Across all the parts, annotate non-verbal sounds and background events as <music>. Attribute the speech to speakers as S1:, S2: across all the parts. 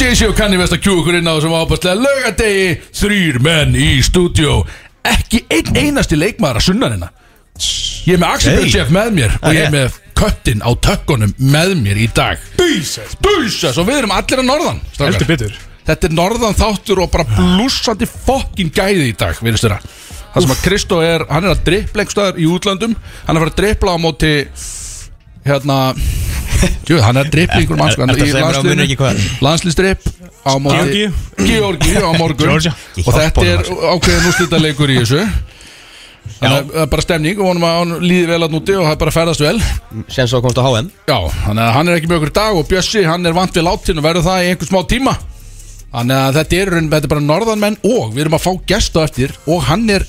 S1: Jay-Z og Kanye West að kjú okkur inn á þessum ábærslega laugadegi Þrýr menn í stúdjó Ekki einn einasti leikmaður að sunna hérna Ég er með Axel
S2: Hey.
S1: Björnsef með mér og ég
S2: Ah,
S1: er með köttin á tökkunum með mér í dag
S3: Bísæt
S1: Búsas og við erum allir að norðan strákar.
S3: Heldur betur.
S1: Þetta er norðan þáttur og bara blúsandi fokkin gæði í dag virðist þeirra Það sem að Kristó er, hann er að drippla einhverstaðar í útlöndum Hann er að fara að drippla á móti Hérna Jú, hann er að drippla í einhverjum
S2: Er- er-
S1: mannskvæðan
S2: þetta segir mér á munu ekki hvað?
S1: Landslýsdripp á móti Georgi á morgun
S3: Georgia.
S1: Og þetta er ákveðin úrslita leikur í þessu Þannig að það er bara stemning og honum að hann líði vel að núti og það er bara að ferðast vel
S2: Sen svo komst á HM
S1: Já, þannig að hann er ekki með okkur í dag og Bjössi, hann er vant við látin og verður það í einhver smá tíma Þannig að þetta er, í raun- þetta er bara norðanmenn og við erum að fá gest á eftir og hann er,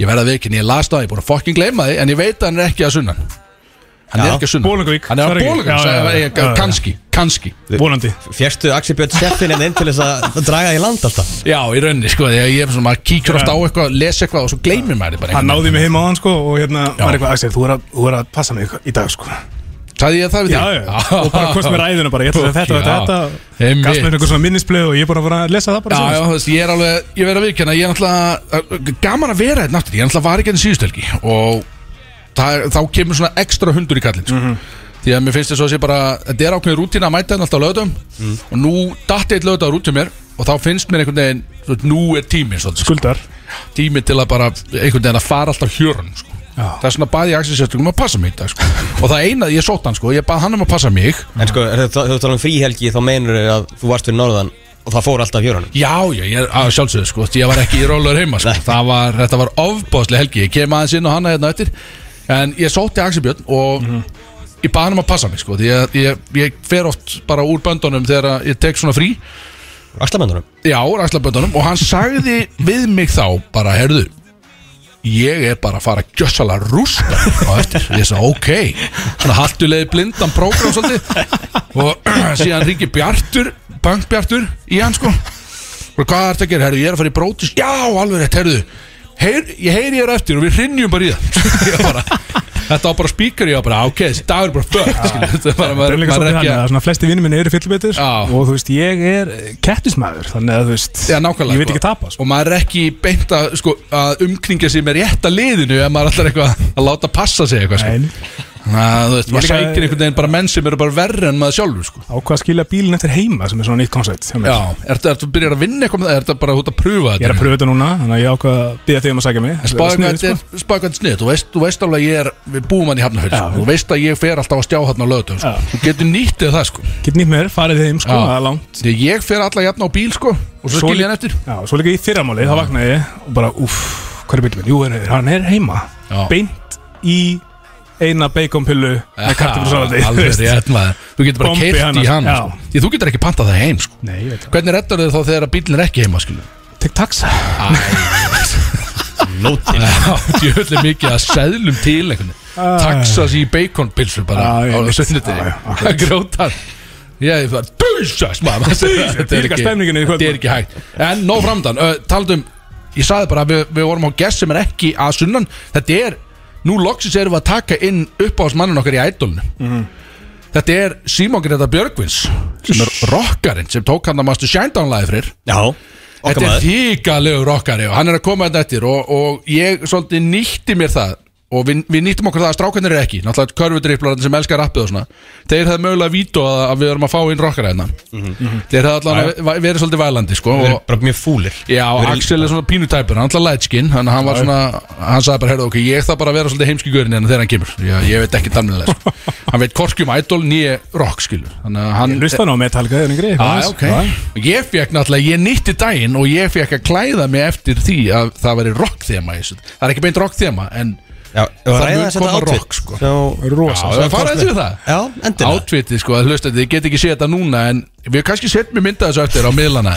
S1: ég verða við ekki, en ég las það, ég er búin að fokkin gleyma því en ég veit að hann er ekki að sunnan Hann er
S2: Já,
S1: ekki að sunnan
S3: Bolungarvík,
S1: Hann er
S3: það
S1: að
S3: er ekki. Já, já, já,
S1: Bólingavík,
S3: já, já.
S1: kannski, kannski
S3: Vonandi
S2: Fjerstu Axel Björn Seffin en inn til þess að draga í land alltaf
S1: Já, í rauninni, sko, því að ég er svona, maður kíkjur oft á eitthvað, les eitthvað og svo gleymir maður því bara
S3: Hann
S1: einhvern
S3: náði mig heim á hann sko Og hérna
S1: Já.
S3: var eitthvað Axel Þú er að, þú er að passa mig í dag sko Já,
S1: veginn. Sagði ég það við
S3: já,
S1: þig?
S3: Og bara kost mér ræðuna bara Ég ætla að þetta og
S1: Já.
S3: þetta
S1: Einmitt.
S3: Gast mér einhver svona minnisblöð Og ég er bara að fara að lesa það
S1: Já,
S3: bara
S1: já,
S3: sjálfur.
S1: þú veist, ég er alveg, ég verð að viðkjanna, ég er náttúrulega eh, gaman að vera þetta náttúrulega, ég er náttúrulega hérna var ekki enn síðustelgi og það, er- þá kemur svona ekstra hundur í kallin, sko. Því að mér finnst þess að sé bara, þetta er ákveðin rútína að mæta hérna alltaf löðum mm. og nú datti eitt löðum út hjá mér og þá finnst mér einhvern veginn, þú veist, nú er tími, svona, sko,
S3: Skuldar
S1: tími til að bara einhvern veginn að fara alltaf hjörun, sko.
S3: Já.
S1: Það er svona bæði ég Axel sérstökum að passa mig í dag, sko. Og það eina, ég sótt hann, sko, ég bað hann um að passa mig.
S2: En sko, er þetta- þú talar um fríhelgi þá meinur að þú varst fyrir norðan og það fór alltaf hjörunum
S1: Já, já, ég er að sjálfsögðu sko Ég var ekki í rólaður heima sko
S2: Nei.
S1: Það var, þetta var ofbóðslega helgi Ég kem aðeins inn á hana hérna eftir En ég sótti Axel Björn og Ég baði hann um að passa mig sko Því ég, ég, ég fer oft bara úr böndunum Þegar að ég tek svona frí
S2: Axlamennunum
S1: Já, úr axlaböndunum Og hann sagði við mig þá bara Herðu, ég er bara að fara að gjössala rústa á eftir Ég sagði, ok Svona haltulegði blindan prógram svolítið Og <clears throat> síðan ringi Bjartur Bankbjartur í hann sko Bara, Hvað er þetta að gera, herru, ég er að fara í brótis Já, alveg rétt, herru Heyr, Ég heyri þér eftir og við hrinnjum bara í það <laughs> Ég bara, Þetta var bara spíkar Ég var bara, ok, þessi dagur er bara fuck skilur. Þetta er bara,
S3: Það er
S1: maður, maður
S3: líka
S1: er
S3: svolítið
S1: ekki
S3: þannig
S1: að
S3: að svona flesti vinnum minni eru fyllibittir
S1: Já.
S3: og þú veist, ég er kettismæður þannig að þú veist,
S1: Já, nákvæmlega
S3: ég veit ekki
S1: sko.
S3: tapa sko.
S1: Og maður er ekki beint að, sko, að umkringja sig með rétta liðinu Ef maður er alltaf eitthvað að láta passa sig eitthvað sko.
S3: En
S1: Að, Þú veist, maður
S3: líka-
S1: sækir einhvern veginn bara menn sem eru bara verri en maður sjálfur sko.
S3: ákvað að skilja bílinn eftir heima sem er svona nýtt koncept hjá mér.
S1: Já, ertu, ertu byrjar að vinna eitthvað með það? Ertu bara út að pröfa þetta?
S3: Ég er að pröfa þetta núna, þannig að ég ákvað að bíða þig um að sækja mig sko.
S1: En spáðu hvað þetta er- spáðu hvað þetta er snið þú veist, þú veist alveg að ég er Við búum hann í Hafnarfjörð
S3: Já.
S1: sko. Þú veist að ég fer alltaf á stjáhatna á lögutum sko.
S3: Já.
S1: Þú getur nýttið það sko
S3: Get nýtt með þér, farið þig heim sko,
S1: Já.
S3: það er langt
S1: Því að ég fer alltaf jafna á bíl sko Og svo
S3: Svo
S1: skil
S3: lí-
S1: ég hann eftir
S3: Já, svo líka í fyrramáli, þá vaknaði ég og bara, uff, hvað er bílinn minn? Jú, hann er- hann er heima,
S1: Já.
S3: beint í eina baconpillu með kartöflusalati, þú
S1: <laughs> Alveg
S3: veist.
S1: rétt maður Þú getur bara
S3: Bombi
S1: keirt
S3: hana,
S1: í hana
S3: já.
S1: sko. Því að þú getur ekki pantað það heim sko
S3: Nei, ég veit það.
S1: Hvernig rettar þau þá þegar að bílinn er ekki heima skilu?
S3: Tek taxa.
S2: Nóti
S1: <laughs> Djöfnlega mikið að seðlum til einhvern veginn. Taxas í baconpilsu bara á
S3: Já, ég veit. Já,
S1: sunnudegi
S3: já,
S1: <laughs> Það grótar Ég er bara Dusas
S3: <laughs>
S1: maður maður segir,
S3: Dýsast,
S1: þetta er
S3: dýrka
S1: ekki-
S3: stemningin í kvöld.
S1: Þetta er ekki hægt En nóg framdann uh, Taldum Ég sagði bara að við, við vorum á gest sem er ekki að sunnan Þetta er Nú loksins erum við að taka inn uppáhaldsmannin okkar í ædolnu
S3: Mhm.
S1: Þetta er Simon Greta Björgvins sem er rockarinn sem tók hann að maður Shinedown-læði fyrir
S2: Já, okkar
S1: Þetta er
S2: maður
S1: þýkalegur okkari og hann er að koma þetta eftir og, og ég svolítið nýtti mér það og við, við nýttum okkur það að strákarnir eru ekki náttúrulega körfudriplarinn sem elskar rappið og svona þeir hefði mögulega vító að, að við erum að fá inn rockara hérna þeir hefði allan verið svolítið vælandi sko,
S2: Mhm. Við
S1: og,
S2: erum bara mjög fúlir
S1: Já,
S2: Við erum-
S1: Axel er svona pínutæpur, hann er alltaf lætskinn Þannig að hann var svona, hann sagði bara, heyrðu ok, ég þarf bara að vera svolítið heimskigurinn en þegar hann kemur Já, ég veit ekki tannilega
S2: <laughs>
S1: sko. Hann veit korkjum idol, nýje rock skilur Þannig að hann,
S3: Ég hlusta nú á Metallica, það er einhverjir.
S1: Já, ok Ég fekk náttúrulega, ég nýtti daginn og ég fekk að klæða mig eftir því að það væri rock þema í þessu Það er ekki beint rock þema en
S2: Já, ef að
S1: Það
S2: ræða
S1: mun
S2: þess að
S1: koma
S2: þetta
S1: rock, sko.
S2: átvitt Já,
S3: Rosa.
S1: Já, farið eftir við það
S2: Já, endilega.
S1: Átvitið sko, að hlusta þetta, ég get ekki séð þetta núna en við kannski setjum mér myndað þessu eftir á <laughs> miðlana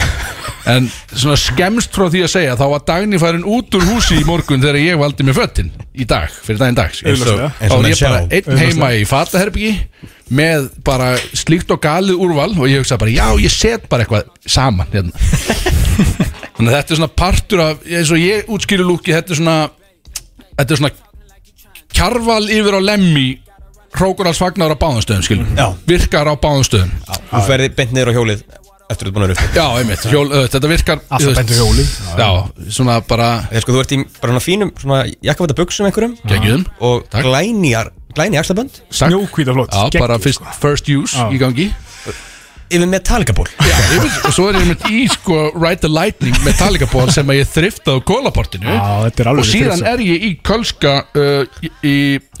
S1: En svona skemst frá því að segja þá var dagni farin út úr húsi í morgun þegar ég valdi mér föttin í dag, fyrir daginn dag skilur.
S3: Eins og-
S1: Þá
S2: eins og
S1: var
S2: menn
S1: ég bara
S2: sjá.
S1: einn heima í fataherbyggi með bara slíkt og galið úrval og ég hugsaði bara, já, ég set bara eitthvað saman
S2: <laughs>
S1: hérna Þannig að þetta er svona partur af, eins og ég útskýri lúki, þetta er svona, þetta er svona kjarval yfir á lemmi hrókurals fagnar á báðumstöðum, skilum
S2: Já.
S1: virkar á báðumstöðum
S2: Þú ferði beint niður á hjólið eftir þú ert búin að rufta
S1: Já, einmitt, hjól, uh, þetta virkar
S3: Alltaf
S1: þú veist,
S3: bentu hjóli.
S1: Já, svona bara
S2: Þegar sko þú ert í bara svona fínum svona jakkafæta buksum einhverjum
S1: geggjum
S2: og
S1: Takk.
S2: glænýjar glæni axlabönd
S1: Sakk.
S3: Snjóhvíta flott,
S1: Já,
S3: geggjum, sko.
S1: bara fyrst, first use
S3: Já.
S1: í gangi
S2: yfir Metallica-ból
S1: Já, ég veit, og svo er ég með í sko Ride the Lightning Metallica ból sem að ég þriftaði á kólaportinu
S3: Já, þetta er alveg
S1: og síðan
S3: þrisvar.
S1: er ég í kölska uh, í, í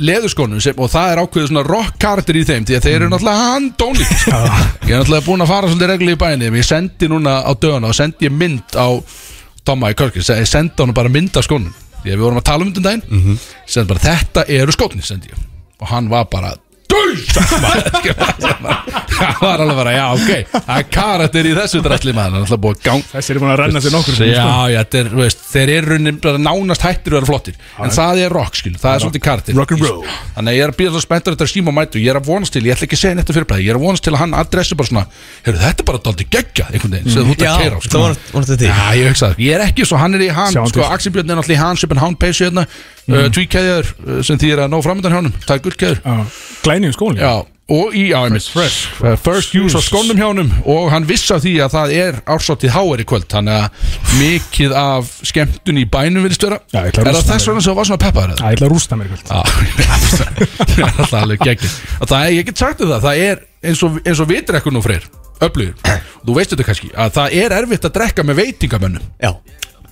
S1: leðurskónum sem, og það er ákveðið svona rock karakter í þeim því að þeir eru náttúrulega handónlít ég er náttúrulega búin að fara svolítið reglu í bænum ég sendi núna á dögana og sendi ég mynd á Tomma í kölska, ég sendi hann bara mynd af skónum því að við vorum að tala um þetta um daginn mm -hmm. sendi bara þetta eru skónir sendi ég og hann var bara <laughs> Dauðsat maður Það var alveg bara, já ok Það er karakter í þessu drastli maður Það er alltaf búið að gang,
S3: Þessi er búin að renna sér nokkur sinnum, sko.
S1: Já, já, þeir, veist, þeir eru raunin bara nánast hættir að vera flottir En það er rock, skil, það er svolítið kartir
S3: rock and roll.
S1: Þannig að ég er að býða svo spenntur þetta að síma mætu Ég er að vonast til, ég ætla ekki að segja neitt á fyrirblæði Ég er að vonast til að hann adressi bara svona Heyrðu, þetta er bara daldi geggja, einhvern veginn Sem þú ert
S2: Já,
S1: að keira á,
S2: það var- var þetta því.
S1: Já, ég hugsa það, ég er ekki svo, hann er í hann
S3: Sjáum
S1: Sko,
S3: til. Mm.
S1: Axel Björn er náttúrulega í hann, Sjöpen Hán Peysu hérna uh, Tvíkæðjar, uh, sem því er að ná framöndan hjá honum Það er gullkæður
S3: Já, Glænýjum skóli
S1: Já, og í ámið
S3: Fresh.
S1: Eh, First use á skónum hjánum og hann vissi af því að það er ársóttið háar í kvöld þannig að mikið af skemmtun í bænum vilist vera
S3: Já, ég
S1: Er
S3: ætla að
S1: það
S3: rústa
S1: þess
S3: mér.
S1: vegna sem það var svona peppaður eða?
S3: Það ætla að rústa mér í kvöld
S1: Já, <laughs> það er alltaf alveg geggir og það er, ég get sagt þér það, það er eins og, eins og vitir ekkur nú freyr öflugur, og þú veist þetta kannski að það er erfitt að drekka með veitingamönnum
S2: Já,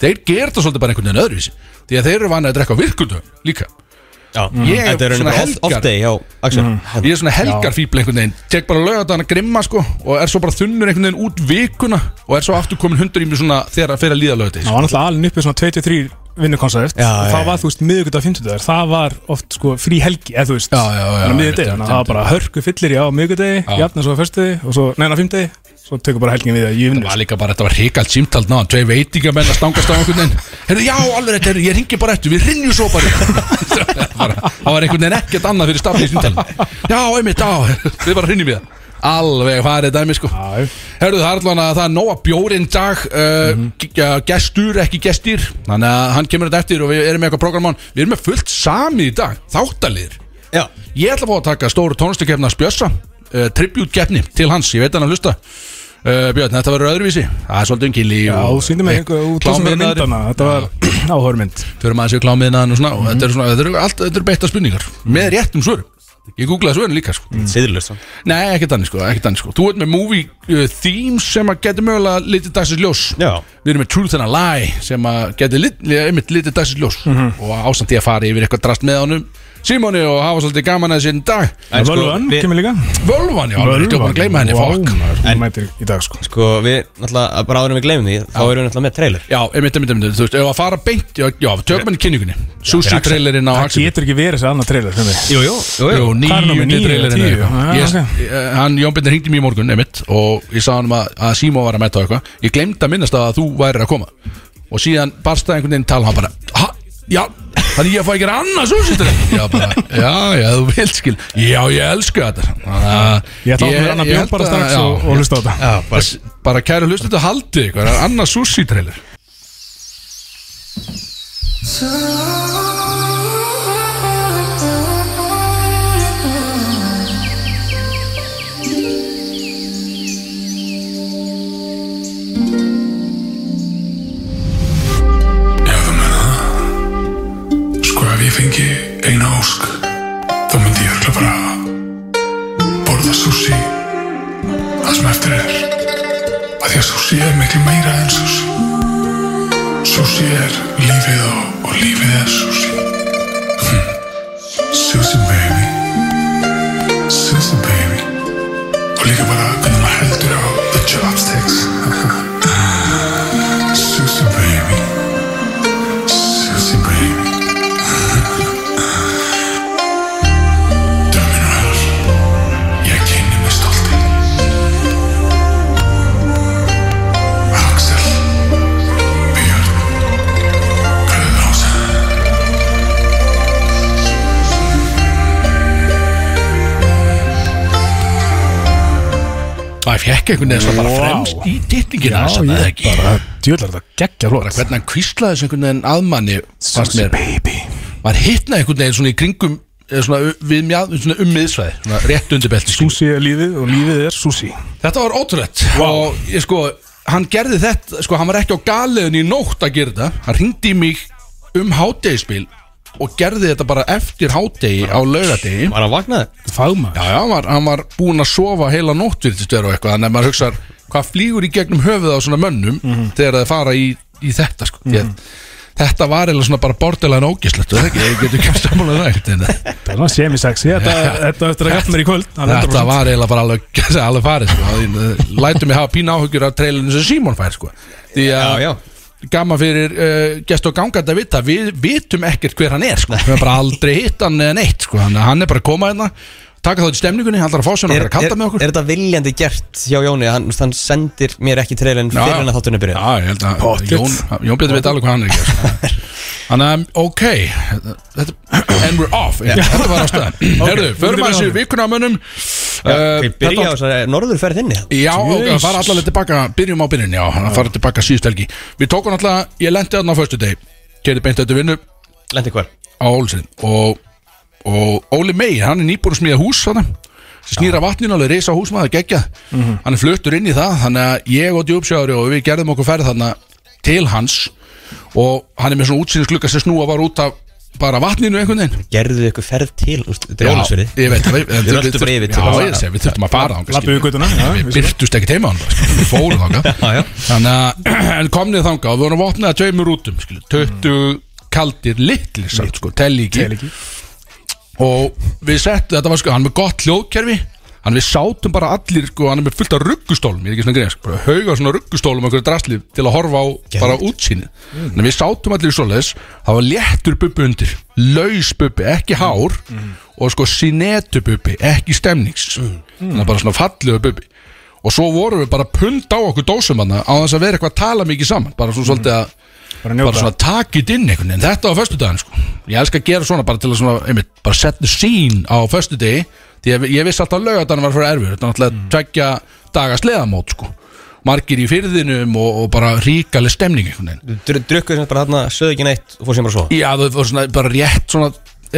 S1: þeir ger það svolítið bara einhvern veginn öðruvísi því að þeir eru vanið að drekka á virkundum líka
S2: já
S1: Ég er
S2: Mhm. Þetta er
S1: svona
S2: raunin bara off-
S1: helgar. Mhm.
S2: off-day hjá Axel
S1: Ég er svona helgarfíbl einhvern veginn Tek bara lögadagana grimma sko Og er svo bara þunnur einhvern veginn út vikuna Og er svo aftur komin hundur í mig svona Þegar að fyrir að líða lögadegi
S3: Það var náttúrulega alveg uppið svona 23 vinnukonsert
S2: Já,
S3: og
S2: já,
S3: það
S2: já.
S3: var, þú veist, miðugut á 50 það var oft sko frí helgi eða þú veist,
S1: Já, já, já,
S3: þannig að miðugudegi
S1: einmitt,
S3: þannig að það var
S1: einmitt,
S3: bara hörku fyllir í á miðugudegi, jafna svo á föstudegi og svo, neina á fymtudegi, svo tekur bara helgin við að ég vinnu
S1: Það var líka bara, þetta var hrikald símtald náðan Tvei veitingamenn að stangast á einhvern veginn Herðu, já, alveg þetta, heyrðu, ég ringi bara eftir, við rinjum svo bara <laughs> Það var- það var einhvern veginn ekkert annað fyrir stafni í símtalin Já, einmitt, já, við bara rinjum við það Alveg farið dæmi sko
S3: Já,
S1: Herðu, það er allan að það er nóa bjórinn dag uh, mm Gestur, ekki gestir Þannig að hann kemur þetta eftir og við erum með eitthvað programmán Við erum með fullt sami í dag, þáttalir
S2: Já,
S1: Ég ætla að fá að taka stóru tónlistakefna Spjössa, uh, tributkeppni til hans Ég veit hann að hlusta uh, Björn, þetta verður öðruvísi, það er svolítið um kynli
S3: já, þú sýndi mig einhver út þessum
S1: hérna
S3: verið myndana, þetta var <clears throat> áhörmynd
S1: Fyrir maður séu klámiðnaðan og svona og
S3: Mhm.
S1: þetta er svona, þetta eru allt, þetta eru beitta spurningar með réttum svörum, ég googlaði svörin líka sko.
S2: siðlust
S1: Nei, ekkert annir sko, ekkert annir sko Þú ert með movie uh, theme sem að getur mögulega litið dagsins ljós
S2: Já.
S1: Við erum með Truth and a Lie sem að getur lit, einmitt litið dagsins ljós og ásamt ég að fara yfir eitthvað drast með honum Simóni og hafa svolítið gaman að sérn dag
S2: En sko,
S3: Völvan
S2: við-
S3: kemur líka
S1: Völvan, já, við erum að gleyma henni, fokk
S3: Hún mætir í dag sko
S2: Sko við, náttúrulega, bara áður en við gleymum því Þá erum við náttúrulega með trailer
S1: Já, einmitt, einmitt, einmitt, þú veist, ef að fara beint Já, já við tökum henni kynningunni Sushi trailerinn á
S3: Það
S1: Axel
S3: getur ekki verið sér annað trailer fyrir mig
S2: Jú, jú, jú,
S1: Jú,
S3: Hvað er númer
S1: níundi
S3: níu eða
S1: trailerinn
S3: tíu?
S1: er-
S3: Ah,
S1: Ég-
S3: ok.
S1: eh, Hann Jón Bindir hringdi mér í morgun einmitt, og ég sagði hann að, að Símó var að metta á eitthvað ég glemd að minnast að þú værir að koma og síðan barst það einhvern veginn tala og hann bara ha, já, þannig ég fæ ekki annað svo sýttur já, bara, já, já, þú vilt skil já, ég elska þetta Þannig að-
S3: Ég ætla að opna mér annan
S1: ég
S3: bjór
S1: held
S3: bara
S1: að-
S3: strax
S1: já,
S3: og- og
S1: ég-
S3: hlusta á þetta.
S1: já, bara, bara kæru hlusta þetta haldið ykkur það er annað sushi trailer
S4: Ef þú menna það Sko ef ég fengi eina ósk Þá myndi ég örgla bara Borða sushi Það sem eftir er Af því að sushi er miklu meira en sushi Sushi er lífið og, og lífið er sushi hm. Sushi baby Sushi baby Og líka bara hvernig maður heldur á The chopsticks <laughs> Sushi baby Sushi baby <laughs> Terminal Ég kynni mig stolti Axel Björn Bröðrósa
S1: það er fjekk einhvern veginn svona bara
S3: Wow.
S1: fremst í titlingina þess að það
S3: ég
S1: ekki
S3: bara, djöðlar þetta geggja
S1: bara
S3: hlótt
S1: hvernig hann kvíslaði þessu einhvern veginn aðmanni fannst mér
S3: baby
S1: var hittna einhvern veginn svona í kringum eða svona, við mjað, svona um miðsvæði svona rétt undir belti
S3: Sushi er lífið og lífið er sushi
S1: Þetta var ótrúlegt og ég sko, hann gerði þetta sko, hann var ekki á galiðin í nótt að gera þetta hann ringdi í mig um hátegispil og gerði þetta bara eftir hátegi á laugadegi
S2: Var hann vaknaði?
S3: Fagmaður
S1: Já, já, hann var, hann var búin að sofa heila nótt virtistöru og eitthvað, þannig að maður hugsar hvað flýgur í gegnum höfuð á svona mönnum
S2: Mhm.
S1: þegar þeir fara í, í þetta sko. mm Þetta var eða svona bara borderline ógislegt, er það ekki, ég getur kemst um alveg nægt
S2: <laughs>
S1: en
S3: Það var semi-sexy Þetta þetta á eftir að gæta mér í kvöld það er 100%.
S1: þetta var eiginlega bara alveg, <laughs> alveg farið sko. Því, lætur mig hafa pína áhugjur af trailinu sem Simon fær sko. því
S2: Já, já.
S1: að gaman fyrir uh, gest og gangandi að vita við vitum ekkert hver hann er sko. við erum bara aldrei hitt hann eða neitt sko. þannig að hann er bara að koma hérna taka þá til stemningunni, hann þarf að fá sér hann
S2: Er,
S1: að kalla
S2: er,
S1: með okkur
S2: er þetta viljandi gert hjá Jóni? Hann, hann sendir mér ekki treilin
S1: Já,
S2: fyrir
S1: já.
S2: en að þáttunni byrja
S1: Já, ég held að
S3: Pottet.
S1: Jón, Jón Björn veit alveg hvað hann er að gera sko. Þannig að, ok þetta, And we're off yeah. Þetta var ástæðan Herðu, förum að þessu vikuna mönnum Uh,
S2: Við byrja á þess að norður ferð inni
S1: Já, og
S3: Jesus.
S1: það fara allavega tilbaka, byrjum á byrjun Já, það fara tilbaka síðust helgi Við tókum alltaf, ég lendi þarna á föstu deg Keiri beint þetta vinnu á
S2: Lendi hver?
S1: Ólsinn og, og Óli Mey, hann er nýbúin að smíða hús þarna sem snýra vatninu alveg reysa húsmaður geggja
S2: Mhm.
S1: Hann er fluttur inn í það Þannig að ég og djúpsjáður og við gerðum okkur ferð þarna til hans og hann er með svona útsýnisglugga sem snúa var út af bara vatninu einhvern veginn
S2: Gerðu ykkur ferð til? úst, Þetta er Jónasverið
S1: Já, Ég veit, við, við,
S2: röltum bara yfir til
S1: Já,
S2: þess.
S1: ég segi, við þurftum að fara þangað,
S3: Labbuðu
S1: skilur.
S3: göttuna
S1: Við byrtust ekkert heima hann Við fórum þangað
S2: Já, já.
S1: Þannig að <clears throat> en komnið þangað og við vorum vopnið að tveimur rútum skilur, 20 kaldir litli samt sko, telli ekki og við settum, þetta var sko, hann er með gott hljóðkerfi hann við sátum bara allir sko, hann er með fullt af ruggustólum, ég er ekki svona greið sko, bara hauga svona ruggustólum einhverju drasli til að horfa á bara útsýnið, þannig að við sátum allir í svoleiðis, það var léttur bubbi undir laus bubbi, ekki hár og sko sinetu bubbi ekki stemnings, þannig að bara svona fallegu bubbi og svo vorum við bara að punda á okkur dósum hann á þess að vera eitthvað að tala mikið saman bara svona svolítið að
S3: Bara
S1: bara
S3: njóta
S1: svona takit inn einhvern veginn þetta á föstudaginn sko ég elska að gera svona bara til að svona einmitt, bara setja sín á föstudegi því að ég vissi alltaf að laugardaginn var fyrir erfur þetta er náttúrulega mm. tveggja daga sleðamót sko margir í fyrðinum og, og bara ríkaleg stemning einhvern veginn
S2: Drukku sem bara þarna, sögðu ekki neitt og fór sem bara svo
S1: já það var svona bara rétt svona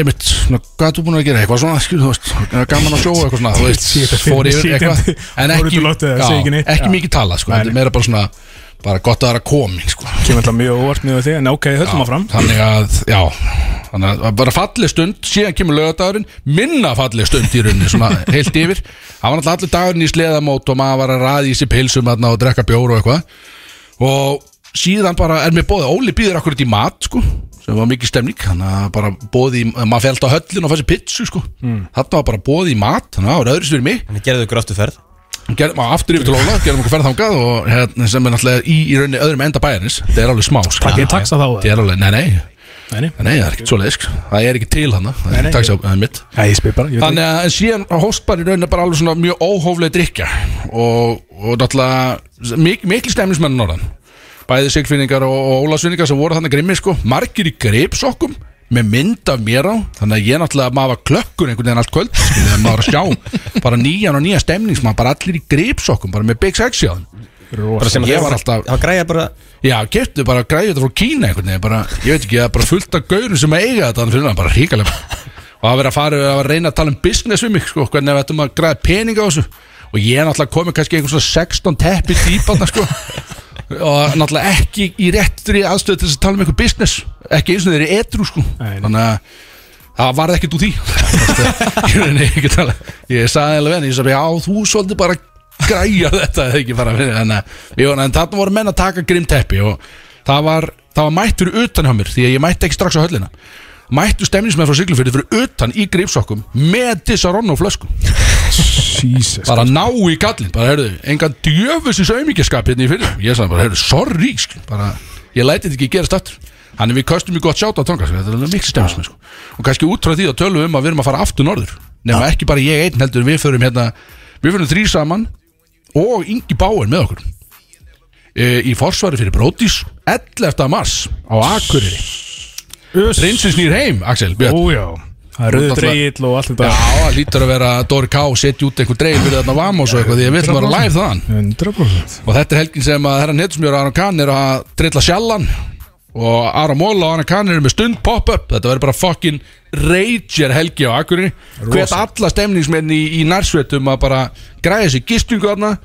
S1: einmitt svona hvað er þú búin að gera eitthvað svona skil þú veist gaman að sjóa eitthvað svona þú veist
S3: Sitja fyrir
S1: fór yfir
S3: sitjandi, <laughs>
S1: eitthvað en
S3: fór út
S1: ekki
S3: í loftið,
S1: já,
S3: segi ekki neitt. Já.
S1: ekki mikið tala sko
S3: Nei,
S1: þetta er meira bara svona bara gott að það er að komin sko
S3: Kemur alltaf mjög óvart mjög því En ok, höllum áfram
S1: þannig að, já þannig að það var bara falleg stund, síðan kemur lögadagurinn minna falleg stund í rauninni svona heilt yfir, það var náttúrulega allir dagurinn í sleðamót og maður var að ræði í sér pilsum þarna og drekka bjór og eitthvað og síðan bara er mér bóðið Óli býður akkurat í mat sko sem var mikið stemning, þannig að bara bóðið í, maður fælt á höllin og fæsir pitsu sko þarna var bara bóðið í mat, þannig að það var öðru fyrir mig
S2: Þannig gerðu ykkur aftur ferð
S1: gerðum á aftur yfir til Óla, gerðum okkur ferðangað og hérna, sem er náttúrulega í, í rauninni öðrum enda bæjarins, þetta er alveg smá sko.
S3: Takk ég taksa þá
S1: Þetta er alveg, nei, nei,
S3: Nei, nei.
S1: Nei, það er ekkert svoleiðis sko. Það er ekki til hana Það
S3: Nei,
S1: er
S3: nei,
S1: takk sem- það er mitt
S3: Já, ég spyr bara ég veit
S1: Þannig að en síðan hóst bara í rauninni bara alveg svona mjög óhófleg drikja og, og náttúrulega mik mikil stemnismenn norðan Bæði sigfinningar og, og ólasvinningar sem voru þannig grimmi sko Margir í gripsokkum með mynd af mér á Þannig að ég náttúrulega maður var klökkur einhvern veginn allt kvöld skilurðu, en maður var að sjá bara nýjan og nýja stemningsmann bara allir í gripsokkum bara með Big Sexy á þeim
S3: Rosa
S1: Ég var alltaf-
S2: Það græja bara
S1: Já, keftu bara græði þetta frá Kína einhvern veginn bara, Ég veit ekki, það er bara fullt af gaurum sem að eiga þetta Þannig fyrir það bara hríkalega Og að vera að fara að reyna að tala um business við mig sko, Hvernig við ættum að græða peninga á þessu Og ég er náttúrulega komið kannski einhvern svona 16 teppi típanna sko Og náttúrulega ekki í réttri aðstöð til þess að tala um einhver business Ekki eins og þeir eru etru sko
S3: Nei, nei.
S1: Þannig að það varði ekkert úr því <laughs> Ég reyni ekki að tala Ég sagði alveg henni, ég sagði, já, þú svolítið bara græja <laughs> þetta eða ekki bara fyrir þannig að við vorum- en þarna voru menn að taka grimm teppi og það var, það var mætt fyrir utan hjá mér því að ég mætti ekki strax á höllina mættu stemnismenn frá Siglufjörði fyrir utan í gripsokkum með disaronno flöskum
S3: Jesus
S1: bara ná í gallin, bara heyrðu engan djöfusins auðmíkjaskap hérna í fyrir ég sagði bara, heyrðu, sorry skil, bara, ég læti þetta ekki gerast aftur Þannig við köstum í gott sjátt á tónga Þetta er alveg mikil stemmismenn sko. Og kannski út frá því að tölum við um að við erum að fara aftur norður Nefna ekki bara ég einn heldur Við förum hérna, við förum þrý saman Og Ingi Báin með okkur e, Í forsvari fyrir Brótis 11. mars á Akureyri Prinsins nýr heim, Axel Björn
S3: Ójá Það er rauður dreigill og allt
S1: Já,
S3: þetta
S1: það lítur að vera Dóri K. setja út einhver dreif fyrir þarna Vamos og eitthvað því að við ætlum að vera live þaðan
S3: 100%
S1: og þetta er helgin sem að herran Hetsmjör og Aron Kahn er að trilla sjallan og Ara Móla og Anna Kahn eru með stund pop-up þetta verður bara fucking rager helgi á akkurinni hvert alla stemningsmenn í, í nærsvetum að bara græða sér gistingu þarna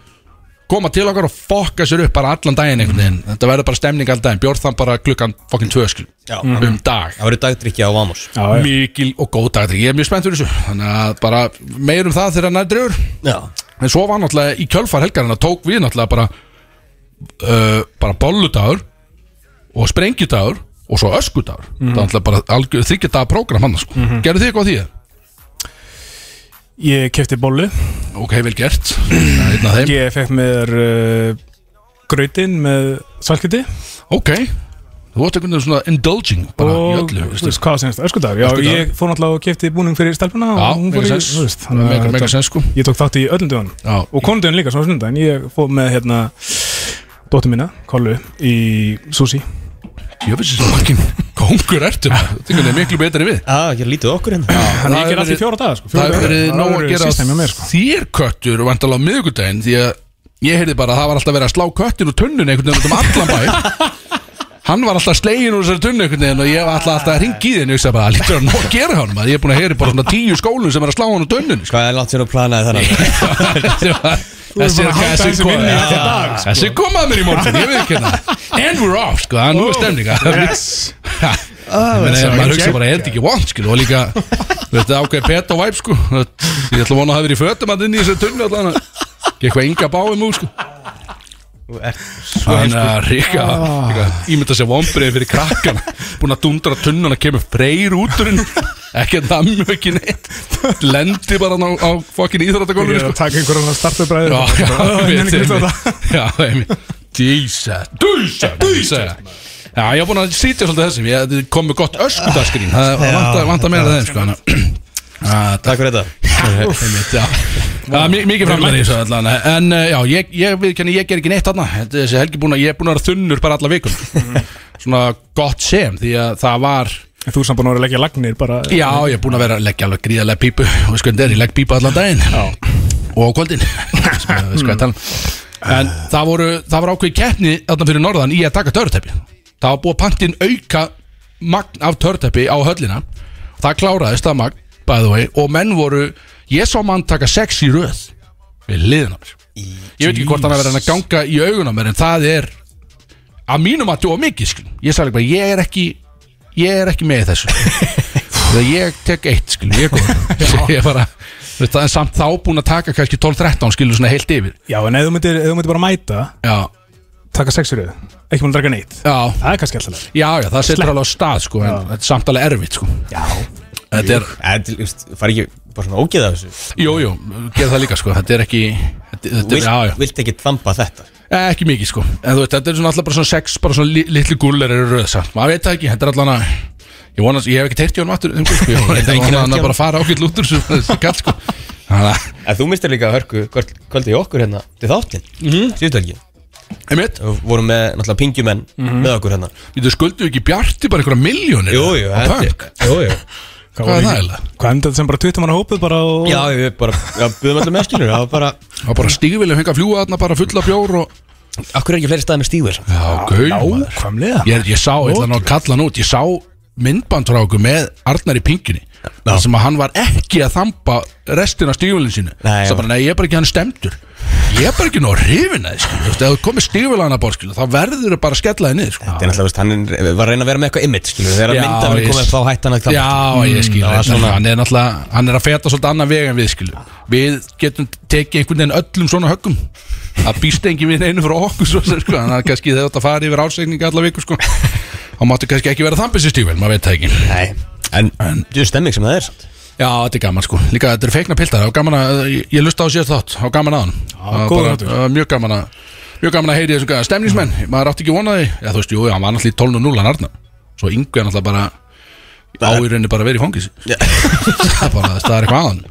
S1: koma til okkar og fokka sér upp bara allan daginn einhvern veginn þetta verður bara stemning allan daginn bjórð þann bara klukkan fucking tvö skil
S2: Já.
S1: um dag
S2: Það verður dagdrykja á Vamos
S3: Já, já.
S1: mikil og góð dag ég er mjög spennt fyrir þessu þannig að bara meir um það þegar nær drefur
S2: Já
S1: en svo var náttúrulega í kjölfar helgarina tók við náttúrulega bara uh, bara bolludagur og sprengjudagur og svo öskudagur
S3: Mhm.
S1: það var náttúrulega bara algjör þryggja dagar prógram hann sko. gerðu þið eitthvað á því?
S3: Ég kefti bollu
S1: ok, vel gert Það er einn af þeim.
S3: Ég fekk mér uh, grötin með salkjöti
S1: ok, þú átt einhvern veginn svona indulging bara í
S3: og
S1: öllu
S3: þú veist hvað sem þetta öskudagur Já,
S1: Öskudagur.
S3: ég fór náttúrulega og kefti búning fyrir stelpuna og
S1: Já,
S3: hún fór
S1: mega
S3: í-
S1: sens.
S3: þú veist, þannig að
S1: mega, mega
S3: þetta-
S1: sens sko
S3: Ég tók þátt í öllum dögunum
S1: Já,
S3: og konundögun líka, svona sunnudaginn ég fóð með hérna dóttu mína, Kollu, í Susi
S1: ég finnst þessi fucking kongur
S3: <laughs>
S1: ertu maður. þetta er einhvern veginn miklu betri en við
S2: Það er lítið okkur hérna
S3: Þannig
S1: það hefur
S3: ég ger allt í
S1: verið-
S3: fjóra daga sko,
S1: Það hefur verið nóg að gera
S3: Sýstæmi á mér sko
S1: þér köttur og vandala á miðugudaginn því að ég heyrði bara að það var alltaf verið að slá köttin úr tunnun einhvern veginn út um allan bæ
S3: <laughs>
S1: hann var alltaf slegin úr þessari tunnu einhvern veginn og ég var alltaf, alltaf að ringi í þinn og ég sagði bara að lítur hann nóg að gera hann maður ég er búin að heyri bara svona tíu skólum sem er að slá hann úr tunnun
S2: Hvað er langt sér að planaði <laughs> þannig?
S1: þessi
S3: búin að halda þessu vinnu í allan dag, sko.
S1: kom- þessi kom að mér í morgun ég veit ekki hérna and we're off sko það er nú er stemninga
S3: Oh, Yes Ah,
S1: Ég meina, maður hugsa bara, er þetta ekki vond, skil, og líka þetta ákveði pet og væp, sko Þú veist, ég ætla að vona að hafa verið í fötum að inn í þessu tunnu allan að ekki eitthvað ynga báum úr, sko þannig að ríka
S3: Ah.
S1: ríka- ímynda sér vombriði fyrir krakkana búin að dundra tunnuna, kemur freyr út úr henni, ekki að nammu ekki neitt lendi bara á, á fokkin
S3: Ég
S1: íþróttagólfinu,
S3: er
S1: sko
S3: að taka einhverjum að starta bræði
S1: Já, já,
S3: <laughs> ég nenni ekki að hlusta á það.
S1: já, einmitt Dísa, dísa, dísa Já, ég var búin að sýtja svolítið þessum Ég þetta kom með gott öskudaskrín Það það vantar- vantar meira af þeim, sko þannig að- <clears throat> Já,
S2: Takk fyrir þetta
S1: það- einmitt, já. Já, mi- Mikið framlæri í þessu allan En eh, já, ég, ég viðkenni, ég ger ekki neitt þarna Þetta er Þessi helgi búin að, ég er búin að vera þunnur bara alla vikun Svona gott sem Því að það var
S3: En Þú er samt búin að vera að leggja lagnir bara
S1: Já, ég er búin að vera að leggja alveg gríðarlega pípu og sko, ég legg pípu allan daginn og á kvöldin <laughs> sko, við sko, ég tala um. en það voru það var ákveð keppni þarna fyrir norðan í að taka töruteppi það var búið að pantin auka magn af töruteppi á höllina það kláraðist það magn by the way, og menn voru ég sá mann taka sex í röð við liðin á mér ég veit ekki hvort hann er að vera að ganga í augun á mér en það er að mínum að djóa mikið skil. ég sagði bara ég er ekki ég er ekki með í þessu þegar ég tek eitt skil, ég er góð ég er bara þú veist, það er samt þá búin að taka kannski 12-13 skilur svona heilt yfir
S3: Já, en ef þú myndir, ef þú myndir bara mæta
S1: já,
S3: Taka sex fyrir þau Ekki búin að drekka neitt
S1: já,
S3: Það er kannski alltaf leið.
S1: já, já það setur alveg á stað sko, en þetta er samt alveg erfitt sko. þetta er,
S2: Eh, Það fari ekki bara svona ógeð af þessu
S1: jú, jú, gera það líka sko. þetta er ekki þetta, þetta er, já, já.
S2: Vilt, vilt ekki þampa þetta?
S1: Eh, ekki mikið sko en þú veist, þetta er svona alltaf bara svona sex bara svona li- litlu gullir eru röð samt maður veit það ekki, þetta er allan að ég, vona, ég hef ekki teirt í honum aftur um, sko. ég veit
S2: Það
S1: að
S2: er enginn
S1: hann
S2: að
S1: bara fara ákveld út úr þessu- þessu kall sko þannig að,
S2: En Eh, þú mistir líka hörku kvöld- kvöldið í okkur hérna til þáttinn mm -hmm. Síðustu helgi
S1: einmitt,
S2: Við vorum með náttúrulega pingjumenn með okkur hérna
S1: þú skuldu ekki bjarti bara einhverja miljónir
S2: Jú, jú,
S1: á punk
S2: þetta er- Jú, jú
S3: Hvað
S1: Hvað er
S3: var
S1: það
S3: ekki-
S1: eiginlega?
S3: Hvað endaði þetta sem bara 20 manna hópuð bara og
S2: Já, við bara, já, byggðum allir með skilur Það var bara
S1: það var bara stígvilið fengið að fljúa þarna bara fulla bjór og
S2: Akkur er ekki fleiri staði með stífur
S1: já, gau,
S3: Nákvæmlega
S1: ég, ég sá, ég ætla nú að kalla hann út ég sá myndbandráku með Arnar í pingjunni
S2: Já.
S1: þar sem að hann var ekki að þampa restina af stígvölinn sínu
S2: Nei,
S1: það
S2: já.
S1: bara, nei, ég er bara ekki hann stemdur ég er bara ekki nú að hrifina þið, skilju, sko. þú veist, ef þú komir stígvölana bór, skilju, þá verður þau bara að skella þið niður, sko
S2: Það er náttúrulega, veist, hann er, var að reyna að vera með eitthvað image skilur Þegar
S1: Já,
S2: mynda verið
S1: ég-
S2: komið upp þá hætti hann að klampa.
S1: Já, ég skil,
S2: Mm, það var
S1: svona...
S2: svona-
S1: hann er náttúrulega hann er að feta svolítið annan veg en við skilju við getum tekið einhvern veginn öllum svona höggum það býst engin við einu frá okkur svo, sem, sko, þannig að kannski þegar þetta farið yfir ársegninga alla viku sko, þá máttu kannski ekki vera þambisistígvel, maður veit það ekki
S2: Nei, en, en Þú er stemming sem það er samt.
S1: Já, þetta er gaman sko Líka þetta eru feikna piltar Það var gaman að Ég, ég lusta á síðast þátt Það var gaman að hann Það var
S3: góður
S1: bara-
S3: þáttur.
S1: það var Mjög gaman að Mjög gaman að heyri þessum gæða Stemningsmenn Maður átti ekki vonaði Já, þú veist, jú, hann var náttúrulega í 12.0 hann Arna Svo yngvi hann alltaf bara Á í rauninni bara að vera í fangis <laughs> Það er bara, það er eitthvað að hann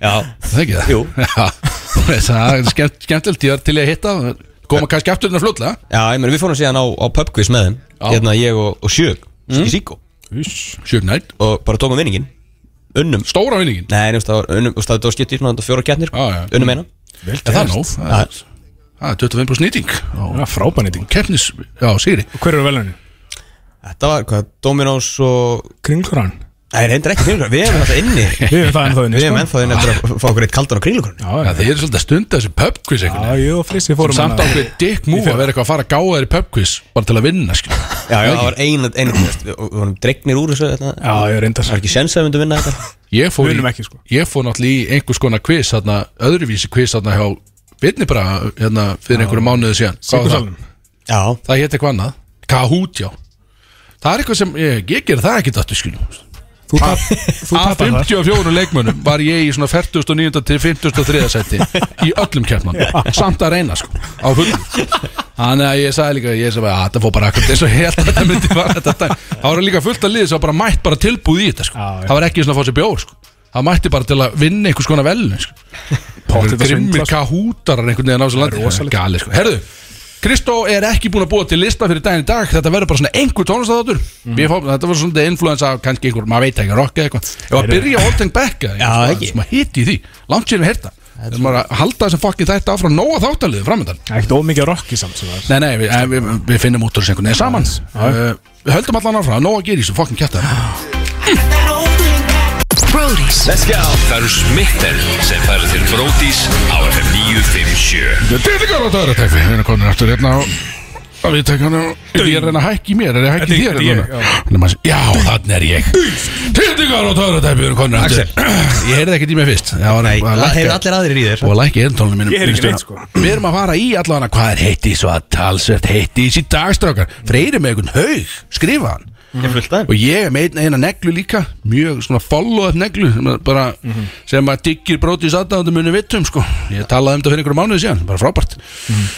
S2: Já,
S1: Það er ekki það
S2: Jú.
S1: <laughs> Já, þú veist, það er skemmt, skemmtilegt Ég er til í að hitta Koma kannski aftur hérna fljótlega
S2: já, ég meni, við fórum síðan á, á pubquiz með þeim
S1: Já.
S2: Hérna ég og, og Sjög mm. í Síko
S1: Sjögnætt
S2: Og bara tókum vinningin Unnum
S1: Stóra vinningin
S2: Nei, nefnst það var unnum og staðið á skipt í svona þetta fjóra kettnir
S1: Já, já.
S2: sko. Unnum eina
S1: Er Það er nóg Það er- það er 25% nýting
S3: Það er frábænýting
S1: Kefnis, já, sigri
S3: Hver eru velunni?
S2: Þetta var hvað, Dominos og
S3: Kringluran
S2: Nei, reyndir ekki kringlur, við erum þetta inni
S3: Við erum það ennþá inni,
S2: Við erum
S3: sko.
S2: ennþá inni eftir að fá okkur eitt kaldan á kringlur
S3: Já,
S1: Já,
S3: já,
S1: þið eru svolítið að stunda þessi pub quiz einhvern
S3: já,
S1: veginn
S3: ég og Frissi fórum
S1: Samt
S3: hana.
S1: ákveð dick move að vera eitthvað að fara að gáða þér í pub quiz Bara til að vinna, skil
S2: Já, já, það var eina, eina þú veist, Við við vorum dregnir úr þessu þetta
S3: Já, ég reyndar
S2: Það var ekki sens að við myndum vinna þetta
S1: Ég fór,
S3: Munum
S1: í,
S3: ekki, sko.
S1: ég fór náttúrulega í einhvers konar quiz þarna, Öðruvísi quiz þarna hjá Vinni bara hérna, fyrir einhverju mánuðu síðan Hvað var það?
S3: Sigursalum
S2: Já,
S1: Það hétt eitthvað annað Kahoot, já Það er eitthvað sem, ég, ég ger það ekki dættu skilum
S3: Þú tap- þú
S1: Af
S3: tapar þar
S1: 54 leikmönnum var ég í svona 49. til 53. seti Í öllum kjarnan Samt að reyna sko Á hullum Þannig að ég sagði líka Ég sagði að þetta fór bara akkur eins og ég held að þetta myndi var þetta dag Það var líka fullt að liði sem var bara mætt bara tilbúð í þetta sko
S3: Já, já.
S1: Það var ekki svona að fá sér bjór sko Það mætti bara til að vinna einhvers konar velun sko.
S3: Pottþétt að
S1: Grimmir
S3: svindla, sko.
S1: kahútarar einhvern veginn á þessu landi Gali sko Herðu Kristó er ekki búin að búa til lista fyrir daginn í dag Þetta verður bara svona einhver tónlistadátur
S2: Mhm.
S1: mm. Þetta var svona influensa af kannski einhver Maður veit ekki, rock eða eitthvað Ef að byrja Old Tank Back eða
S2: Já,
S1: eitthvað,
S2: ekki.
S1: Sem að hiti í því, langt sér við hérta Við erum bara að halda þessum fokkin þetta áfram Nóa þáttaliðu framöndan
S3: Ekkert ómikið rocki samt sem það er
S1: Nei, nei, við, eh, við, við finnum út úr þessu einhvern veginn saman uh, Við höldum allan áfram, Nóa gerir þessu fokkin kjæta
S5: Brody's
S6: Let's go Það eru smitten sem færa til Brótis á FM 957
S1: Dillingar á dörratæfi Við erum komin aftur hérna á að við tekja hann Ég er að reyna að hækki mér, er ég að hækki
S3: Þetta-
S1: þér hérna
S3: þetta ég,
S1: núna? Nema að- Já, þannig er ég Dillingar á dörratæfi Við erum komin aftur Ég heyrði ekki tíma fyrst Já,
S2: nei,
S1: bara
S2: það
S1: lækka-
S2: hefur allir aðrir í þér
S1: Og að lækki eldtónunum mínum
S3: Ég heyri ekki
S1: Minnstu-
S3: neitt, sko.
S1: Við erum að fara í allavega Hvað er heitt í svo að talsvert heitt í þessi dagstrákar Freyri með einhvern haug, skrifa hann
S2: Ég fullt
S1: og ég er með eina, eina neglu líka mjög svona follow-up neglu sem að bara,
S2: Mhm.
S1: sem að diggir brótis aðdáðum muni vittum sko, ég talaði um þetta fyrir einhverju mánuði síðan, bara frábært
S2: Mhm.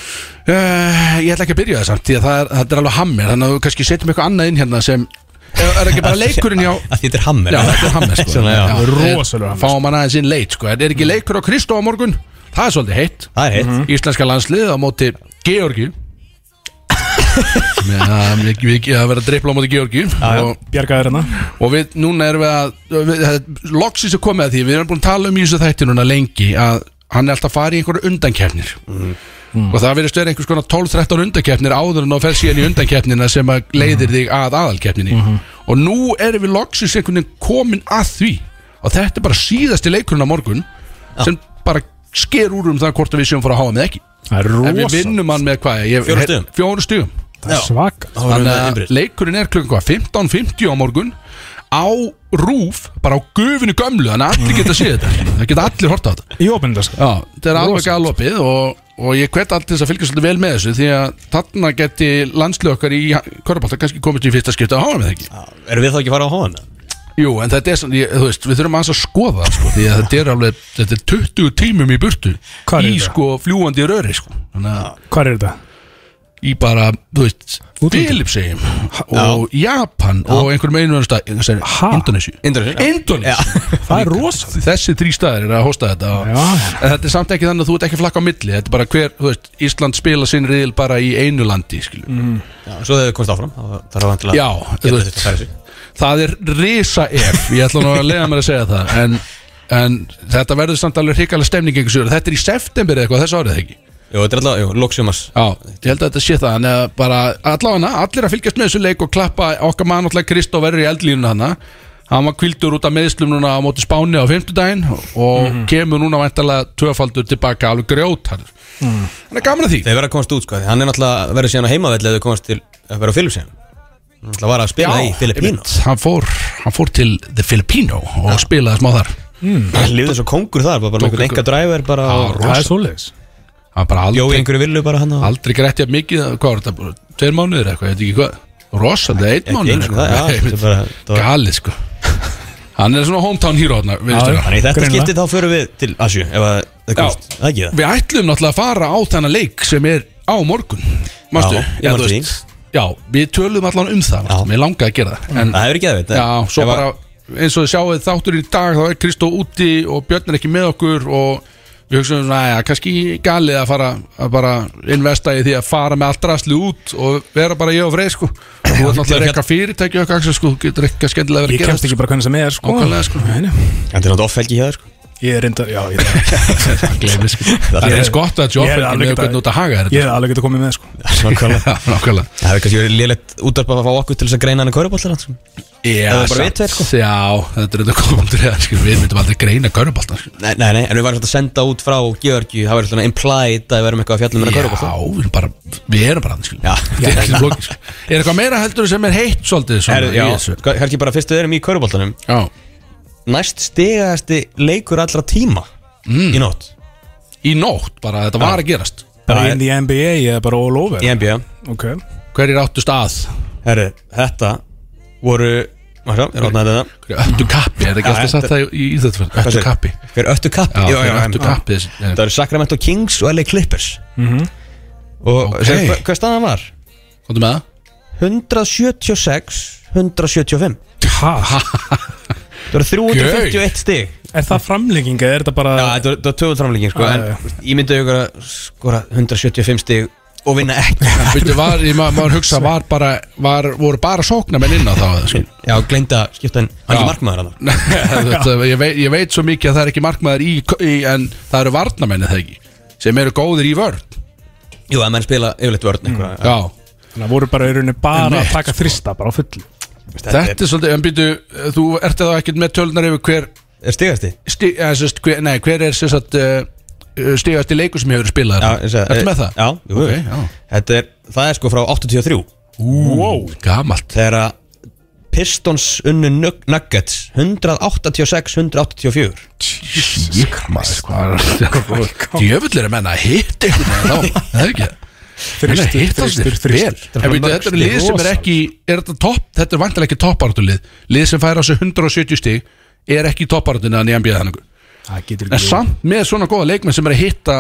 S1: uh, ég ætla ekki að byrja það samt því að það er, þetta er alveg hammer, þannig að þú kannski setjum eitthvað annað inn hérna sem, er er ekki
S2: <laughs>
S1: bara leikurinn hjá
S2: Að þetta er hammer
S1: Já, þetta er hammer sko
S2: <laughs> Svona, já. Mhm.
S3: Rosalega hammer,
S1: Fá mann aðeins inn leit sko En er ekki leikur á Kristó á morgun? Það er svolítið heitt
S2: Það er hitt
S1: Íslenska landslið á móti
S2: <laughs>
S1: Georgi Það verður að drippla á móti Georgi
S2: já.
S1: og,
S3: Bjargaður hérna
S1: og við núna erum við að við, það- Loksins er komið að því Við erum búin að tala um í þessu þætti núna lengi Að hann er alltaf að fara í einhverja undankefnir
S2: Mm.
S1: Og það verður stöður einhvers konar 12-13 undankefnir áður en þá fer síðan í undankefnina sem að leiðir þig að aðalkefninni
S2: Mhm.
S1: Og nú erum við loksins einhvern veginn komin að því Og þetta er bara síðasti leikurinn á morgun Sem bara sker úr um það hvort að við séum að fara að háa með ekki
S3: Það er
S1: En við
S3: rosalega
S1: vinnum hann með hvað? ég-
S2: Fjórum stigum.
S1: Fjórum stugum
S3: Það er svaka
S2: Það voru með
S1: Þannig að
S2: innbyrðis
S1: leikurinn er klukkan hvað 15.50 á morgun á rúf, bara á gufinu gömlu þannig að allir geta séð þetta það geta allir horta á þetta
S3: Í opindarska
S1: Já, þetta er alveg galopið og, og ég hvet allt til þess að fylgja svolítið vel með þessu því að þarna geti landslið okkar í Körbálta kannski komist í fyrsta skipta á háa með það ekki
S2: Erum við þá ekki að fara á hóðan?
S1: Jú, en þetta er, svona- ég- þú veist, við þurfum aðeins að skoða það, sko, því að þetta er alveg þetta er 20 tímum í burtu
S3: Hvar er
S1: í
S3: þetta?
S1: sko fljúandi röri sko. þannig að
S3: Hvar er þetta?
S1: í bara, þú veist,
S3: Útlöndum.
S1: Filipsheim og Japan og einhverjum einu öðrum stað,
S3: Ha?
S1: Indonési
S2: Indra
S1: Indonési
S3: Það er rosalega
S1: þessi þrý staðir er að hosta þetta og,
S3: Já, já.
S1: en þetta er samt ekki þannig að þú ert ekki flakka á milli þetta er bara hver, þú veist, Ísland spila sinn riðil bara í einu landi, skilju
S2: Svo þegar við komst áfram þá- Það er vantilega
S1: Já, þú
S2: Mm. Getur þetta að færa
S1: veist,
S2: sig
S1: það er risa ef, ég ætla nú að lega mér að segja það en, en þetta verður samt alveg hrikalega stemning einhversu, þetta er í september eða eitthvað þessu árið eða ekki
S2: Jú, þetta er alltaf, jú, loksumars
S1: Já, ég held að þetta sé það en eh, bara allavega allir að fylgjast með þessu leik og klappa okkar mann alltaf Kristó verður í eldlínuna hana hann var kvildur út af meðslum núna á móti Spáni á fimmtudaginn og
S2: Mhm.
S1: kemur núna væntalega tvöfaldur tilbaka alveg grjót hann er gaman að því
S2: Mhm. Þeir verða að komast út, sko því Hann er náttúrulega verður síðan á heimavelli Þegar þau komast til að vera á Filipsheim Hann náttúrulega var að spila í Filipínu
S1: einmitt. hann fór, hann fór til The Filipino og spilaði smá þar
S2: Hann lifði eins og kongur þar Bara með einhvern enga dræver bara og-
S1: rosa.
S3: Það er svoleiðis
S1: hann bara
S2: Bjó í
S1: aldrei,
S2: einhverju villu bara hann á
S1: aldrei grætti að mikið hvað var þetta, bara tveir mánuðir eða eitthvað, ég veit ekki hvað rosalega, einn
S2: Ekki einu
S1: mánuður
S2: sinni það,
S1: <laughs>
S2: já, þetta er bara- þetta var-
S1: galið sko hann er svona hometown hero hann,
S3: Já,
S2: Þannig í þetta
S3: Greinilega.
S2: skipti þá förum við til Asju Ef að það komst Það er ekki það
S1: Við ætlum náttúrulega að fara á þennan leik sem er á morgun Mastu?
S2: Já, ég man því.
S1: Já, við töluðum allan um það
S2: Já.
S1: Mér langaði að gera það en,
S2: Það hefur ekki að veit
S1: Já, svo bara eins og þið sjáuð þáttur í dag þá er Kristó úti og Björn er ekki með okkur og við hugsaum svona, næja, kannski galið að fara að bara investa í því að fara með allt drasli út og vera bara ég og Frey sko og þú ert náttúrulega eitthvað fyrirtæki okkar Axel, sko, þú getur eitthvað skemmtilega verið
S3: Ég
S1: að gera
S3: kemst ekki bara hvernig sem er sko
S1: Nákvæmlega, sko.
S3: Nei, nei.
S1: <laughs>
S2: Þetta er náttúrulega offelgi hjá þér sko
S3: Ég er reynda, já, ég er
S1: Gleimir sko Það er eins gott að
S3: Ég
S1: Joffrey er
S3: er alveg
S1: með
S3: ekki
S1: hvernig
S3: að-
S1: út að haga þér
S3: Ég hef alveg getað komið með sko
S2: Nákvæmlega
S1: <laughs> Já, Nákvæmlega
S2: Það er kannski verið lélegt útarp að fá okkur til þess að greina hann að kaurubóllar hans Nei,
S1: Já,
S2: Það er bara
S1: samt-
S2: við tveir, sko.
S1: Já, þetta er þetta komandur sko, Við myndum aldrei greina körnuboltan sko.
S2: nei, nei, en við varum svolítið að senda út frá Georgi Það var svona implied að við verum eitthvað að fjalla um hann
S1: Já,
S2: að kaurubóllar
S1: við erum bara Við erum bara þannig, sko.
S2: Já.
S1: Þetta er ekki flókið, sko. Er eitthvað meira heldur sem er heitt svolítið svona,
S2: Herðu,
S1: í þessu?
S2: já, kannski bara fyrst við erum í kaurubóllanum
S1: já.
S2: Næst stigaðasti leikur allra tíma
S1: Mm.
S2: í nótt
S1: Í nótt bara, þetta var að gerast
S3: Bara in the NBA eða bara all over
S2: í NBA
S3: Ok
S1: Hverjir áttust að?
S2: Herru, þetta voru Sjá, ég er átnaði þetta
S1: Hverjir öttu kappi? Er það ekki
S2: Já,
S1: alltaf
S2: þetta-
S1: sagt það í íþjóttfjörn? Öttu kappi
S2: Hver öttu kappi?
S1: Já, hverjir
S2: einmitt.
S1: öttu kappi þessi-
S2: Þetta eru Sacramento Kings og LA Clippers Og
S1: Ok.
S2: okay. hvað staðan var?
S1: Komdu með það?
S2: 176 175
S3: Ha?
S2: Það eru 351 stig
S3: Er það framlenging eða er þetta bara
S2: Já, þetta var- þetta var töfald framlenging sko,
S3: Já,
S2: En
S3: já, já.
S2: ég myndi auðvitað að skora 175 stig og vinna ekki
S1: En byrju, var, ég, ma maður hugsa, var bara, var, voru bara sóknarmenn inn á þá eða, sko.
S2: Já, gleymda skipta en hann er
S1: Já.
S2: ekki markmaður hann
S1: þetta, ég, veit, ég veit svo mikið að það er ekki markmaður í, í en það eru varnamenni það ekki sem eru góðir í vörn
S2: Jú, að menn spila yfirleitt vörn eitthvað
S1: Já,
S3: Þannig að voru bara í rauninni bara
S1: Nett,
S3: að taka þrista bara á fullu
S1: þetta er svolítið en býtu, þú ert þá ekkert með tölunar yfir hver,
S2: Er stigasti?
S1: sti, eh, sest, hver nei, hver er sem sagt uh, stigast í leiku sem hefur spilað
S2: Já, ég segi- eh,
S1: Ertu með það?
S2: Já, jú,
S1: Ok,
S2: jú. Þetta er, það er sko frá 83
S1: Wow, gamalt
S2: þegar að Pistons unnu Nug- Nuggets 186-184
S1: <laughs> Djöfull er að menna að hitta einhvern <laughs> veginn þá, það er ekki það Menn að hitta sér
S3: þristur,
S1: vel.
S3: þristur
S1: En veitu, Þetta er lið sem er ekki er þetta, topp, þetta er vantilega ekki toppartulið Lið sem fær á sig 170 stig Er ekki toppartulið að nýjan bíða þannig
S3: Það getur
S1: En samt með svona góða leikmenn sem er að hitta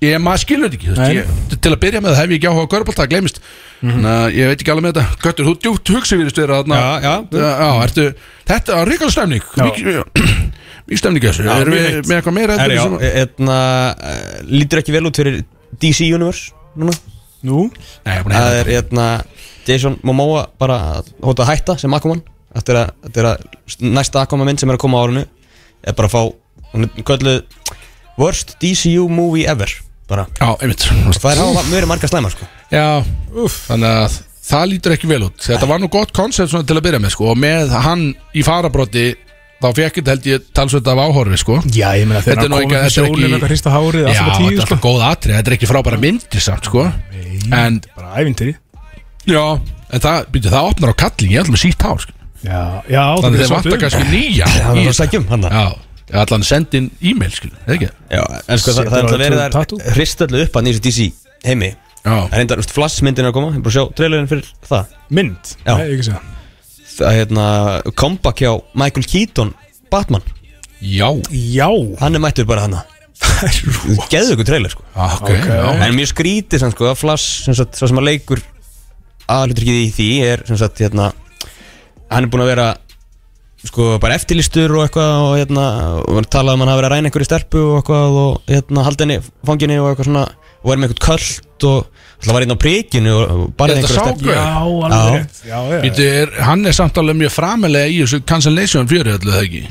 S1: Ég maður skilur þetta ekki þú veist,
S3: Nei.
S1: ég, Til að byrja með það hef ég ekki áhuga á körbólt Það glemist Þannig að Ég veit ekki alveg með þetta Göttur, þú djúpt hugsi við styrir þarna
S2: Mhm. Já, já.
S1: já ertu, Þetta er ríkala stemning Mjög stemning í þessu
S2: Já,
S1: Erum
S2: mjög
S1: við
S2: heitt.
S1: með eitthvað meira
S2: Herri,
S1: heldur
S2: já,
S1: sem-
S2: eitna, lítur ekki vel út fyrir DC Universe núna
S3: Nú
S1: Nei, ég er hérna. búin að
S2: það
S1: heyra
S2: er eitna, Jason Momoa bara að hóta að hætta sem Aquaman þetta er, að, þetta er að næsta Aquaman mynd sem er að koma á árinu er bara að fá hún er kölluð worst DCU movie ever bara
S1: Já, einmitt
S2: Og það er hafa mjög marga slæmar sko
S1: Já, þannig að það lítur ekki vel út Þetta var nú gott koncept svona til að byrja með sko og með hann í farabroti þá fekk þetta held ég talsveit af áhorfi sko
S3: Já, ég meina
S1: Þetta
S3: þegar
S1: er nú
S3: hann
S1: ekki-
S3: komið með
S1: þetta er ekki-
S3: sjónum eitthvað hrista
S1: Já,
S3: hárið allt
S1: þetta
S3: bara
S1: er
S3: tíu sko
S1: alltaf góð atrið, þetta er ekki frábæra myndir samt sko En,
S3: Bara ævintýri
S1: já, en það, býtu, það opnar á kallin, ég ætlum að sítt hár sko.
S3: Já, já
S1: Þannig að þeir vantar kannski nýja í
S2: það er að
S1: þetta.
S2: sækja um hann
S1: Já, ég ætla hann sendi inn e-mail skil, eða ekki?
S2: Já, en sko það, það er
S3: Setur á
S2: alltaf verið
S3: tvö tattoo.
S2: þar hristöldu upp hann í þessu DC heimi
S1: Já,
S2: Það er enda, veist, flassmyndin er að koma, ég er bara að sjá trailerinn fyrir það
S3: Mynd
S2: Já.
S3: Nei, ekki segja
S2: Það er hérna, comeback hjá Michael Keaton, Batman
S1: já,
S3: Já
S2: Hann er mættur bara hana Geðu ykkur trailer, sko
S1: Ah, ok,
S3: Ok.
S1: já
S2: En mjög skrítið, sem sko, að flass, sem sagt, svo sem að leikur aðlutrykið í því er, sem sagt, hérna Hann er búinn að vera, sko, bara eftirlistur og eitthvað og hérna og Talað um hann að vera að ræna einhverju stelpu og eitthvað og hérna, halda henni, fanginni og eitthvað svona Og verið með eitthvað költ og Það var einn á prikinu og og barði
S1: Er þetta
S2: einhverju stelpu
S1: sákur?
S3: Já, alveg rétt Já, já
S1: Býtu, er, hann er samt alveg mjög framilega í þessu cancellation fjöri öllu, eða ekki?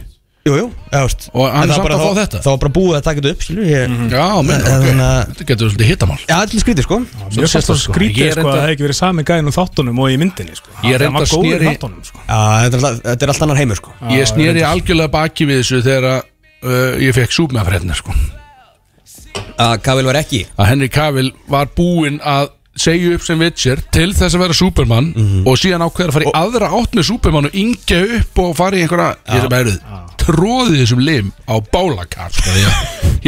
S2: Jú, jú, eða veist
S1: Og hann er
S2: En það var
S1: samt
S2: bara
S1: að fá
S2: þá-
S1: þetta? Mhm.
S2: Það var bara búið að taka þetta upp, skilju ég...
S1: Já, menn,
S2: En-
S1: ok,
S2: en, uh,
S1: þetta getur svolítið hittamál
S2: Já, allir skrítið, sko
S3: Mér fannst það
S1: sko, ég
S3: skrítið
S1: er
S3: sko að
S1: enda-
S3: það hefði ekki verið sami gæðin úr þáttunum og í myndinni sko
S1: Ég er
S3: Hann var
S1: enda
S3: góður í
S1: sneri-
S3: þáttunum, sko.
S2: Já, þetta er, alltaf, þetta er allt annar heimur, sko
S1: Ég snýri algjörlega baki við þessu þegar að, uh, ég fekk súpmefræðina sko.
S2: Að Kavil var ekki
S1: að Henry Cavill var búinn að segja upp sem Witcher til þess að vera Superman
S2: Mhm.
S1: og síðan ákveður að fara í aðra átt með Superman og yngja upp og fara í einhverja ég sem eruð, tróði þessum lim á bálakar sko,
S2: <laughs>
S1: ég,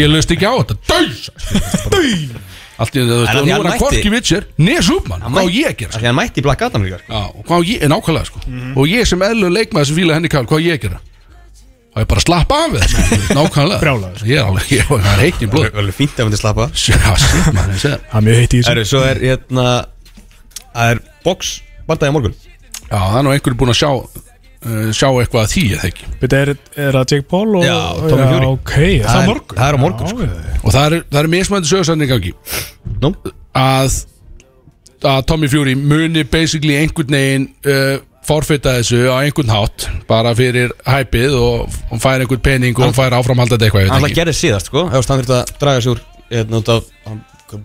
S1: ég löst ekki á þetta, döys allt í þetta, þú veist,
S2: En
S1: og nú
S2: því hann
S1: er hann
S2: mætti-
S1: hvorki Witcher, neða Superman, hvað á ég að gera
S2: Af
S1: sko?
S2: því hann mætti í Black Adam líka sko.
S1: Já, og hvað á ég, nákvæmlega sko
S3: Mhm.
S1: og ég sem eðlu leikmaður sem fíla henni kall, hvað á ég að gera og ég bara að slappa af við sko. nákvæmlega,
S3: Brjálaður, sko.
S1: ég er alveg, ég var heitt í blóð
S2: Það er alveg fínt ef hann til slappa
S1: já, shit maður, ég segir
S3: Það er mjög heitt í þessu
S2: Erðu, svo er, hérna Það er box Bardaði á morgun
S1: já, það er nú einhverju búin að sjá uh, sjá eitthvað að því, ég þekki
S3: Byrja, er, er það Jake Paul og
S2: Já, Tommy Fury.
S3: Já, ok, er það
S2: er-
S3: morgun
S2: það er á morgun, sko.
S3: Já,
S1: og það eru það er mismændi sögursæðning gangi
S2: Nú?
S1: að, að Tommy Fury muni basically einhvern veginn uh, forfita þessu á einhvern hátt bara fyrir hæpið og og fær einhvern pening og fær áframhaldandi eitthvað ég veit
S2: Hann alltaf
S1: ekki.
S2: gerði síðast sko Ef hann þurfti að draga sig úr hérna, út af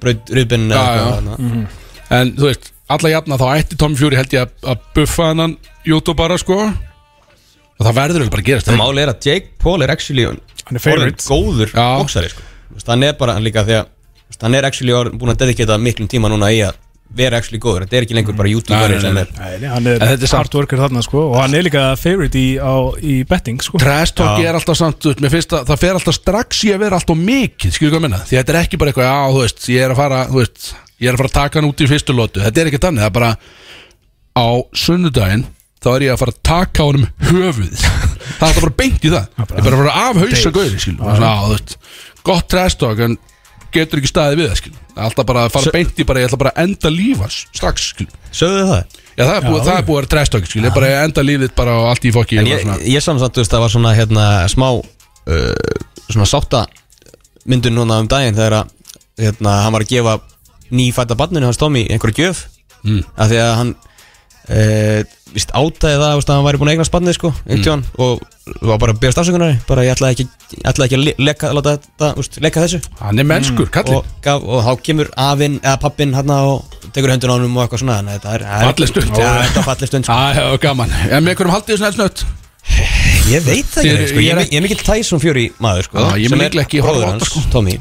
S2: Braut röðbinn
S1: Já, já. Mhm. en þú veist, alla jafna þá ætti Tommy Fury held ég að- að buffa hennan YouTube bara sko og það verður vel bara að gerast
S2: Það máli er að Jake Paul er actually
S3: Hann er favorite.
S2: orðinn góður
S1: Já.
S2: boksari sko Þú veist, Hann er bara hann líka þegar þú veist, Hann er actually orðinn búinn að dediketa miklum tíma núna í að vera actually góður Þetta er ekki lengur bara
S1: Mm. Nei,
S2: youtuberi
S1: nei,
S2: sem
S1: nei.
S2: er
S3: Nei, nei, hann er
S1: En þetta er samt-
S3: hard worker þarna sko og hann er líka favorite í, á, í betting sko
S1: Trash talk
S2: Já.
S1: er alltaf samt, þú veist, mér finnst að það fer alltaf strax í að vera alltaf mikið, skilur hvað að minna því þetta er ekki bara eitthvað, já, þú veist, ég er að fara þú veist, ég er að fara að taka hann út í fyrstu lotu þetta er ekki þannig, það er bara á sunnudaginn, þá er ég að fara að taka honum höfuð <laughs> það er alltaf bara beint í það, ég er bara að fara að afhausa gauði, skilur, bara svona, á, þú veist gott trash talk, en getur ekki staðið við það, skilur, Það er alltaf bara að fara beint í bara, ég ætla bara að enda lífans, strax, skilur
S2: Sögðu þið það?
S1: já, það er búið, það er búið að vera trash talk, skilur, ég er bara að enda lífið bara og allt í fokki
S2: En
S1: og
S2: ég,
S1: svona.
S2: ég samsamt, þú veist, það var svona hérna smá uh, svona sátta myndun núna um daginn þegar að hérna, hann var að gefa nýfætta barninu hans Tommy einhverju gjöf mm. af því að hann uh, vist átaði það þú veist, að hann væri búin að eignast barnið sko, mm. og var bara að beðast afsökunar bara ég ætlaði ekki, ég ætlaði ekki að le- leka, láta þetta, úst, leka þessu
S1: hann er mennskur, kallinn
S2: og, gaf, og þá kemur afinn eða pappinn hann og tekur höndun á hann og eitthvað svona þannig að þetta er- það er
S1: Falleg stund.
S2: Já, þetta er falleg stund sko.
S1: Já, já, gaman En með hverjum haldið þessu nefnsnött?
S2: Ég veit það
S1: Þér-
S2: ekki, sko.
S1: ég
S2: ég,
S1: er
S2: er, ég er mikill Tyson Fury maður sko,
S1: Já, ég
S2: sem
S1: mun
S2: er
S1: líklega ekki horfa á
S2: bróðir
S1: þetta,
S2: hans,
S1: sko.
S2: Tommy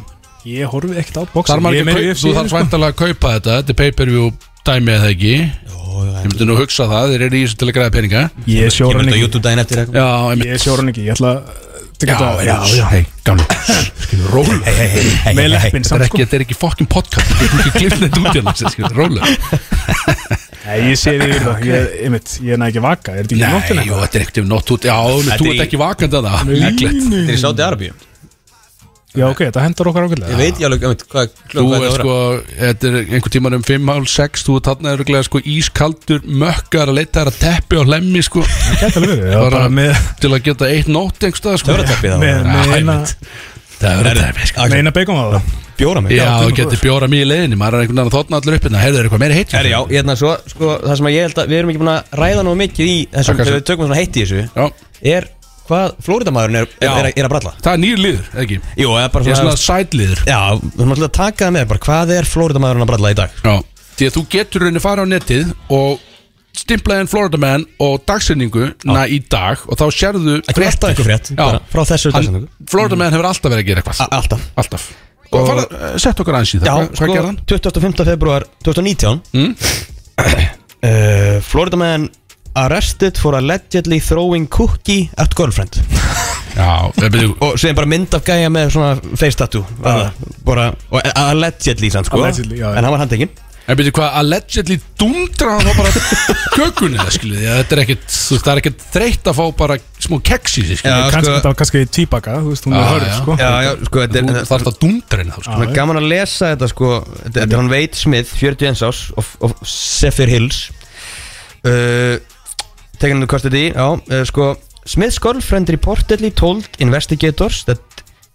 S3: Ég horfi ekkert á
S1: Þar
S3: bóksum
S1: maður
S3: Ég
S1: ekki að kaupa, þú
S3: sko.
S1: þarf svæntalega að kaupa þetta Þetta er pay-per-view dæmi eða ekki Ég
S2: Ég
S1: myndi nú að hugsa það, þeir eru í þessu til að græða peninga
S3: Ég
S2: myndi
S3: sjóra
S2: þetta
S3: hann
S2: á
S3: ekki
S2: YouTube daginn eftir eitthvað
S1: Já, ég
S3: Ég sjóra hann ekki Ég ætla
S1: Já, já, já, hei, gamlu Skilur, rólu Þetta
S3: Með leppin
S1: er
S3: samt sko
S1: ekki, þetta er ekki fokkin podcast Þetta er ekki glifnið þetta út í hann Skilur, rólu
S3: Nei, ég sé því yfir það Ég, einmitt, ég næ ekki vaka Er þetta ekki
S1: Nei,
S3: nóttina?
S1: jú, þetta er ekkert um nótt út Já, þú
S2: Þetta
S1: þú ert
S2: er í-
S1: ekki vakandi að það Líklegt
S2: Þetta er í Saudi Arabíu
S3: Já, ok, þetta hendur okkar
S2: Ég
S3: ákveðlega
S2: veit ég alveg, einmitt, hvað
S1: Þú
S2: klokka
S1: er sko, þetta er einhver tíman um 5 hálf 6 Þú ert þarna öruglega sko ískaldur Mökkar að leita þær að teppi og lemmi sko
S3: Það gæti alveg verið Já,
S1: Bara-
S3: bara með
S1: Til að geta eitt nótt einhverstað sko
S2: Töfrateppi þá
S3: Með, með eina,
S1: Það er þetta, sko
S3: með eina bacon á það
S2: Bjóra mig
S1: Já,
S3: Já,
S1: þú
S3: Guðmund
S1: getur
S3: Þór.
S1: bjóra mig í leiðinni maður er einhvern veginn að þotna allur upp en það heyrðu eitthvað meira heitt
S2: Herri, já, hérna svo, sko, það sem að ég held að við erum ekki búin að ræða nú mikið í þessum,
S1: Takk,
S2: þegar
S1: Axel.
S2: við tökum svona heitt í þessu
S1: Já,
S2: er hvað Flóridamaðurinn er,
S1: Já.
S2: er, er, er að bralla
S1: það er nýr liður, eða ekki
S2: Jú, eða bara
S1: Ég er
S2: svona,
S1: svona sælliður
S2: já, við erum alltaf að taka það með bara hvað er Flóridamaðurinn að bralla í dag
S1: Já, því að þú getur rauninni fara á netið og stimplaði en Florida Man og dagsinningu í dag og þá sérðu
S2: Ekki alltaf einhver frétt,
S1: Já.
S2: bara frá þessu
S1: Hann,
S2: dagsetningu.
S1: Florida Man hefur alltaf verið að gera eitthvað
S2: A- Alltaf
S1: Alltaf og, og fara, Sett okkur aðeins í það,
S2: Já,
S1: hvað, hvað
S2: sko,
S1: gerði hann?
S2: 25. februar 2019 <clears throat>
S1: Mm.
S2: uh, Florida man arrested for allegedly throwing cookie at girlfriend
S1: Já, við byrjum
S2: og sem bara mynd af gæja með svona face tattoo ah. bara, og a- allegedly sann sko
S3: Allegedly, já, já.
S2: en hann var handtekinn
S1: En byrju hvað, allegedly dundra hann þá
S2: <laughs>
S1: bara kökunni það skiljiði Þetta er ekkit, þú veist, það er ekkit þreytt að fá bara smó keks í sig skiljiði
S2: Já,
S3: Kannski
S2: sko-
S3: þetta var kannski tíbaka Þú veist, hún
S1: Já,
S3: er hörð
S1: já.
S3: sko
S2: já, sko, þetta
S1: Þú þarf að dundra henni þá sko
S2: Svona gaman að lesa þetta sko Þetta þetta er hann Wade Smith, 41 árs of, of Sephir Hills uh, Tekin hann kostið í Já, uh, sko Smith's girlfriend reportedly told investigators that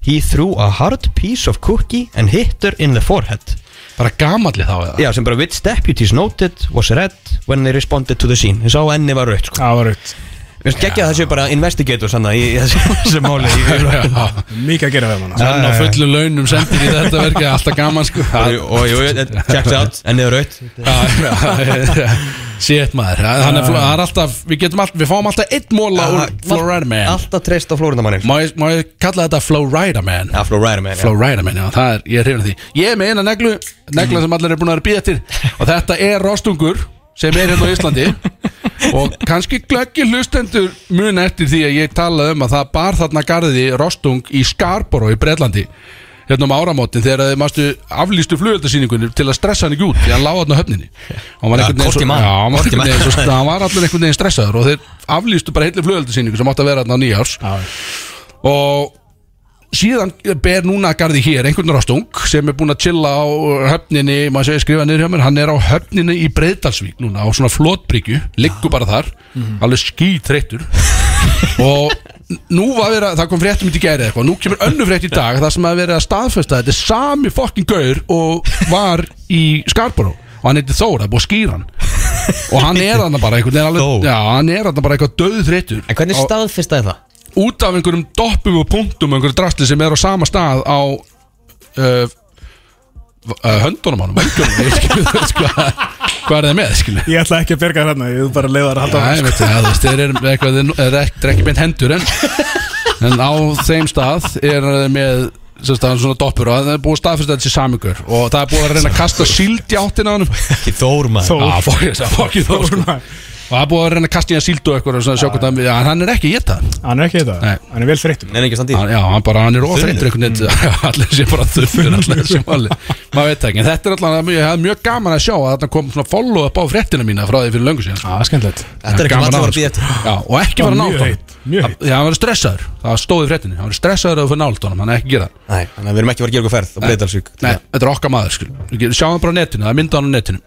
S2: he threw a hard piece of cookie and hit her in the forehead
S1: Bara gamalli þá eða
S2: Já, sem bara which deputies noted was red when they responded to the scene Ég sá að enni var rautt sko
S3: Það var rautt
S2: Mér finnst geggja að það séu bara investigators hann í <laughs> í þessu þessu máli
S1: <laughs> Já,
S3: Mikið að gera við manna
S1: Hann á fullum launum sendir í þetta verki Alltaf gaman sko Já,
S2: Og jú, checks out, ennið var rautt
S1: já, já. Shit maður Það hann er, fl- það er alltaf, við getum alltaf Við fáum alltaf einn móla úr Florida Man
S2: Alltaf treyst á Florida manni
S1: Má ég, má ég kalla þetta Florida Man
S2: Já, Florida man já.
S1: Florida Man, já, það er, ég er hrifin af því Ég er með eina neglu, negla sem allir er búin að vera býða eftir Og þetta er rostungur Sem er hérna á Íslandi Og kannski glöggi hlustendur mun eftir því að ég talaði um að það bar þarna garði rostung í Scarborough í Bretlandi hérna um áramótin þegar þið mástu aflýstu flugöldasýningunni til að stressa hann ekki út því hann láði hann á höfninni og hann var
S2: Já,
S1: einhvern veginn
S2: hvort í
S1: svo-
S2: mann.
S1: já, hann var
S2: Hvort í
S1: einhvern
S2: mann.
S1: veginn svo- hann var allir einhvern veginn stressaður og þeir aflýstu bara heilu flugöldasýningu sem átti að vera hann á nýjárs og síðan ber núna að garði hér einhvern rostung sem er búin að chilla á höfninni, maður segir skrifa niður hjá mér hann er á höfninni í Breiðdalsvík núna á svona flotbryggju, liggur bara þar
S2: Mhm.
S1: alveg skítreittur og nú var verið að það kom fréttum í gæri eitthvað, nú kemur önnu frétt í dag það sem að verið að staðfesta þetta er sami fokkin gaur og var í Skarborough og hann heiti Þóra, búið að skýra hann og hann er hann bara einhvern veginn
S2: Þó.
S1: alveg- já, hann er hann bara eitthvað döð þreytur
S2: En hvernig staðfyrstaði það?
S1: út af einhverjum doppum og punktum og einhverjum drastli sem er á sama stað á uh, uh, höndunum hann <laughs> hvað er það með skilur
S3: Ég ætla ekki að berga þarna, ég vil bara leiða þær að halda
S1: Já, ég veit það, þú veist, þeir eru með eitthvað þeir eru ekki- þeir eru ekki beint hendur en, en á þeim stað er þeir með sem staðan svona doppur og það er búið staðfyrst að þetta sé samingur og það er búið að reyna að kasta síld í áttina á hann
S2: Ekki Þór maður
S3: Þór.
S1: Já, fokkið það, fokkið þó sko.
S3: áfram.
S1: og það er búið að reyna að kasta í að síld og eitthvað og svona sjá hvort hann, já, en hann er ekki í þetta
S3: Hann er ekki í þetta,
S1: Nei.
S3: hann er vel þreyttur
S2: Nei, nei, ekki standið
S1: hann, já, hann bara, hann er óþreytur einhvern
S2: Þunnur.
S1: veginn <laughs> allir sé bara þunnur allir sé máli maður veit það ekki, en þetta er alltaf mjög, það er mjög gaman að sjá að þetta kom svona follow up á fréttina mína frá því fyrir löngu síðan
S3: Það er skemmtilegt
S2: Þetta er ekki
S1: Gaman
S2: maður að
S1: að sko.
S2: vera að býða eftir
S1: já, og ekki
S3: Það
S1: fara
S3: var
S1: nált honum
S3: mjög heitt, mjög heitt
S1: já, hann var stressaður, það stóði fréttinni hann var stressaður að það fyrir nált honum, hann er ekki að gera það
S2: Nei, þannig að við erum ekki að fara að gera eitthvað ferð og bleið allsvík
S1: nei, þetta er okkar maður, skil sjáum bara á netinu, það er myndað hann á netinu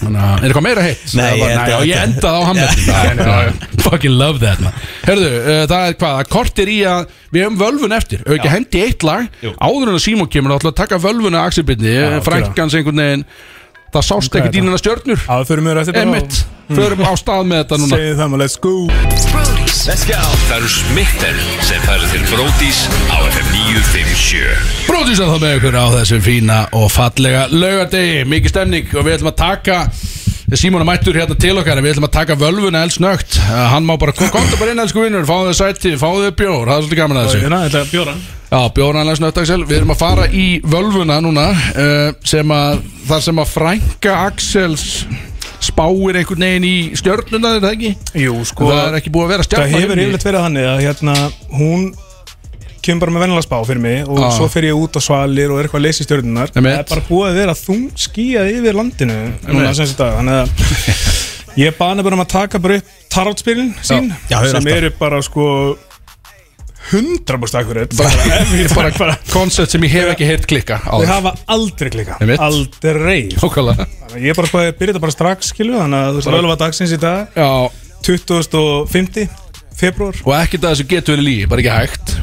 S1: Þannig að, er eitthvað meira heitt?
S2: Nei,
S1: ég,
S2: ég held
S1: bara,
S2: að-
S1: nei, ég endaði á
S3: Já, já, já.
S1: hammetinu Fucking love that man Herðu, uh, það er hvað, það kortir í að Við hefum völvun eftir, auðvitað ekki hendi eitt lag Áður en að Simon kemur, þá ætla að taka völvuna Axelbyrni,
S3: gera.
S1: frænkans einhvern veginn Það sást ekkert
S3: Hvað er
S1: í
S3: það?
S1: hennar stjörnur
S3: Það fyrir mjög rættið
S1: Emmitt, förum á stað með þetta núna
S3: Segðu það maður, let's go
S5: Brody's
S6: Það eru smitten sem færa til Brótis á FM 957
S1: Bróðis að það með ykkur á þessum fína og fallega laugardegi, mikið stemning og við ætlum að taka Simon er mættur hérna til okkar en við ætlum að taka völvuna elsnögt hann má bara, komdu bara inn elsku vinnur fáðu þið sæti, fáðu þið bjór, það er svolítið gaman að þessu
S3: Hérna, þetta er bjóran
S1: Já, bjórnanlega snöttaksel, við erum að fara í völvuna núna uh, sem að, þar sem að frænka Axels spáir einhvern veginn í stjörnuna er það ekki?
S3: Jú, sko
S1: það er ekki búið að vera stjörna
S3: Það hefur
S1: inni.
S3: yfirleitt verið þannig að hérna hún kemur bara með vennilega spá fyrir mig og
S1: Ah.
S3: svo fer ég út á svalir og er eitthvað að leysa í stjörnunar það
S1: Einmitt.
S3: er bara búið að vera þung skíjað yfir landinu núna sem þetta þannig að ég bað hana bara um að taka bara upp tarátspilin sín
S2: Já, hefur
S3: sem
S2: alltaf.
S3: eru bara sko 100% akkurat
S1: <laughs> Bara-
S3: bara, bara, bara,
S1: Koncept sem ég hef ekki heyrt klikka á
S3: þau hafa aldrei klika
S1: Einmitt.
S3: aldrei
S1: Nákvæmlega
S3: Þannig að ég bara spáði byrja þetta bara strax skilu þannig að þú veist alveg var dagsins í dag
S1: Já,
S3: 2050 februar
S1: og ekkert að þessu getur verið lígi, bara ekki hægt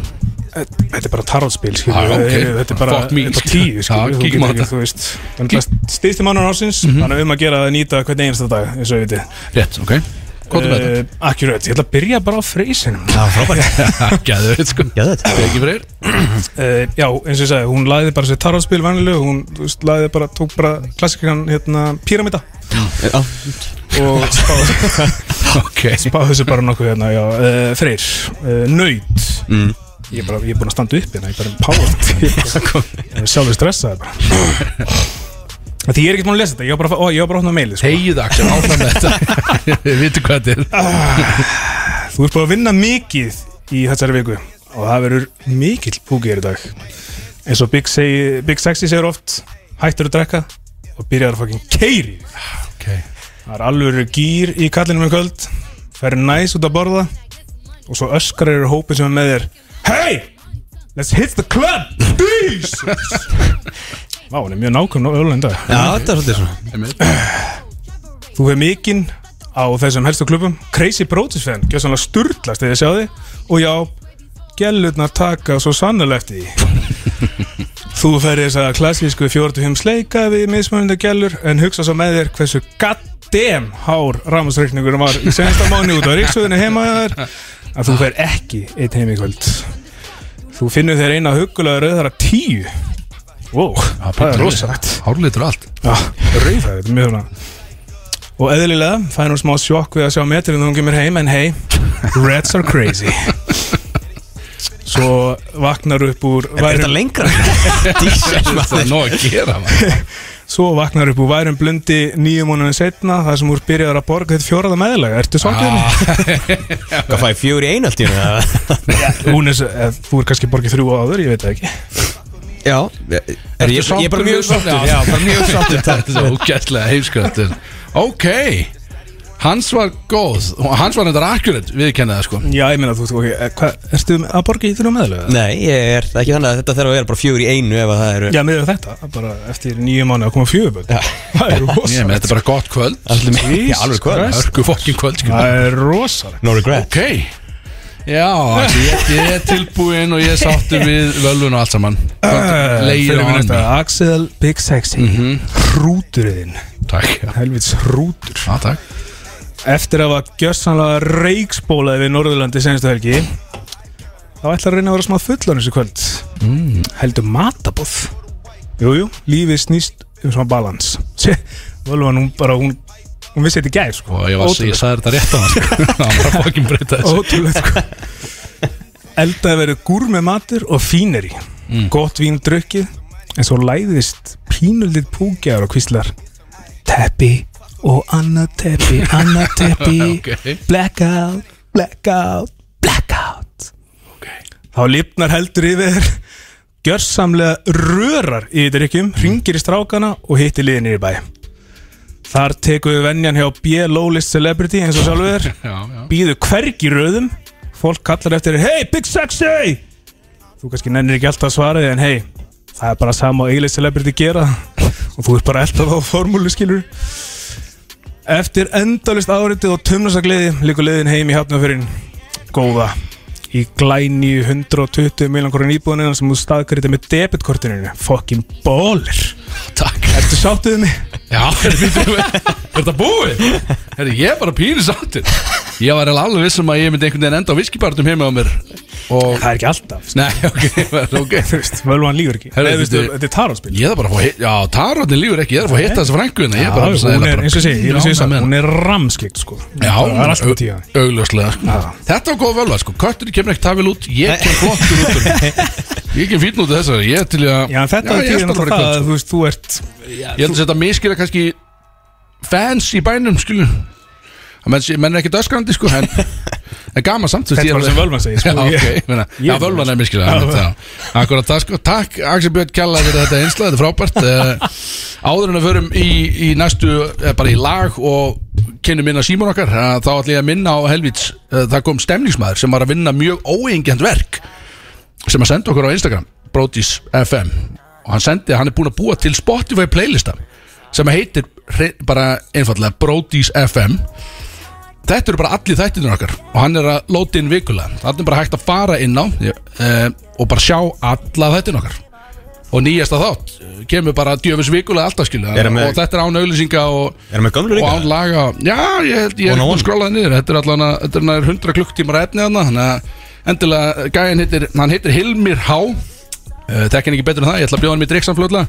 S3: Þetta er bara tarotspil, skilur
S1: Já,
S3: við,
S1: Ah, ok.
S3: Þetta er bara,
S1: Fuck me,
S3: þetta er bara
S1: skilur.
S3: tíu, skilur
S1: Já,
S3: við, Þú
S1: kíkjum á
S3: getur ekki,
S1: þetta. Mhm.
S3: þú veist Þannig að stýsti mannur ársins Þannig að um að gera að nýta hvern einasta dag eins og við viti
S1: Rétt, ok Kóttum með
S3: Eh, Akkurat, ég ætla að byrja bara á freysinum
S2: Já, frábært
S1: þetta Gæðið, sko
S2: Eh, Já, þetta
S1: Ekki fyrir
S3: <laughs> Eh, Já, eins og ég sagði, hún lagði bara sér tarotspil vanileg Hún, þú veist, lagði bara, tók bara klassikan, hérna, píramida
S2: Já.
S3: Og spáði
S1: Ok
S3: spáði þessu bara nokkuð hérna, já eh, Freyr, eh, nöyt Ég er bara, ég er búin að standa upp hérna, ég er bara um power Ég er bara- ég er sjálfur stressaði bara Af Því ég er ekkert múin að lesa þetta, ég var bara, ó, ég var bara að opna meilið sko.
S1: Hegið Axel, áfram með þetta
S2: <laughs>
S1: Við vitum hvað þetta er
S3: Þú ert búin að vinna mikið í þessari viku og það verður mikill púkir í dag eins og Big, segi, Big Sexy segir oft hættur að drekka og byrjar að fucking keiri
S1: Ok
S3: Það er alveg gýr í kallinum í kvöld ferð næs út að borða og svo öskar eru hópin sem er með þér Hey! Let's hit the club! Jesus! Vá, hún er mjög nákvæm og öðlega en dag
S2: Já, þetta er svolítið svona
S3: Þú hefur mikinn á þessum helstu klubum Crazy Brotis fan, gjössanlega sturlast eða sjá þig Og já, gælutnar taka svo sannlega eftir því Þú ferði þess að klassísku 45 sleika við mismunandi gælur En hugsa svo með þér hversu goddamn hár rámasreikningur var í sensta mánu út á ríksuðinu heima hjá þér Að þú fer ekki eitt heim í kvöld Þú finnur þér eina huggulega rauðara tíu Wow, það er rosalegt
S1: Hárlítur og allt
S3: Já, rauðhæði, þetta er mjög svona Og eðlilega, það er nú smá sjokk við að sjá metrið þegar hún kemur heim, en hey, reds are crazy Svo vaknar upp úr
S2: Er þetta
S3: værum,
S2: lengra? Jesus,
S1: Það er
S2: maður.
S1: nóg að gera maður.
S3: Svo vaknar upp úr værum blundi nýjum mánuðin setna þar sem úr byrjaður að borga þetta fjóraða meðlega Ertu sáttur?
S1: Ah,
S2: Hvað fæ ég fjögur í einu allt í hennu?
S3: <laughs> Hún er, s- eh, þú er kannski borgið þrjú áður, ég veit það ekki
S2: Já, er, er, ég, ég er bara mjög
S1: sáttur
S2: sáttur
S1: við-
S2: Já, bara
S1: <laughs>
S2: mjög sáttur
S1: Þetta er svo ógætlega heimsköttur Ok Hans var góð Og Hans var þetta akkurat Viðkenni það sko
S3: Já, ég meina, þú veist, ok, eh, hvað, ertu að borga í þrjú meðlega?
S2: Nei, ég er það er ekki þannig að þetta þarf að vera bara fjögur í einu ef að það eru
S3: Já, með þetta, bara eftir nýjum mánuði að koma fjögur börn Það er
S1: Ég með
S3: rosalegt
S1: þetta er bara gott kvöld
S2: Já, alveg hvað
S1: Hörku fokkin kvöld sko
S3: Það er rosalegt
S2: No regret
S1: Ok Já, Axel, ég, ég er tilbúinn og ég er sáttur við völvun og allt saman Leiðir á Mhm. hann
S3: Eh, Fyrir minnast að Axel Big Sexy mm -hmm. Hrúturinn
S1: takk já.
S3: helvits hrútur
S1: Já, takk
S3: Eftir að hafa gjörsanlega reikspólaði við Norðurlandi senstu helgi þá ætlar að reyna að vera smá fullan þessu kvöld mm. heldur matabóð Jújú, lífið snýst um svona balans <laughs> Völva nú bara, hún, hún vissi þetta í gæð sko.
S1: Og ég, var, ég sagði þetta rétt á
S3: <laughs>
S1: hann sko. Hann var að fokkin breyta þessu
S3: Ótrúlega sko Eldaði verið gúr með matur og fíneri Gott vín drukkið En svo læðist pínuldið púkjaður og kvíslar Teppi og annað teppi, annað teppi
S1: Ok.
S3: Blackout, blackout, blackout Þá lifnar heldur yfir Gjörsamlega rörar í drykjum Ringir í strákana og hittir liðinir í bæ Þar tekur við venjan hjá B. Lowlist Celebrity eins og sjálfur
S1: Já, já
S3: býðu hvergi í röðum fólk kallar eftir hey Big Sexy þú kannski nennir ekki alltaf að svara því en hey það er bara sama og eiginlega celebrity gera <laughs> og þú ert bara alltaf á formúlu skilur eftir endalist áritið og tumnasagliði líkur liðin heim í hafnafyrin góða í glæni 120 miljón krónin íbúðinu sem þú staðgriði með debitkortinu fokkin bólir
S1: Takk
S3: ertu sáttuðið mig?
S1: Já, er þetta búið? Herri, ég er bara pínu sáttir Ég var eiginlega alveg vissum að ég myndi einhvern veginn enda á viskibarnum heima á mér Og,
S3: það er ekki alltaf
S1: nei, <laughs> ok, ok
S3: þú veist, völvan lífur ekki
S1: Herra,
S3: Nei, þú veist,
S1: þetta-
S3: þetta er taróspil
S1: Ég er bara að fá að hitta, já, tarotin lífur ekki, ég er að fá að hitta þessa frængu hérna, ég
S3: Já,
S1: er bara að
S3: hún er, eins og ég segi, ég er að segja
S1: það
S3: það, hún er ramskikt sko
S1: Já,
S3: það er alltaf tíða
S1: au- augljóslega sko.
S3: Já.
S1: Þetta var góð völva, sko, kötturinn kemur ekkert tafil út, ég kem flottur út úr
S3: <laughs>
S1: henni. Ég kem fín út af þessari, ég er til í að
S3: Já, en þetta er
S1: ég
S3: tíða
S1: skal fara í kvöld,
S3: náttúrulega það,
S1: sko.
S3: þú veist, þú ert
S1: Ég held að þetta miskila kannski fans í bænum, skilju Það menn, menn er ekkert öskrandi, sko, en,
S3: <laughs>
S1: en gaman samt, þú
S3: Þetta var sem völvan segir, sko,
S1: <laughs> Já,
S3: ég-
S1: ok, meina,
S3: ég-
S1: já, völvan er miskila Akkurat það, sko, takk Axel Björn Kjalla fyrir þetta einsla, þetta er <laughs> frábært Eh, Áður en að förum í, í næstu, eh, bara í lag og kynum minna símur okkar, eh, þá ætlum ég að minna á helvíts, eh, það kom stemningsmaður sem var að vinna mjög óengjant verk sem að senda okkur á Instagram Brodís FM og hann sendi, hann er búin að búa til Spotify playlista sem að heitir hrein- bara einfallega Brodís FM þetta eru bara allir þættinur okkar og hann er að lóta inn vikulega þannig er bara hægt að fara inn á uh, og bara sjá alla þættinur okkar og nýjasta þátt eh, kemur bara djöfis vikulega alltaf skilu
S2: Er hann með-
S1: og þetta er án auðlýsinga og,
S2: Er hann með
S1: og
S2: gömlu líka?
S1: án laga já, ég held ég er
S2: One on one.
S1: ekki skrólaði niður þetta er allan að, þetta er nær 100 klukktímar efni þarna þannig að endilega gæðin heitir hann heitir Hilmir H uh, tekkin ekki betur en það, ég ætla að bjóða hann mér drikksamfljóðla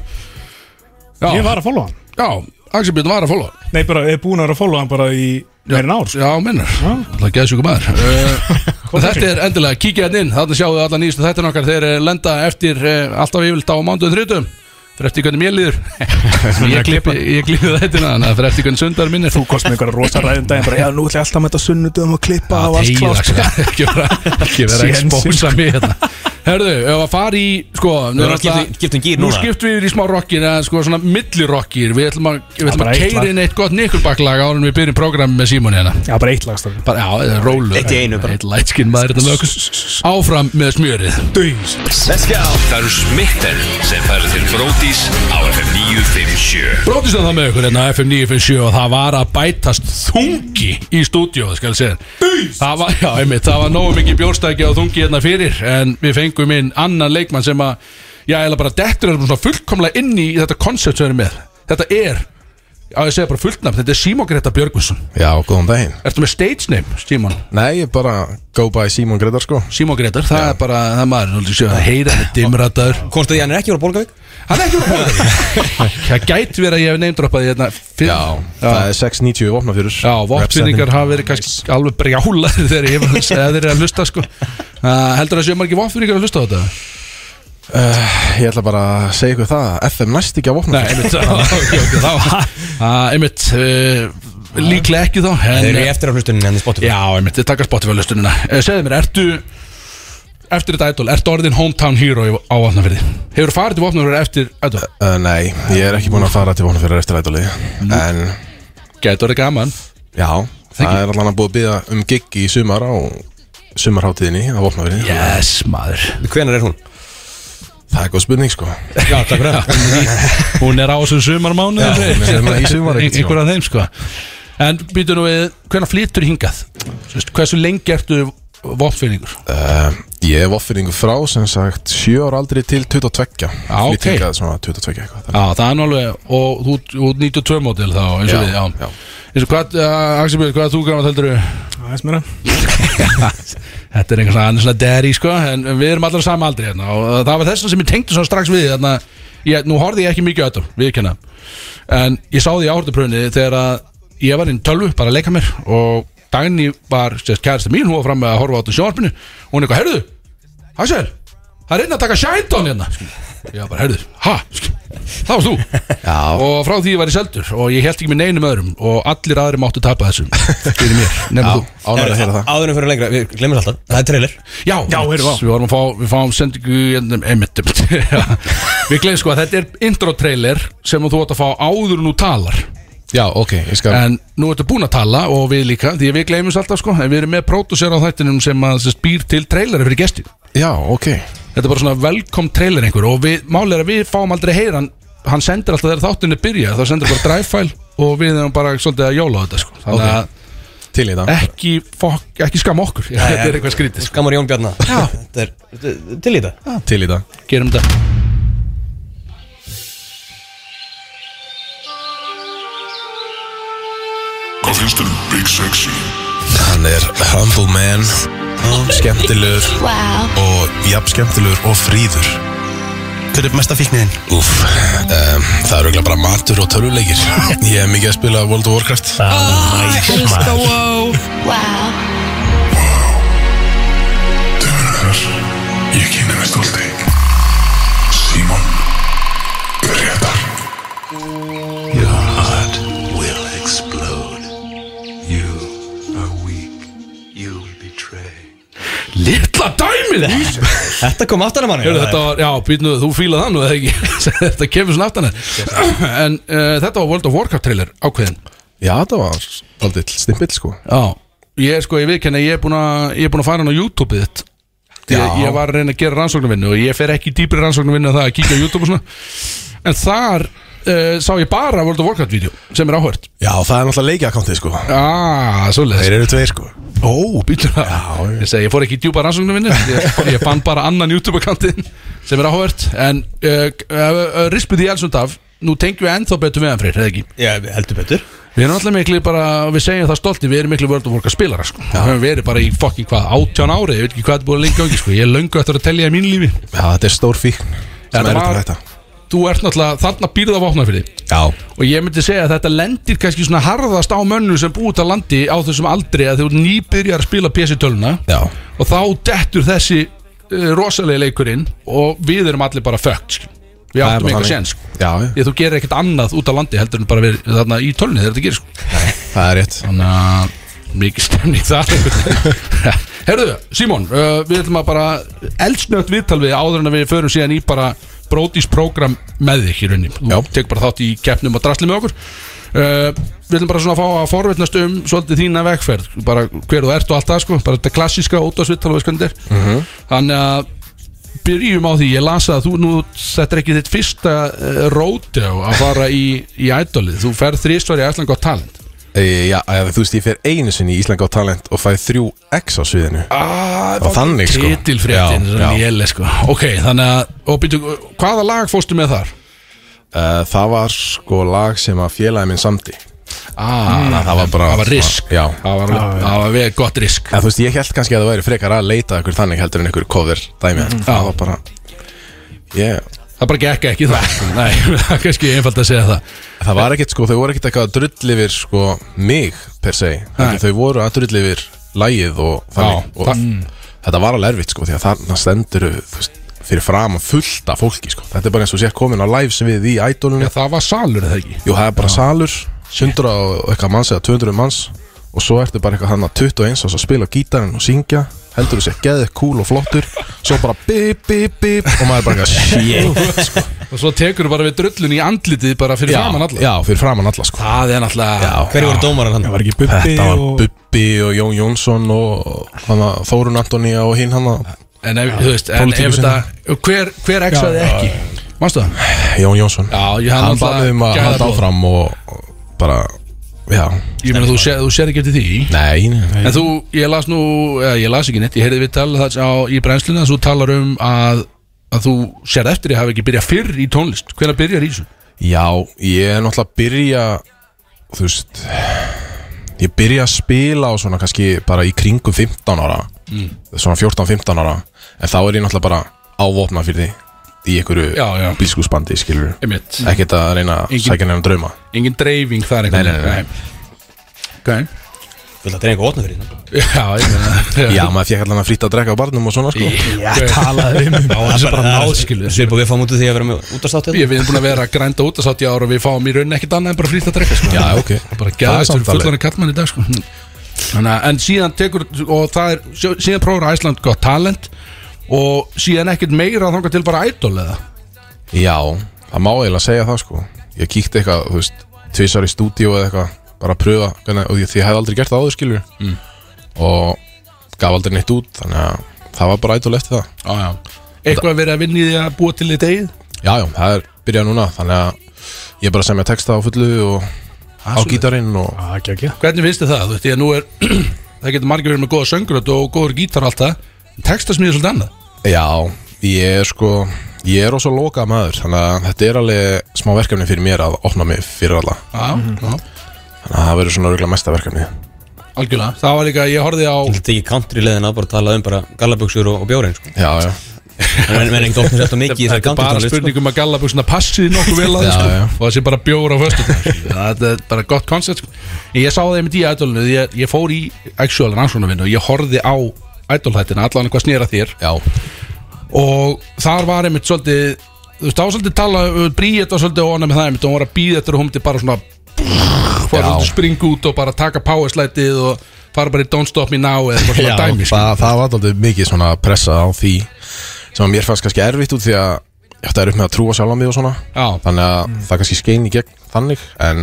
S3: Ég
S1: já,
S3: var að followa hann
S1: já, Axel Björn var að fóla
S3: Nei, bara, ég er búin að vera að followa hann bara í meirin ár sko
S1: já, minnar, alltaf geðsjúku maður
S3: Eh,
S1: <laughs> uh, þetta er endilega, kíkja hann inn þarna sjáu alla nýjastu þættin okkar þeir eh, lenda eftir uh, alltaf yfirlt á mánduðum þrítum fyrir eftir hvernig mér
S3: <laughs>
S1: líður ég klippi, ég klippi þættina þannig að fyrir eftir hvernig sundar minn er
S3: Þú kost með einhverja rosa ræðum daginn bara, já, nú ætla ég alltaf með þetta sunnudum og klippa og allt
S1: tegið
S3: klárt
S1: ekki, <laughs> ekki vera ekki vera að
S3: Sénsinn.
S1: expósa mig hérna Herðu, ef að fara í, sko Nú, er
S2: Við erum að
S1: náttúrulega-
S2: skipta- skipta um gír
S1: nú
S2: núna.
S1: skiptum við yfir í smá rockin eða sko svona millirokkir Við ætlum að, við ætlum
S3: bara
S1: að
S3: eitt
S1: keira
S3: lag.
S1: inn eitt gott nikkulbaklag áður en við byrjum prógrammi með Simon hérna
S3: Já, bara eitt sko. lagstofn
S1: bara, Já, eða rólu
S2: Eitt í einu bara.
S1: Eitt lightskin maður þetta lökus Áfram með smjörið
S3: Döys
S6: Let's go Það eru smitten sem færið til Brótis á FM 957
S1: Brótist það með ykkur hérna á FM 957 og það var að bætast þungi í stúdíóð, skal ég segja Það var, já, einmitt, það var nógu mikið bjórstæki á þungi hérna fyrir en við fengum inn annan leikmann sem að já, eða bara dettur er svona fullkomlega inn í þetta koncept sem við erum með Þetta er, á ég segja bara fullnafn, þetta er Simon Greta Björgvinsson
S5: Já, góðan daginn
S1: Ertu með stage name, Simon?
S5: Nei, ég bara go by Simon Gretar sko
S1: Simon Gretar, það er bara, það er maður, þú séu að heyra þetta dimrataður
S2: Komst að því að hann er ekki voru bólgavík?
S1: Hann er ekki úr bóðið <laughs> Það gæti verið að ég hef neymdroppaði hérna fyrir-
S5: Það er 690 vopna fyrir
S1: Já, vopfinningar hafa verið kannski alveg brjálaðir þegar ég var eða þeir eru að hlusta sko. uh, heldur það séu margir vopfinningar að hlusta á þetta?
S5: Ég ætla bara að segja ykkur það FM næst ekki að vopna
S1: Nei, einmitt á, ok, ok, <laughs> þá uh, einmitt, uh, líklega ekki þá
S2: Þeir
S1: en,
S2: eru í eftir á hlustuninni hann í Spotify
S1: Já, einmitt, þið takkar spotify hlustunina uh, segðu mér, ertu eftir þetta idol, ertu orðin hometown hero í- á Vopnafyrði? Hefur farið til Vopnafyrði eftir idol?
S5: Uh, nei, ég er ekki búin að fara til vopna fyrir eftir ædoli En
S1: Gæti orðið gaman
S5: já, það er allan að búið að byggja um gig í sumar á sumarháttíðinni að vopna fyrir
S1: Yes, maður
S2: Hvenær er hún?
S5: Það er góð spurning sko
S1: Já, takk fyrir það Hún er á þessum sumarmánu
S5: Já, hún er hérna í sumar einhvern tímann.
S1: Einhver af þeim sko En býtu nú við, hvenær flyttur hingað? Sest, hversu lengi ertu vopfinningur?
S5: uh, Ég hef offeringu frá sem sagt 7 ára aldrei til 22
S1: Já, ok.
S5: Flýtingað svona 22 eitthvað þannig.
S1: Já, Ah, það er náttúrulega Og þú þú ert 92 mótil þá eins og
S5: Já,
S1: við, já,
S5: já.
S1: Eins og hvað, uh, Axel Björn, hvað er þú gaman heldur
S3: aðeins meira
S1: <laughs> Þetta er einhvern svona annars svona derry sko En en við erum allar sama aldrei hérna Og uh, það var þess vegna sem ég tengdi svona strax við Þannig ég, nú horfði ég ekki mikið á þetta Við kenna En ég sá því áhördupröfni þegar að Ég var inn í tölvu, bara að leika mér Og Dagný var, sérst, kærasta mín Hún var fram með að horfa á þetta í sjónvarpinu Og hún eitthvað, heyrðu, Axel, það er einn að taka Shindon hérna Já, bara, heyrðu, ha, það varst þú Já. Og frá því ég var í seldur Og ég held ekki með neinum öðrum Og allir aðri máttu tapa þessum Fyrir mér, nefnir þú
S5: Ánægður að heyra það
S2: Áðurum fyrir lengra, við glemum það alltaf Það er trailer
S1: Já,
S3: Já, heyrðu, vá.
S1: við vorum að fá, við fáum sendingu hérna, einmitt, einmitt. Já. Við gleymum sko að þetta er intro trailer sem þú átt að fá áður en þú talar
S5: Já, ok, ég skal
S1: En nú ertu búin að tala og við líka Því að við gleymum alltaf sko En við erum með pródusera á þættinum sem að sem sagt, býr til trailera fyrir gesti
S5: Já, ok
S1: Þetta er bara svona velkom trailer einhver Og við, málið er að við fáum aldrei heyra hann Hann sendir alltaf þegar þáttunni byrja Það sendir bara drive file og við erum bara svolítið að jóla á þetta sko Þannig
S5: Ok. Til í það
S1: að ekki, fokk, ekki skam okkur Já, <laughs> Þetta er eitthvað skrítið sko.
S2: Skammar Jón Bjarnar Þetta er þetta er til í þetta
S5: Til í það
S1: Gerum þetta
S4: Hvað finnst þér um Big Sexy?
S5: Hann er humble man Skemmtilegur Og jafn skemmtilegur og fríður
S7: Hver er mesta fíkniðin?
S5: Úf, um, það eru ekki bara matur og töluleikir Ég hef mikið að spila World of Warcraft
S4: Dömunar, ég kynni með stolti Simon Gretar Your heart will explode You are weak You betray
S1: Litla dæmið
S2: Þetta kom aftan að manni
S1: Heyrðu, þetta var, já, býtnu, þú fílað það nú eða ekki <laughs> Þetta kemur svona aftan þér. En uh, þetta var World of Warcraft trailer ákveðin
S5: Já, það var aldrei stimpill sko
S1: Já Ég sko, ég viðkenni, ég er búin að ég er búin að fara hann á YouTube-ið þitt ég,
S5: Já.
S1: ég var að reyna að gera rannsóknarvinnu og ég fer ekki í dýpri rannsóknarvinnu en það að kíkja á YouTube og svona En þar uh, sá ég bara World of Warcraft vídeo sem er áhört
S5: Já, það er náttúrulega leikjakkantið sko
S1: Ah, svoleiðis
S5: Þeir eru tveir sko
S1: Ó, býtur það Ég segi, ég fór ekki í djúpa rannsóknarvinnu
S2: <laughs>
S1: ég, ég fann bara annan YouTube-akkantinn sem er áhört En uh, uh, uh, rispið í elsund af Nú tengjum við ennþá betur við hann fyrir, eða ekki
S2: Já, heldur betur
S1: Við erum alltaf miklu bara, við segjum það stolti Við erum miklu World of Warcraft spilara sko. Við höfum verið bara í fucking hvað, 18 ári Ég veit ekki hvað þetta er búið að lengi gangi sko. Ég er löngu eftir að telja í mínu lífi
S5: Já, þetta er stór fíkn
S1: Þetta
S5: sem er
S1: var-
S5: þetta
S1: Þú ert náttúrulega þarna býrða vopna fyrir því
S5: Já,
S1: Og ég myndi segja að þetta lendir kannski svona harðast á mönnu sem búið út að landi á þessum aldri að þú nýbyrjar að spila PC-töluna
S5: já
S1: og þá dettur þessi uh, rosalegi leikurinn og við erum allir bara fucked sko. Við
S5: Það er
S1: áttum
S5: bara
S1: eitthvað
S5: þannig.
S1: séns sko.
S5: Já, já,
S1: Ég þú gerir ekkert annað út á landi heldur en bara verið þarna í tölunni þegar þetta gerir sko.
S5: það er rétt
S1: Þannig að mikið stemning þar Herðu, Simon, uh, við ætlum að bara eldsnögt viðtal við áður en að við förum síðan í bara Brodís program með þig í rauninni Þú
S5: Já.
S1: tekur bara þátt í keppnum og drasli með okkur uh, Við ætlum bara svona að fá að forvitnast um svolítið þína vegferð bara hver þú ert og allt það sko bara þetta klassíska ótásviðtal og veist hvernig þetta er Þannig að byrjum á því, ég lasa að þú nú þetta er ekki þitt fyrsta uh, róti að fara í, í ædolið þú ferð þrýstvar í Æsland gott talent
S5: e, Já, eða, þú veist, ég fer einu sinni í Ísland á talent og fæ þrjú X á sviðinu
S1: Ah,
S5: Og þannig, sko.
S1: Titilfréttin,
S5: Já,
S1: svona
S5: já.
S1: léle sko Ok, þannig að, og býtu, hvaða lag fórstu með þar?
S5: Uh, það var sko lag sem að félagi minn samti
S1: Ah,
S5: það var bara-
S1: Það var risk
S5: Já.
S1: Það var, það var við gott risk
S5: En þú veist, ég held kannski að það væri frekar að leita að ykkur þannig heldur en ykkur cover dæmi mm.
S1: Já.
S5: Það var bara ég,
S1: Það bara gekk ekki það <laughs> Nei, það er kannski einfalt að segja það
S5: Það var ekkit sko, þau voru ekkit eitthvað að drull yfir sko mig per se
S1: Nei.
S5: Þau voru að drull yfir lagið og
S1: Já,
S5: þannig og Mm. Þetta var alveg erfitt sko, því að þarna stendur þú veist, fyrir fram að fullta fólki sko Þetta er bara eins og sér komin á live sem við í
S1: Já,
S5: ædolunni
S1: það var salur eða ekki
S5: Jú, það er bara salur, 100 og eitthvað manns eða 200 manns og svo ertu bara eitthvað hann að 21 árs að spila á gítarinn og syngja heldur þú sér geðið kúl og flottur svo bara bip, bip, bip og maður bara eitthvað shit sko.
S1: Og svo tekur þú bara við drullun í andlitið bara fyrir
S5: já,
S1: framann alla
S5: já, fyrir framann alla sko.
S1: Það er náttúrulega
S2: Hverju voru dómarar hann?
S3: var ekki bubbi
S5: þetta var
S3: og
S5: Bubbi og Jón Jónsson og hana, Þórun Antonía og hinn hann
S1: En ef, þú veist, en ef
S5: Pólitíkusinn.
S1: þetta Hver, hver exaði ekki? Manstu það?
S5: Jón Jónsson
S1: Já, ég hann
S5: hann
S1: náttúrulega
S5: bæði um að halda
S1: gæðablóð.
S5: áfram og og bara Já
S1: Ég meina þú sér, þú sér ekki eftir því
S5: Nei, nei
S1: En þú, ég las nú, eða, ég las ekki neitt Ég heyrði við tala það á, í brennslinu að þú talar um að, að þú sér eftir ég hafi ekki byrjað fyrr í tónlist Hvenær byrjar í þessu?
S5: Já, ég er náttúrulega að byrja Þú veist Ég byrja að spila á svona kannski bara í kringum 15 ára
S1: Mm.
S5: Svona 14-15 ára En þá er ég náttúrulega bara ávopna fyrir því Í
S1: Já, já.
S5: einhverju bílskúsbandi, skilur
S1: Einmitt.
S5: Ekkert að reyna að
S1: Engin-
S5: sækja nefnum drauma
S1: Engin dreifing þar
S5: Nei, nei, nei, nei.
S1: Okay.
S2: Vil það dreina eitthvað ótna fyrir þetta?
S1: Já, ég meina <laughs>
S5: Já, maður fekk allan að frýta að drekka á barnum og svona sko
S2: Já, talaðu um
S1: Já, það er bara náðskilu
S2: Svip og við fáum út af því að vera með útastátt
S1: Ég við erum búin að vera að grænda út að sátt í ára og við fáum í rauninni ekkit annað en bara frýtt að drekka sko.
S5: Já, ok
S1: bara
S5: Það er
S1: gæðast fyrir
S5: samtalið.
S1: fullan að kallmann í dag sko. Þannig, að- en síðan tekur og það er, sjó- síðan prófur Æsland gott talent og síðan ekkert meira þangað til bara idol eða
S5: Já, það má eiginlega segja það sko Ég kíkti eitthvað, þú veist, tvisar í stúdíu eða eitthvað Bara að pröfa, hvernig, og ég, því ég hef aldrei gert það áður skilur mm. Og gaf aldrei neitt út, þannig að það var bara ætl eftir það
S1: já, já. eitthvað verið að vinna í því að búa til þitt eigið
S5: Já, já, það er byrjað núna, þannig að ég er bara að semja texta á fullu og á
S1: svoleiðis.
S5: gítarinn og
S3: Ah, ekki, ekki.
S1: hvernig finnst þið það, þú veist, því að nú er <clears throat> það getur margir verið með góða söngröð og góður gítar og allt það, textasmiði svolítið annað
S5: Já, ég er sko, ég er ós að loka maður Þannig að þetta er alveg smá verkefni fyrir mér að opna mig fyrir alla
S1: já,
S5: Mhm. Þannig að það verður svona örgulega mesta verkefni
S1: já, algjörlega, það var líka, ég horfið á
S2: Þetta ekki country leðina bara tala um bara gallaböksur og, og bjórin sko.
S5: Já, já,
S2: En menn ekki opnir þetta mikið í þessari
S1: þetta er
S2: country
S1: bara
S2: tónlist sko.
S1: spurningum að gallabuxna passið nokkuð vel að
S5: Já,
S1: sko.
S5: já.
S1: og það sé bara bjóður á sko. föstu <laughs> þetta er bara gott koncept sko. En ég sá það einmitt í ædolinu ég, ég fór í actual rannsónavinnu og ég horfði á ædolhættina allan eitthvað snýra þér
S5: já
S1: og þar var einmitt svolítið þú veist, þá var svolítið tala, Bríett var svolítið ónæð með það einmitt og hún var að býða eftir að hún myndi bara svona fór
S5: Já.
S1: svolítið springa út og bara taka powerslætið og fara bara í don't stop me now eða eitthvað svona dæmi sko.
S5: það, það var alltaf mikið svona pressa á því sem að mér fannst kannski erfitt út því að þetta er upp með að trúa sjálf á mig og svona
S1: Já.
S5: þannig að
S1: Mm.
S5: það kannski skein í gegn þannig en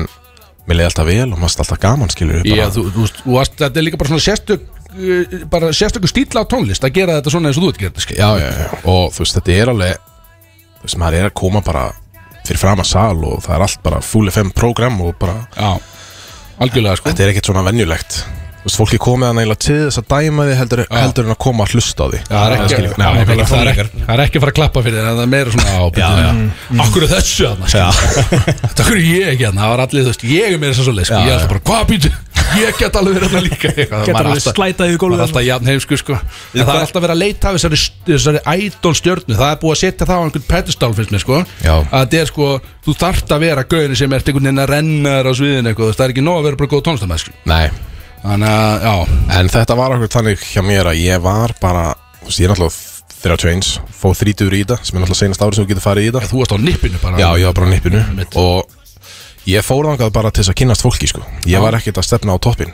S5: mér leiði alltaf vel og maður alltaf gaman skilur við,
S1: Já,
S5: bara,
S1: þú, þú, veist, þú varst, þetta er líka bara svona sérstök uh, bara sérstök stíla á tónlist að gera þetta svona eins og þú ert gerði sko.
S5: já, já, já, og þú veist þetta er alveg þú veist maður er að koma bara fyrir fram að sal og það er allt bara full FM program og bara
S1: Já, algjörlega sko
S5: þetta er ekkert svona venjulegt þú veist fólki komið að nægilega til þess að dæma því heldur, heldur en að koma að hlusta á því
S1: Það er ekki,
S5: skilur við.
S1: Nei,
S5: Nei,
S1: það er ekki- það er ekki, það er ekki að fara að klappa fyrir þér, en það er meira svona á byrju, Akkur er þessu aðna <laughs> Þetta akkur er ég ekki aðna, það var allir þú veist Ég er meira svo leið, sko, ég er alltaf bara Hvað býtu, ég get alveg verið aðna líka Get
S3: alveg slætað í gólfið
S1: Það er alltaf
S3: þarna.
S1: jafn heimsku sko En það er alltaf verið að leita af þessari, þessari idol stjörnu Það er búið að setja það á einhvern pedestal finnst mér sko
S5: Já.
S1: Að þetta er sko, þú þarft að vera gauðin sem ert einhvern veginn að renna þér á sviðin eitthvað þú veist, Það er ekki nóg að vera bara góð tónlistamæð sko
S5: nei
S1: Þannig að, já,
S5: En þetta var okkur þannig hjá mér að ég var bara, þú veist, ég er náttúrulega 31, fóð 30 í þetta, sem er náttúrulega senast árið sem þú getur farið í þetta.
S1: þú varst á nippinu bara
S5: Já, ég var bara á nippinu
S1: Mitt.
S5: og ég fór þangað bara til þess að kynnast fólki, sko. Ég var ekkert að stefna á toppin,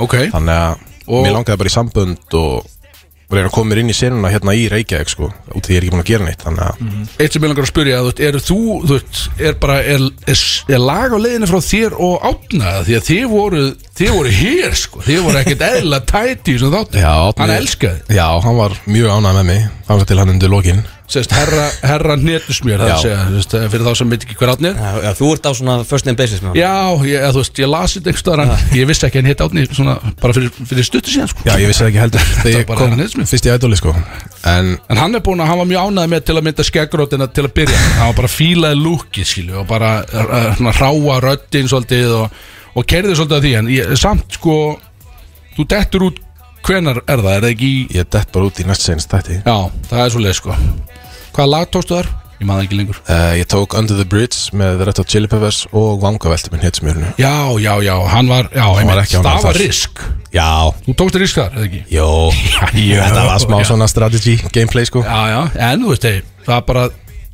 S1: Ok.
S5: þannig að
S1: Og-
S5: mér langaði bara í sambönd og reyna að koma mér inn í senuna hérna í Reykjavík, sko, út því ég er ekki búin að gera neitt, þannig að
S1: eitt sem ég langar að spyrja þú veist, er þú, þú veist, er bara er, er, er lag á leiðinu frá þér og átna því að þið voru, þið voru hér sko, þið voru ekkert eðla tæti sem þáttu,
S5: Já, Árni-
S1: hann elskaði
S5: Já, hann var mjög ánægð með mig, þannig til hann undir lokin.
S1: sérst, herra, herra netusmjör það
S5: Já.
S1: segja, þú veist, fyrir þá sem veit ekki hver átni er
S2: Já, já, Þú ert á svona first name basis með hann
S1: já, ég, eða, þú veist, ég lasi þetta einhvers staðar en ég vissi ekki að hann hitt átni svona, bara fyrir, fyrir stuttu síðan sko.
S5: Já, ég vissi það ekki heldur þegar
S1: var
S5: ég
S1: bara
S5: kom
S1: hann Nesmith.
S5: fyrst í ædoli, sko. En
S1: En hann er búin að, hann var mjög ánæði með til að mynda skeggrótina til að byrja með. Hann var bara fílaði lúki, skilju, og bara uh, svona hráa röddinn svolítið og, og kerði svolítið að því. En ég, samt, sko, þú dettur út, hvenar er það? Er það ekki í...
S5: ég dett bara út í næst senast þætti.
S1: Já, það er svolítið, sko. Hvaða lag tókstu þar? Ég maður ekki lengur.
S5: Uh, ég tók Under the Bridge með Red Hot Chili Peppers og Vangaveltum minn hitsmjörnu.
S1: Já, já, já, hann var, já, hann
S5: var ekki ánægður
S1: það
S5: þar.
S1: var risk.
S5: Já,
S1: Þú tókstu risk þar, eða ekki?
S5: <laughs> jó, þetta var smá svona strategy gameplay sko.
S1: Já, já, en þú veist, hey, það er bara,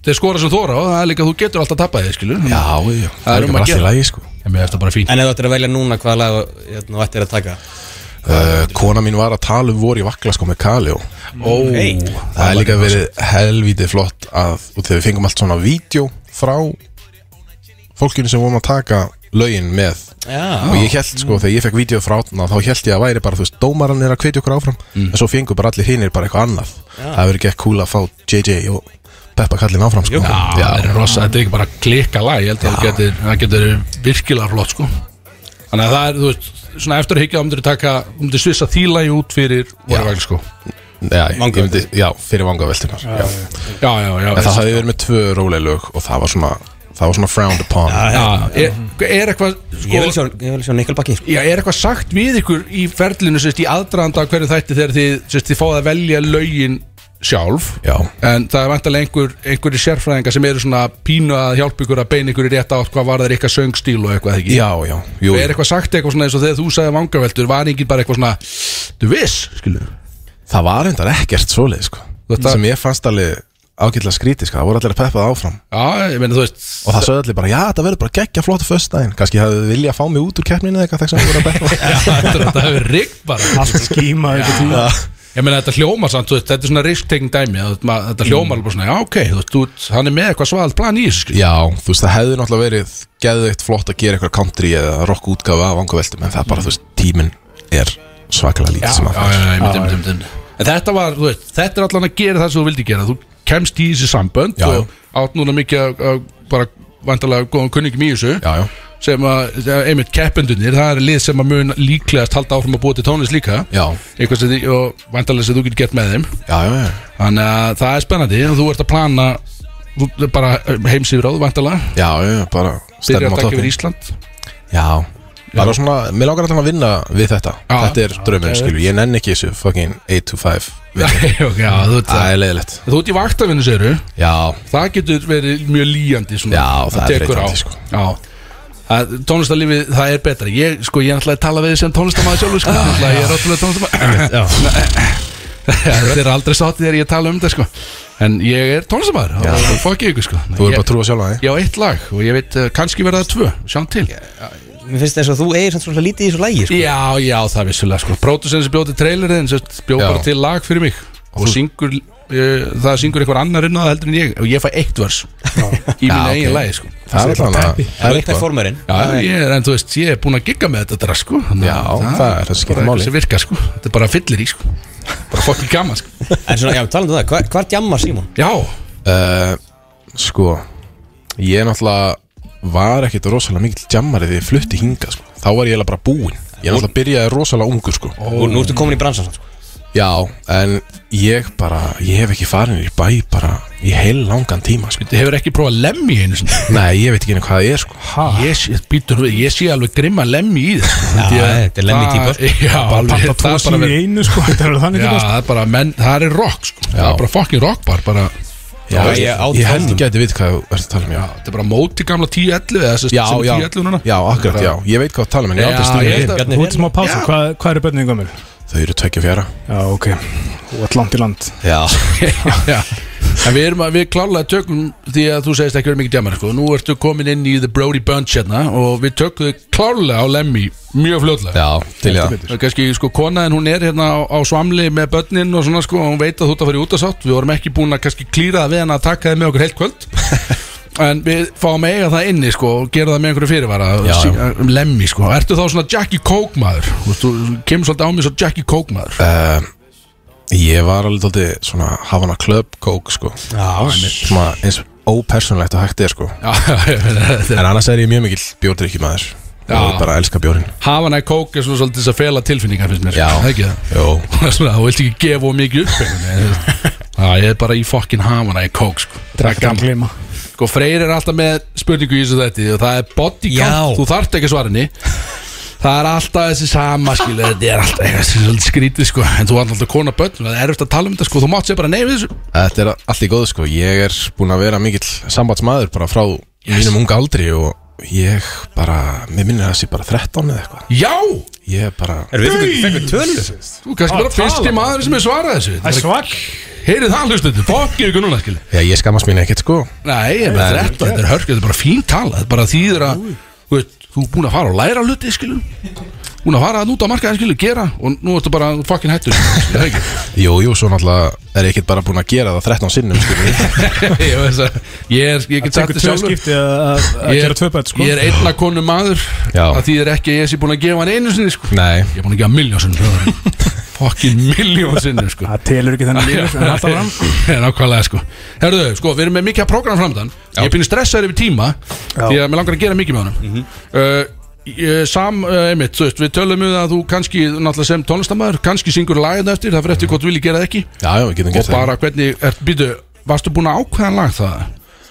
S1: þeir skora sem þóra og það er líka, þú getur alltaf tappaðið, skilju.
S5: Já, já,
S1: Það er
S5: líka
S1: um að
S5: bara allt í
S1: gera.
S5: lagi sko.
S1: En mér er þetta bara fín.
S2: En ef þú ættir að velja núna hvaða lag hérna, ættir að taka
S5: Uh, kona mín var að tala um voru í vakla sko með Kaljó.
S1: Ó,
S2: Hey.
S5: Það er líka verið helvítið flott að og þegar við fengum allt svona vídeo frá fólkinu sem vorum að taka lögin með
S2: Já,
S5: og ég held sko, þegar ég fekk vídeo frá átna þá held ég að væri bara, þú veist, dómaran er að hvetja okkur áfram en svo fengur bara allir hinnir bara eitthvað annað það verður ekki cool að fá JJ og Peppa kallin áfram sko
S1: Já, það er rosa, þetta er ekki bara klikka lag, ég held að það getur, það getur verið virkilega flott sko Þannig að það er, þú veist, svona eftir að higgja þá myndir taka, þú myndir svissa þýlægi út fyrir Vorarvæl sko
S5: Já, ég myndi, já, fyrir vangaveltunar já.
S1: Já, já, já,
S5: En það hafði verið með tvö róleg lög og það var svona, það var svona frowned upon
S1: já, er, er eitthvað
S2: Ég
S1: sko,
S2: vil sjá, ég vil sjá Nickelbacki sko.
S1: Já, er eitthvað sagt við ykkur í ferlinu sérst, í aðdraðanda af hverju þætti þegar þið, sérst, þið fáið að velja lögin sjálf
S5: Já.
S1: en það er vantarlega einhver, einhverjir sérfræðingar sem eru svona pínu að hjálpa ykkur að beina ykkur í rétt átt hvað var það eitthvað söngstíl og eitthvað ekki
S5: Já, já, jú,
S1: er eitthvað sagt eitthvað svona eins og þegar þú sagði vangaveltur var enginn bara eitthvað svona þú viss, skilu
S5: það var undar ekkert svoleið sko.
S1: Þetta-
S5: sem ég fannst alveg ágætlega skrítið, sko. það voru allir að peppa það áfram
S1: já, ég meina þú veist <laughs>
S5: og það sögðu allir bara, já, þetta verður bara geggja flott föstudaginn, kannski hafðu þið viljað fá mig út úr keppninu eða eitthvað þegar sem voru að <laughs> beppa
S1: þetta hefur riggt bara
S3: Allt skíma eitthvað tíma
S1: ég meina þetta hljómar samt, þú veist, þetta er svona risktekin dæmi þú veist, maður- þetta hljómar alveg bara svona, já ok þú veist, þú, hann er með eitthvað svald plan í þessu skilu.
S5: Já, þú veist, það hefði náttúrulega verið geðveikt flott að gera eitthvað country eða rock útgáfa af vangaveltum, en það er bara, þú veist, tíminn er svakalega lítið sem að
S1: Mhm. já, já, já, ég myndi, myndi, myndi. En þetta var, þú veist, þetta er allan að gera það sem þú vildi gera Þú kemst í þessi sambönd
S5: Já.
S1: og átt núna mikið að- að bara vantarlega góðan kunningum í þessu
S5: Já, já,
S1: sem að, sem að- einmitt keppendunir það er lið sem að mun líklegast halda áfram að búa til tónlist líka
S5: já,
S1: eitthvað sem þið, og vantarlega sem þú getur gert með þeim
S5: já, já, já.
S1: þannig að það er spennandi og þú ert að plana þú- bara eh, heimsýfráð vantarlega
S5: Já, já, já, bara
S1: byrja
S5: stefnum á
S1: að taka yfir
S5: toppin
S1: Ísland <laughs>
S5: Já, bara svona, mér langar alltaf að vinna við þetta
S1: Já.
S5: Þetta er draumur, skilju, ég nenni ekki þessu fucking 8 to 5 vinnu.
S1: <laughs> já, þú veist
S5: Það
S1: það
S5: er leiðilegt
S1: Þú ert í vaktavinnu, segirðu
S5: Já,
S1: það getur verið mjög líjandi svona,
S5: Já, það er
S1: tekur á.
S5: þreytandi, sko.
S1: Já. Það, tónlistarlífi, það er betra ég, sko, ég ætlaði að tala við þig sem tónlistamæði sjálfur sko. ah, ég er ótrúlega
S5: <clears throat>
S1: tónlistamæði <laughs> þeir eru aldrei sátti þegar ég tala um þetta sko. en ég er tónlistamæður og fokkið ykkur sko.
S5: þú er bara
S1: ég,
S5: að trúa sjálf að því
S1: ég á eitt lag og ég veit uh, kannski verða það tvö, sjáum til
S2: Mér finnst þess að þú eigir samt svona lítið í þessu lægi sko.
S1: Já, já, það er vissulega sko Pródusen sem bjóti trailerinn sem sagt, bjó
S5: Já.
S1: bara til lag fyrir mig og syngur, uh, það syngur einhver annar inn á það heldur en ég og ég fæ eitt vers í mínu eigin lagi sko
S5: Það er alltaf hana, það er eitthvað
S2: Performerinn
S1: Já, ég er, en þú veist, ég er búin að gigga með þetta drast, sko Þannig
S5: Já,
S1: að
S5: það er það sem skiptir
S1: bara
S5: máli.
S1: eitthvað sem virkar, sko Þetta er bara fyllir í, sko Bara fokkin gaman, sko
S2: En svona, já, talandi um það, hvar, hvar djammar Simon?
S1: Já,
S5: uh, Sko, ég náttúrulega var ekkit rosalega mikill jammari því ég flutti hinga, sko Þá var ég eiginlega bara búinn Ég náttúrulega byrjaði rosalega ungur, sko
S2: Ó. Nú ertu komin í bransan samt, sko.
S5: Já, en ég bara, ég hef ekki farin í bæ bara í heil langan tíma, sko
S1: þið hefur ekki prófað lemmi einu sinni
S5: Nei, ég veit ekki einu hvað það er, sko
S1: Ég sé, býtur við, ég sé alveg grimma lemmi í þess Já,
S2: þetta er Lemmy típa, sko.
S1: Já, alveg, það
S3: Pappa
S1: er
S3: tvo
S1: bara
S3: sín í
S1: verið
S3: einu sko Þetta er alveg þannig
S1: Já,
S3: ekki
S1: það er bara, menn, það er rock, sko Það er bara fokkin rockbar, bara
S5: Já,
S2: Já,
S5: ég,
S2: ég- á
S5: ég held
S2: tánum.
S5: ekki að þið veit hvað þú ert að tala um, já
S1: Þetta er bara móti gamla 10-11 eða sem
S5: Já,
S1: sem
S5: já,
S1: 10-11 núna
S5: já, akkurat, já Ég veit hvað þú tala um, en ég hef aldrei
S1: Já,
S5: stundið
S1: ég
S5: hinn
S1: held að-
S2: Bjarni
S3: Þú ert
S2: Hver
S3: smá pása, hvað, hvað eru börnin gömur?
S5: Þau eru tvekja fjara
S3: Já, ok Þú ert langt í land
S5: Já,
S1: <laughs> Já. En við erum að, við klálega tökum því að þú segist ekki verið mikið djamar sko. Nú ertu komin inn í The Brody Bunch hérna og við tökum þau klálega á Lemmy mjög fljótlega
S5: já, til í það
S1: Það er kannski sko konaðin hún er hérna á, á svamli með börnin og svona sko og hún veit að þú ert að fara í útasátt Við vorum ekki búin að kannski klíra það við hann að taka þið með okkur heilt
S5: <laughs>
S1: kvöld En við fáum að eiga það inni sko og gera það með einhverju fyrirvara
S5: Já, já.
S1: sí- um Lemmy sko Ertu þá svona Jackie Coke maður? Þú veist, þú kemur svolítið á mig svo Jackie Coke maður
S5: uh, Ég var alveg tótti svona Havana Club Coke, sko Já, Svona eins ópersonlegt og hægt er, sko
S1: <laughs> Já, ég meina, þetta er-
S5: En annars er ég mjög mikill bjórdrykki maður
S1: Já.
S5: Og bara elska bjórin
S1: Hafan að kóka svona svolítið þess að fela tilfinningar finnst mér
S5: Já.
S1: Það er ekki það
S5: Jó
S1: Það er <laughs> svona, þú vilt ekki gefa of mikið upp einhvern veginn, þú veist. Já, ég er bara í fokkin hafana í kók sko. Það er gaman
S3: glima
S1: Sko, Freyr er alltaf með spurningu í þessu þetta og það er body count,
S2: Já.
S1: þú þarft ekki að svara henni Það er alltaf þessi sama skilu Þetta er alltaf eitthvað sem er svolítið skrítið sko. En þú er alltaf kona börn, það er erfitt að tala um þetta sko. Þú mátt sér bara nei við þessu
S5: Þetta er allt í góð, sko Ég er búin að vera mikill sambandsmaður bara frá mínum unga aldri og ég bara, mér minnir að það sé bara 13 eða eitthvað
S1: Já,
S5: Ég bara
S2: Erum við fengum- fengum tölur?
S1: þú er kannski bara fyrsti maður sem er svarað þessu
S3: Það er svag
S1: Heyrið það hlustuðu, fokkið ykkur núna skilu
S5: Já, ég skammast mín ekkert sko
S1: Nei, ég með þetta, þetta er hörk, þetta er bara fín tala Þetta er bara þýðir að, þú veist, þú er búin að fara og læra hluti, skilum Búin að fara að núta markaði, skilum, gera Og nú ertu bara fucking hættur skilur, það ekki? <laughs>
S5: Jú, jú, svo náttúrulega er ég ekkert bara búin að gera það 13 sinnum skilur við.
S1: Ég veist að, ég er, ég get sagt þetta
S3: Tekur tvö
S1: sjálfur
S3: skipti að að- að
S1: Ég
S3: gera tvö
S1: er,
S3: börn sko
S1: ég er einna konu maður
S5: Já.
S1: Það þýðir ekki að ég sé búin að gefa hann einu sinni, sko
S5: <laughs> Nei,
S1: Ég er búin að gefa miljón
S5: <laughs>
S1: sinni Fucking miljón sinni, sko
S3: Það telur ekki þennan lífið en alltaf fram
S1: <laughs> Já, Nákvæmlega sko Herðu, sko, við erum með mikið að prógram framdann Ég er pínu stressaður yfir tíma Því að mér langar að gera mikið með honum uh, Ég- Sam, eh, einmitt, þú veist, við tölum um það að þú kannski, náttúrulega sem tónlistamæður kannski syngur lagin eftir, það fyrir eftir hvort þú viljið gera það ekki
S5: Já, já, við getum
S1: og
S5: gert það
S1: bara hvernig, er, býtu, varstu búin að ákveða lag það?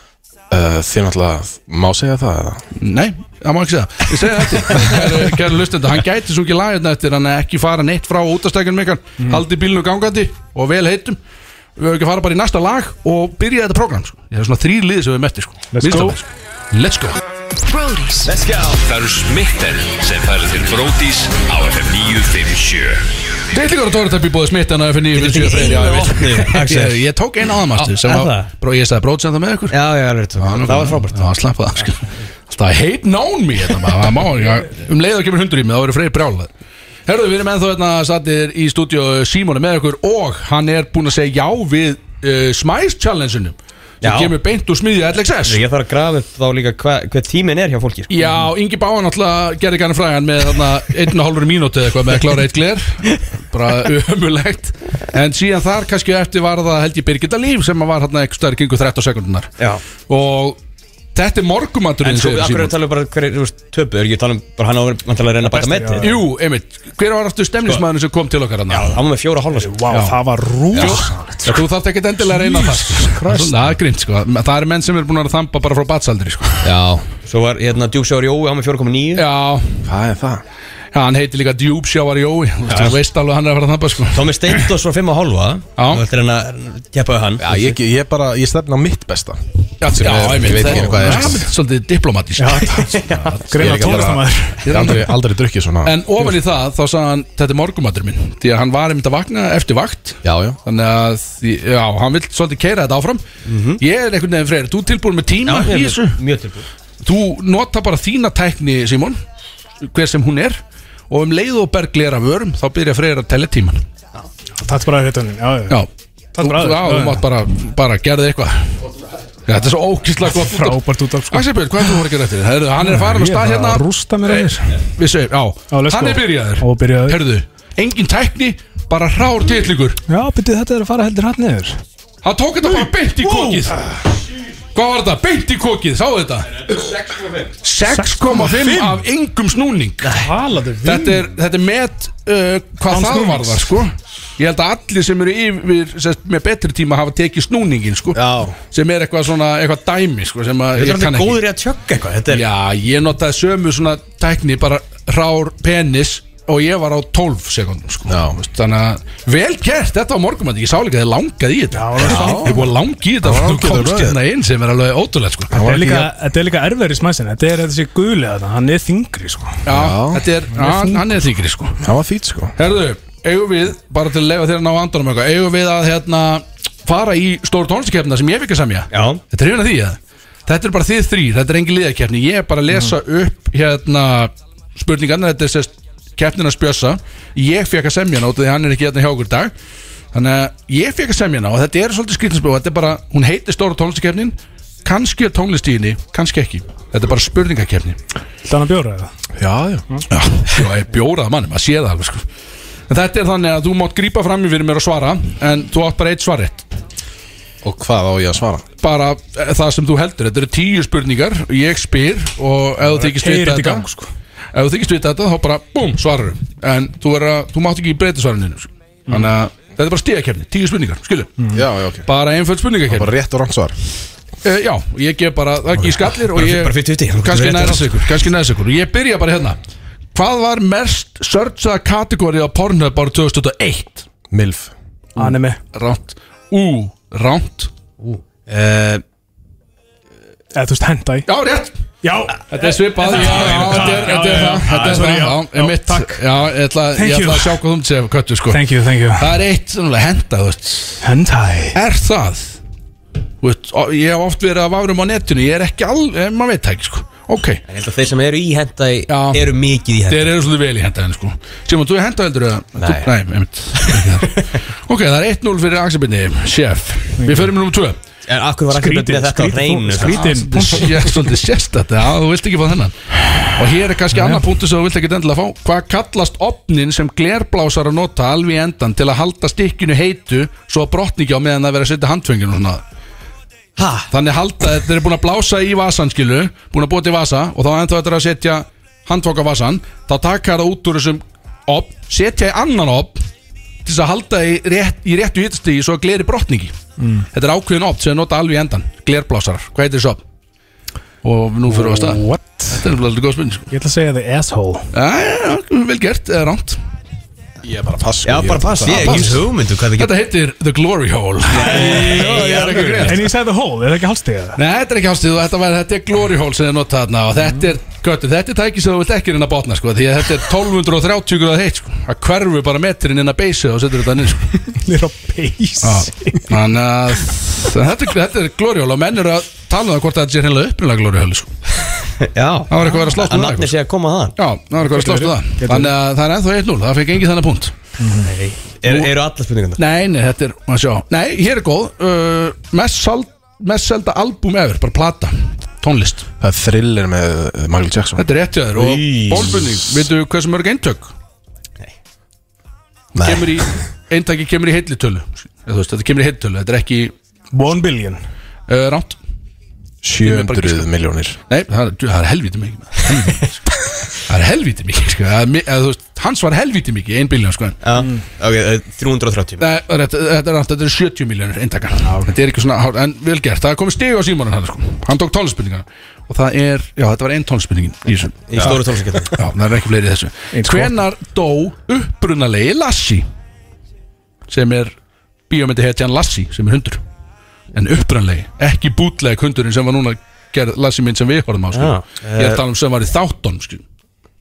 S5: uh, Þið náttúrulega má segja það eða?
S1: Nei, það má ekki segja það. Ég segi þetta, kæru- kæru lustenda Hann gæti svo ekki lagin eftir, hann er ekki fara neitt frá útastækjunum ykkar, haldi bílnu gangandi og vel heitum Við höfum ekki að fara bara í næsta lag og byrja þetta program sko. Ég hef svona þrý liði sem við mettir sko.
S3: Let's go.
S1: Viðstæðum, sko. Let's go
S8: Brody's
S6: Það eru smitten sem færið til Brótis á FM 957
S1: Deillingar og Tóratöpp í bóði smitt en að FN9
S2: Þetta er einu opni, Axel.
S1: ég, ég tók eina aðamastu sem
S2: Er
S1: var,
S2: það?
S1: bró, ég sagði brótsenda með ykkur
S2: Já, já, alveg rétt. Það var frábært
S1: Það var slappað af, sko. Alltaf hate known me hérna, maður, það má ekki, um leið og kemur hundur í mig, þá verður freyr brjálað Herðu, við erum ennþá hérna sattir í stúdíu Simóni með ykkur og hann er búinn að segja já við uh, Smice Challenge-unum sem
S2: Já.
S1: kemur beint úr smiðja LXS
S2: Ég þarf að grafa upp þá líka hva- hver tíminn er hjá fólki sko.
S1: Já, Ingi Báan alltaf gerði gana frægan með þarna einn og hálfur mínúti eða eitthvað með að klára eitt gler bara umulegt en síðan þar kannski eftir var það held ég Birgitta Líf sem var hérna eitthvað stærri kringu 13 sekundunar
S2: Já.
S1: og þetta er
S2: En
S1: morgumaturinn
S2: svo,
S1: segir
S2: af hverju
S1: Símon.
S2: tala bara hver, þú veist, töpu, er ekki að tala um bara hann á að tala að reyna að bæta með þetta?
S1: Jú, einmitt, hver var aftur stemnismæðurinn sem kom til okkar hann?
S2: Hann var með fjóra hálfa sko.
S3: Vá, það var rúsa
S1: Já, þú þarft ekkert endilega að reyna það sko. Það er grímt sko, það eru menn sem er búin að þamba bara frá batsaldri sko
S2: Já Svo var hérna Djúksjóður Jói á með 4,9
S1: Já,
S5: Hvað er það?
S1: já, hann heitir líka Djúb Sjávar Jói, Þú veist, þú veist alveg að hann er að fara að þamba sko
S2: Tómi Steindos var 5,5
S1: Já.
S2: Þú ættir hann að keppa við hann
S5: Já, ég, ég bara, ég stefna á mitt besta
S1: Já,
S5: Sem
S1: já,
S5: er-
S1: einmitt,
S5: ég veit ekki
S1: það-
S5: hvað er.
S1: það er Svolítið diplomatísk
S5: Ég er
S3: Greina
S5: ekki að fara-
S3: tónlistamæður
S5: Ég er aldrei, aldrei drukkið svona
S1: En ofan í það, þá sagði hann Þetta er morgumatur minn, því að hann var einmitt að vakna Eftir vakt,
S5: Já, já
S1: þannig að því- Já, hann vill svolítið keira þetta áfram
S5: Mhm.
S1: Ég er einhvern veginn freyr, þú er tilbúin með tíma
S2: ég
S1: í
S2: er
S1: þessu
S2: mjög- mjög tilbúin
S1: Þú nota bara þína tækni, Simon Hver sem hún er Og um leið og bergli er af vörum Þá byrja freyr að tella tíman
S3: Takk bara að hittanum, já, já
S1: Já,
S3: Það
S1: þú,
S3: er bara aðeins.
S1: já,
S3: Já,
S1: þú
S3: já.
S1: mátt bara, bara gerði eitthvað Já, þetta er svo ókýrslega gott
S3: Frábært út af sko
S1: Axel Björn, hvað er þú voru að gera eftir? Heru, hann er farin á stað hérna
S3: Rústa mér aðeins
S1: Við segjum, já,
S3: Já, let's
S1: hann
S3: go.
S1: er byrjaður
S3: Og byrjaður.
S1: Herðu, engin tækni, bara hrár titlingur
S3: Já, byrju þetta er að fara heldur hann niður
S1: Hann tók þetta bara beint í kokið Hvað var þetta? Beint í kokið, sáu þetta? 6,5 af engum snúning
S3: Halaðu
S1: Þetta er, þetta er met uh, hvað
S3: Án
S1: það
S3: snúnings.
S1: var það sko Ég held að allir sem eru yfir sest, með betri tíma hafa tekið snúningin sko
S5: Já.
S1: sem er eitthvað svona, eitthvað dæmi sko sem að
S2: Þú
S1: ég
S2: ættir
S1: kann
S2: hann
S1: ekki
S2: góður í að tjögga eitthvað Þetta er
S1: Já, ég notaði sömu svona tækni bara rár penis og ég var á 12 sekundum sko.
S5: Já.
S1: Þú veist, Þannig að vel gert þetta á morgumandi Ég sá líka að þið langaði í þetta
S3: Já, það er
S1: Ég er búið að langi í þetta og
S5: Já, getur
S1: þú komst
S5: verið.
S1: hérna inn sem er alveg ótrúlegt sko.
S3: Þetta
S1: Já,
S3: er líka, þetta er líka erfæri smæsin Þetta er þessi guli þarna, hann er þingri sko
S1: þetta er, hann- hann er þykri sko
S5: Það var fýt sko
S1: Herðu, eigum við, bara til að lefa þér að ná andanum eitthvað Eigum við að hérna fara í stóru tónlistakefna sem ég fikk að semja
S2: Já
S1: Þetta er hérna því að Þetta er bara þið þrýr, þetta er engin liðakefni Ég er bara að lesa upp hérna spurningarna, þetta er sérst keppnin að spjösa Ég fekk að semja hana út af því að hann er ekki hérna hjá okkur í dag Þannig að ég fekk að semja hana og þetta er svolítið skrýtinsbjó Þetta er bara, hún heitir stóra tónlistakefnin kannski er tónlist í henni, kannski ekki Þetta er bara spurningakefni
S3: Þannig að bjóra eða
S5: Já, já
S1: Já, já, ég bjóraða manni, maður sé það alveg sko En þetta er þannig að þú mátt grípa fram í fyrir mér og svara En þú átt bara eitt svarrétt
S5: Og hvað á ég að svara?
S1: bara eh, það sem þú heldur þetta eru tíu spurningar, ég spyr og ef þú þykist
S3: keyrir
S1: vita
S3: þetta í
S1: þetta
S3: gang, sko.
S1: ef þú þykist vita þetta þá bara búm, svarar en þú, vera, þú mátt ekki breyta svarinu sko. þannig að þetta er bara stíðakefni, tíu spurningar skilu,
S3: Mm.
S5: Já, já, ok
S1: bara einföld spurningakefni
S5: Bara rétt og rangt svar
S1: uh, já, og ég gef bara, það ekki í skallir og ég,
S2: bara 50-50, þú getur
S1: kannski
S2: verið
S1: næðis
S2: réttur.
S1: ykkur, kannski næðis ykkur og ég byrja bara hérna hvað var mest searchaða kategórið á Pornhub árið 2001
S5: Milf
S3: Hann er með
S1: ránt, ú, ránt
S2: Eh,
S3: Eða þú veist henda í
S1: já, rétt
S3: Já,
S1: Þetta er svipað, já, já, þetta er- þetta er það, þetta er það,
S3: sorry, já.
S1: já,
S3: Já,
S1: ég mitt,
S3: takk.
S1: já, ég ætla, ég
S3: Thank
S1: ætla
S3: you.
S1: að sjá hvað þú myndir segja, Köttu, sko.
S3: thank you, thank you
S1: Það er eitt, svona, henda, þú veist,
S3: Henda í
S1: er það, þú veist, ó, ég hef oft verið að várum á netinu, ég er ekki alveg, maður veit það ekki, sko, ok,
S2: Ég held að þeir sem eru í henda
S1: Já.
S2: eru mikið í henda
S1: þeir eru svolítið vel í henda henni, sko. Simon, þú er henda heldur, eða? Þú-
S2: Nei.
S1: Nei, <laughs> einmitt, ekki þar. ok, það er 1-0 fyrir Axelbyrni, chef, við förum um 2.
S2: En akkur var akkur
S3: Skrítið,
S2: með þetta á
S3: skrítið,
S2: hreinu sko?
S3: skrítið
S1: Þetta er sér- svolítið sérstætt Já, þú vilt ekki fá þennan Og hér er kannski annar punktu sem þú vilt ekki endilega fá Hvað kallast opnin sem glerblásar að nota alveg í endan til að halda stikkinu heitu svo að brotni ekki á meðan það vera að setja handfengin og svona
S2: Ha?
S1: Þannig halda, þeir eru búin að blása í vasan skilu Búin að búa til vasa og þá ennþá þetta er að setja handfóka vasan þá taka það út úr þessum op, setja í annan op til þess að halda í, rétt, í réttu hittstigi svo að gleri brotningi þetta er ákveðin op sem er nota alveg í endan glerblásarar, hvað heitir þessi op? og nú fyrir við að stað
S8: What?
S1: þetta er alveg aldrei góð spurning sko.
S8: Ég ætla að segja þið asshole
S1: Jæja, vel gert, eða ránt
S5: Ég er bara pass
S2: Já, bara pass, ég er ekki hugmyndu hvað það getur
S1: Þetta heitir The Glory Hole <laughs> Nei, ég er ekki að greiða
S8: En ég sagði the hole, er það ekki <laughs> hálstegið það?
S1: Nei, þetta er ekki ástíð og þetta, var, þetta er Glory Hole sem þið notað þarna og þetta er, göttu, þetta er tæki sem þú vilt ekki reyna að botna sko, því að þetta er 1230 gráð heitt sko, að hverfu bara metrin inn að beysu og setur þetta niður
S8: Allir á
S1: sko.
S8: base
S1: Þannig að þetta, er- þetta er Glory Hole og menn eru að tala um það hvort þetta sé hreinlega upprinlega Glory Hole sko.
S2: Já,
S1: Það var eitthvað að vera slátt
S2: að
S1: um það
S2: nafni
S1: eitthvað.
S2: sé að koma þaðan
S1: Já, það var eitthvað að vera slátt um það Þannig að það er ennþá 1-0, það fekk engin þennan punkt
S2: Er- Eru alla spurningarna?
S1: Nei, nei, þetta er, maður sjá Nei, hér er góð uh, mest, sal, mest selda album ever, bara plata Tónlist,
S5: Það er thriller með eh, Michael Jackson
S1: þetta er rétt hjá þér Og bólbunning, veitu hversu mörg eintök? Nei kemur í, Eintaki kemur í heillitölu Eða þú veist, Þetta kemur í heillitölu, þetta er ekki
S8: One billion
S1: uh, ránt er bara
S5: 700
S1: giska.
S5: miljónir
S1: Nei, það er, það er helvítið mikið maður. Helvíti mikið, sko. Það er helvítið mikið sko. Það er mi- eða þú veist, Hans var helvítið mikið, ein biljón sko. en-
S2: Já, Mm. ok, það er 330
S1: Nei, það er rétt, þetta er rátt, þetta er 70 miljónir eintakar Þetta er ekki svona, hár- en vel gert Það er komið stig á símónin hann sko Hann tók tónlspurningar Og það er, já þetta var ein tónlspurningin í þessu
S2: Í stóru tónlistakettum
S1: Já, það er ekki fleiri í þessu Hvenar dó upprunalegi Lassi Sem er bíómyndi hetjan Lassi Sem er hundur En upprunalegi, ekki bútleg hundurinn sem var núna gerð Lassi mynd sem við horfum á sko
S2: Já.
S1: Ég er að tala um sem var í þáttunum sko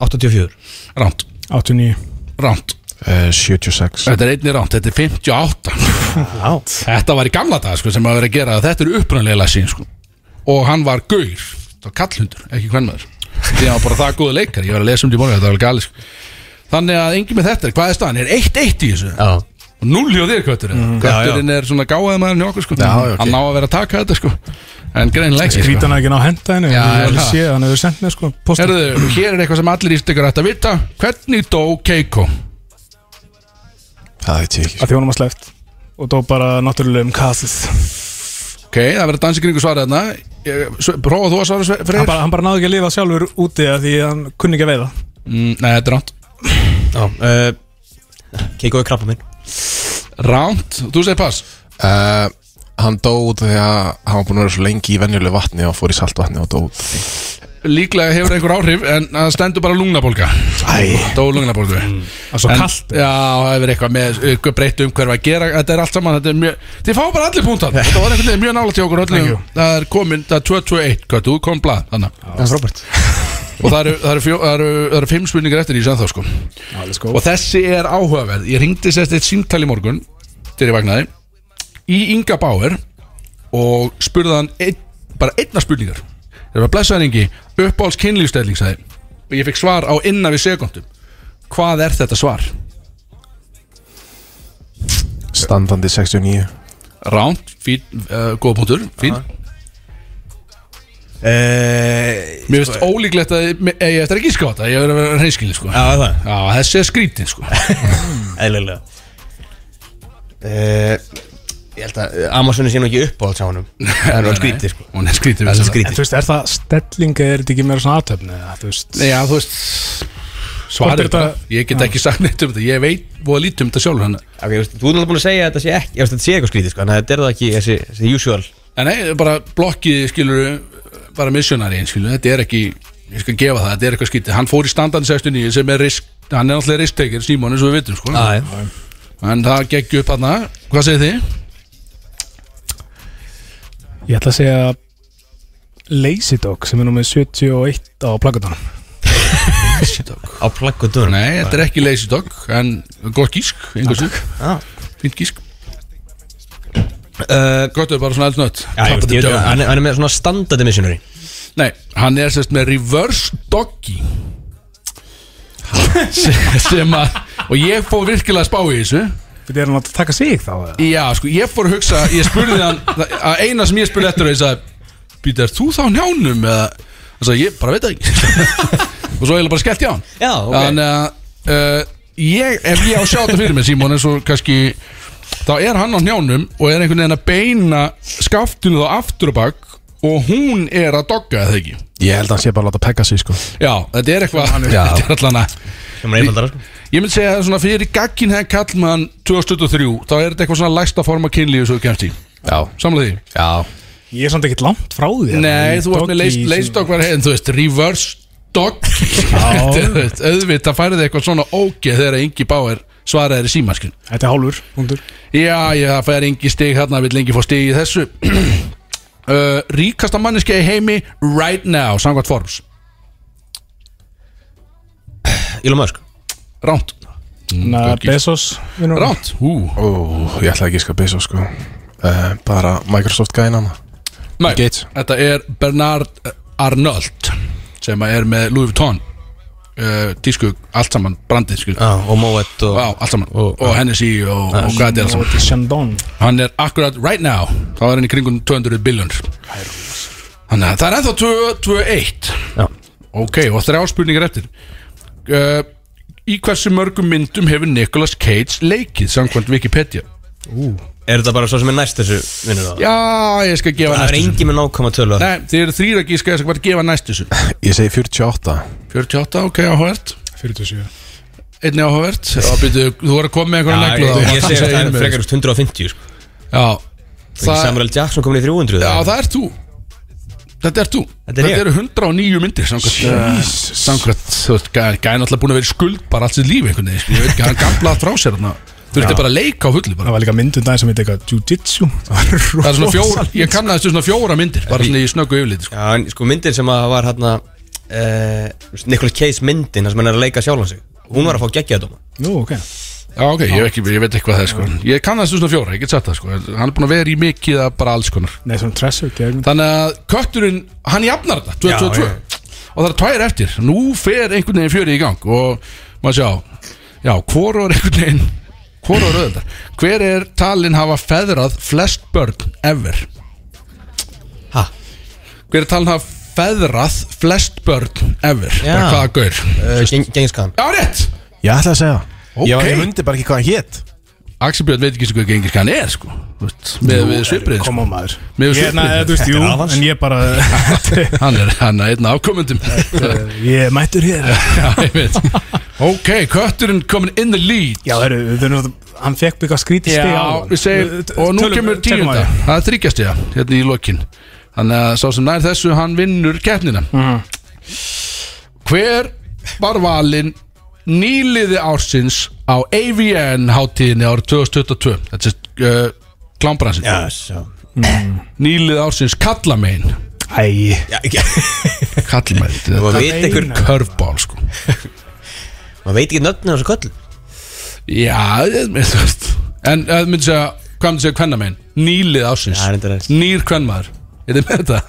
S2: 84
S1: Ránt,
S8: 89
S1: ránt
S5: 76
S1: Þetta er einni ránt, þetta er 58
S2: Já
S1: Þetta var í gamla dag sko, sem að vera að gera þetta er upprunalega lassin sko. og hann var gaur, það var kallhundur ekki hvernmaður, því að hann var bara það góða leikar ég var að lesa um þetta í morgun, þetta var alveg gali sko. þannig að engin með þetta, er, hvað er staðan? er 1-1 í þessu,
S2: Já
S1: og 0 hjá þér kvöturinn mm, kvöturinn er svona gáðið maður hjá okkur sko. já,
S5: já, ok.
S1: hann ná að vera að taka þetta sko. en greinlega ekki, sko.
S8: Skrítan að ekki ná að henda henni
S1: Já,
S8: Ég
S1: er
S8: alveg
S1: það?
S8: sé að hann hefur sendt mér sko Posta
S1: Herðu, hér er eitthvað sem allir ístekar ætti að vita hvernig dó Keiko
S5: Það veit ég
S8: að
S5: ekki
S8: því honum var sleppt Og dó bara náttúrulega um kassis
S1: ok, það verður dansi kringu svarað þarna prófa þú að svara Sve-
S8: hann
S1: Freyr
S8: bara, hann bara náði ekki að lifa sjálfur úti að því að hann kunni ekki að veiða
S1: Mm, nei, þetta er ránt
S2: Já uh, Keiko er krabba minn
S1: ránt, þú segir pass
S5: Eh, Hann dó út því að hann var búin að vera svo lengi í venjulegu vatni og fór í saltvatni og dó út
S1: líklega hefur einhver áhrif en það stendur bara lungnabólga
S5: Æ,
S1: dó lungnabólgu
S8: Mm. Það er svo
S1: En-
S8: kallt
S1: já, það hefur eitthvað með eitthvað breytt um að gera þetta er allt saman þetta er mjög þið fá bara allir púntar þetta var einhvern veginn mjög nála til okkur öllum það er komin það er 221 hvað þú kom blað þannig
S2: Það er Robert
S1: <laughs> og það eru, það, eru fjó, það, eru, það eru fimm spurningar eftir í sem þá sko og þessi er áhugaverð ég ringdi sérst eitt símtal í morgun til ég vagnaði í Inga Bauer og spurði hann ein, bara einna spurningar það var blessaðan Ingi uppáhalds kynlífstælling sagði og ég fekk svar á innan við sekundum hvað er þetta svar?
S5: standandi 69
S1: Ránt, fín, uh, góða punktur, fín
S2: uh,
S1: Mér finnst ólíklegt að ég, eh, ég eftir ekki skáta, ég verður að vera hreinskilin sko
S2: Já, það er
S1: Já, þessi er skrítin
S2: <laughs>
S1: sko
S2: Eðlilega uh, Ég held að Amazonu sé nú ekki upp á alls á honum <laughs> Það er alveg skrítið sko
S1: Hún er skrítin
S2: Það er svo
S8: En
S2: skrítið
S8: þú veist, er það stelling eða er þetta ekki meira svona aðtöfni eða þú veist
S1: Já, þú veist
S8: Hvort
S1: Svarið
S8: er þetta-
S1: bara, ég get ekki sagt neitt um þetta Ég veit voða lítið um þetta sjálfur hann
S2: Ok, þú veist, þú ert alveg búin að segja að þetta sé ekki Ég veist, þetta sé eitthvað skrítið sko En þetta er það ekki þessi, þessi usual
S1: En nei, bara blokkið skilur bara missionari eins skilur Þetta er ekki, ég skal gefa það, þetta er eitthvað skítið Hann fór í standandi 69 sem er risk Hann er alltaf risktekir, Simon, eins og við vitum sko
S2: ah,
S1: En það gekk upp hann Hvað segir þið?
S8: Ég ætla að segja Lazy Dog sem er númið 71 á plakatunum
S2: Á plagg og dörn
S1: Nei, þetta er ekki lazy dog En gott gísk, einhvers
S2: Já.
S1: Fint gísk
S2: uh,
S1: Gott er bara svona eldnött
S2: Já, ég veist, ég veit, hann, er- hann er með svona standard missionary
S1: Nei, hann er sérst með reverse doggy Sem- <laughs> sem að og ég fór virkilega að spá í þessu
S8: Þetta er hann að taka sig þá eða?
S1: já sko ég fór að hugsa ég spurði hann að eina sem ég spurði eftir og ég sagði býta er þú þá njánum eða hann sagði ég bara veit það ekki <laughs> og svo eiginlega bara skellt hjá hann
S2: Já, ok.
S1: þannig að uh, ég ef ég á að sjá þetta fyrir mig Simon eins og kannski þá er hann á njánum og er einhvern veginn að beina skaftinu þá aftur og bak og hún er að dogga eða ekki
S5: Ég held að hann sé bara að láta pegga sig sko
S1: já, þetta er eitthvað þetta er allan að
S2: sem er einfaldara sko.
S1: ég myndi segja að svona fyrir gaggin henn kallmann 2023 þá er þetta eitthvað svona lægsta form af kynlífi sem þú kemst í
S5: Já,
S1: samlega því
S5: já
S8: Ég er samt ekkert langt frá því
S1: Nei, þú varst með leys- leysdogg var heiðin, þú veist, reverse dog <laughs> Þetta er, þú veist, Auðvitað færið eitthvað svona ógeð þegar Ingi Bauer svaraði í símaskun
S8: Þetta er hálfur, hundur
S1: Já, já, það fær Ingi stig hérna, vill Ingi fá stig í þessu <clears throat> uh, Ríkasta manneski í heimi right now, samkvæmt Forbes
S2: Elon Musk
S1: Ránt,
S8: Na,
S1: ok.
S8: Bezos vinur.
S1: ránt, hú
S5: Ó, ég ætla ekki að skapa þessu sko uh, Bara Microsoft gæna hana
S1: Nei,
S5: Gates.
S1: Þetta er Bernard Arnold sem er með Louis Vuitton uh, tísku, allt saman, brandið skil
S2: ah, og Moet og
S1: Já, allt saman, og, Hennessy og, og hvað þetta er allt saman
S8: Og þetta er Shandon
S1: Hann er akkurat right now Þá er hann í kringum 200 billion Þannig að það er ennþá 2-1
S2: Já.
S1: Ok, og þrjá spurningar eftir uh, Í hversu mörgum myndum hefur Nicolas Cage leikið samkvæmt Wikipedia?
S2: er þetta bara svo sem er næst þessu vinnur það
S1: Já, ég skal gefa
S2: það er
S1: næstu þessu
S2: engin með nákvæma tölu
S1: Nei, þið eru þrýra gíska þess að hvað gefa næstu þessu
S5: Ég segi 48
S1: 48, ok, áhugavert
S8: 47
S1: Einni áhugavert Já, byrju, þú voru að koma með
S2: Já,
S1: einhverja
S2: ég,
S1: neglu þá.
S2: ég segi að það
S1: Segðu
S2: er
S1: mér.
S2: frekar úr 150 sko.
S1: Já, það,
S2: Samuel L. Jackson komin í 300
S1: já,
S2: eða?
S1: það er þú Þetta er þú
S2: Þetta er ég.
S1: eru 109 myndir samkvæmt eh, samkvæmt, þú veist, gæði náttúrulega búin að vera í skuld bara allt sitt lífi einhvern veginn, sko. ég veit ekki, hann gamlaði frá sér þarna þurfti bara að leika á hulli bara
S8: Það var líka myndun dag sem heit eitthvað Jiu-Jitsu <laughs> Það var
S1: það er svona fjóra,
S8: rosaleg.
S1: ég kannaði þessu svona fjóra myndir bara svona í snöggu yfirliti, sko
S2: Já, en sko myndir sem að var hérna uh, Nicolas Cage myndin þar sem hann er að leika sjálfan sig hún var að fá geggjaða dóma
S8: Jú, ok
S1: já, ok, ég, veit ekki, ég veit ekki hvað það er, sko ég kannaði þessu svona fjóra, ég get sagt það, sko hann er búin að vera í mikið að bara alls konar
S8: Nei, svona Treasure gegn
S1: þannig að kötturinn, hann jafnar þetta 2022 og það er tvær eftir nú fer einhvern veginn fjöri í gang og maður sjá, já, hvorur einhvern veginn, hvorur auðvitað hver er talin hafa feðrað flest börn ever
S2: Ha?
S1: hver er talin hafa feðrað flest börn ever,
S2: Já.
S1: bara hvaða gaur
S2: uh, Geng, Gengis Khan
S1: já, rétt,
S5: Ég ætla að segja Ég var í
S1: Eh, ok
S5: hundi bara ekki hvað hann hétt
S1: Axel Björn veit ekki sem hvað gengis hann er sko, Þú veist, með, með svipriðin sko.
S8: Koma maður
S1: Mér
S8: Ég,
S1: finnst
S8: na,
S1: svolítið.
S8: þú veist, jú, en ég bara <laughs>
S1: hann er hann er einn af
S5: <laughs>
S1: komundum
S8: Ég er mættur
S1: <laughs>
S8: hér
S1: Já, ég veit Ok, kötturinn komin in the lead
S8: Já, heru, við finnum að hann fekk byggja skrítið stig á hann.
S1: við segjum Og nú
S8: Tölum-
S1: kemur
S8: tökum
S1: tíunda
S8: að því.
S1: Það er þryggjastega, hérna í lokin Þannig að sá sem nær þessu, hann vinnur keppnina
S8: Mhm.
S1: Hver var valinn nýliði ársins á AVN hátíðinni árið 2022 Þetta er uh, klámbransin
S2: Já, svo
S1: Nýliði ársins kallamein
S8: <laughs> Æ,
S2: Já, ekki
S1: Kallamein, þetta
S2: Maður
S1: er
S2: veit einhver
S1: körfból sko
S2: Maður veit ekki nöfnir þessu köll
S1: Já, ég með þú veist En það myndi segja, hvað myndi segja kvenna megin? Nýlið ásins,
S2: Já, reyndar aðeins.
S1: nýr kvennmaður Er þið með þetta?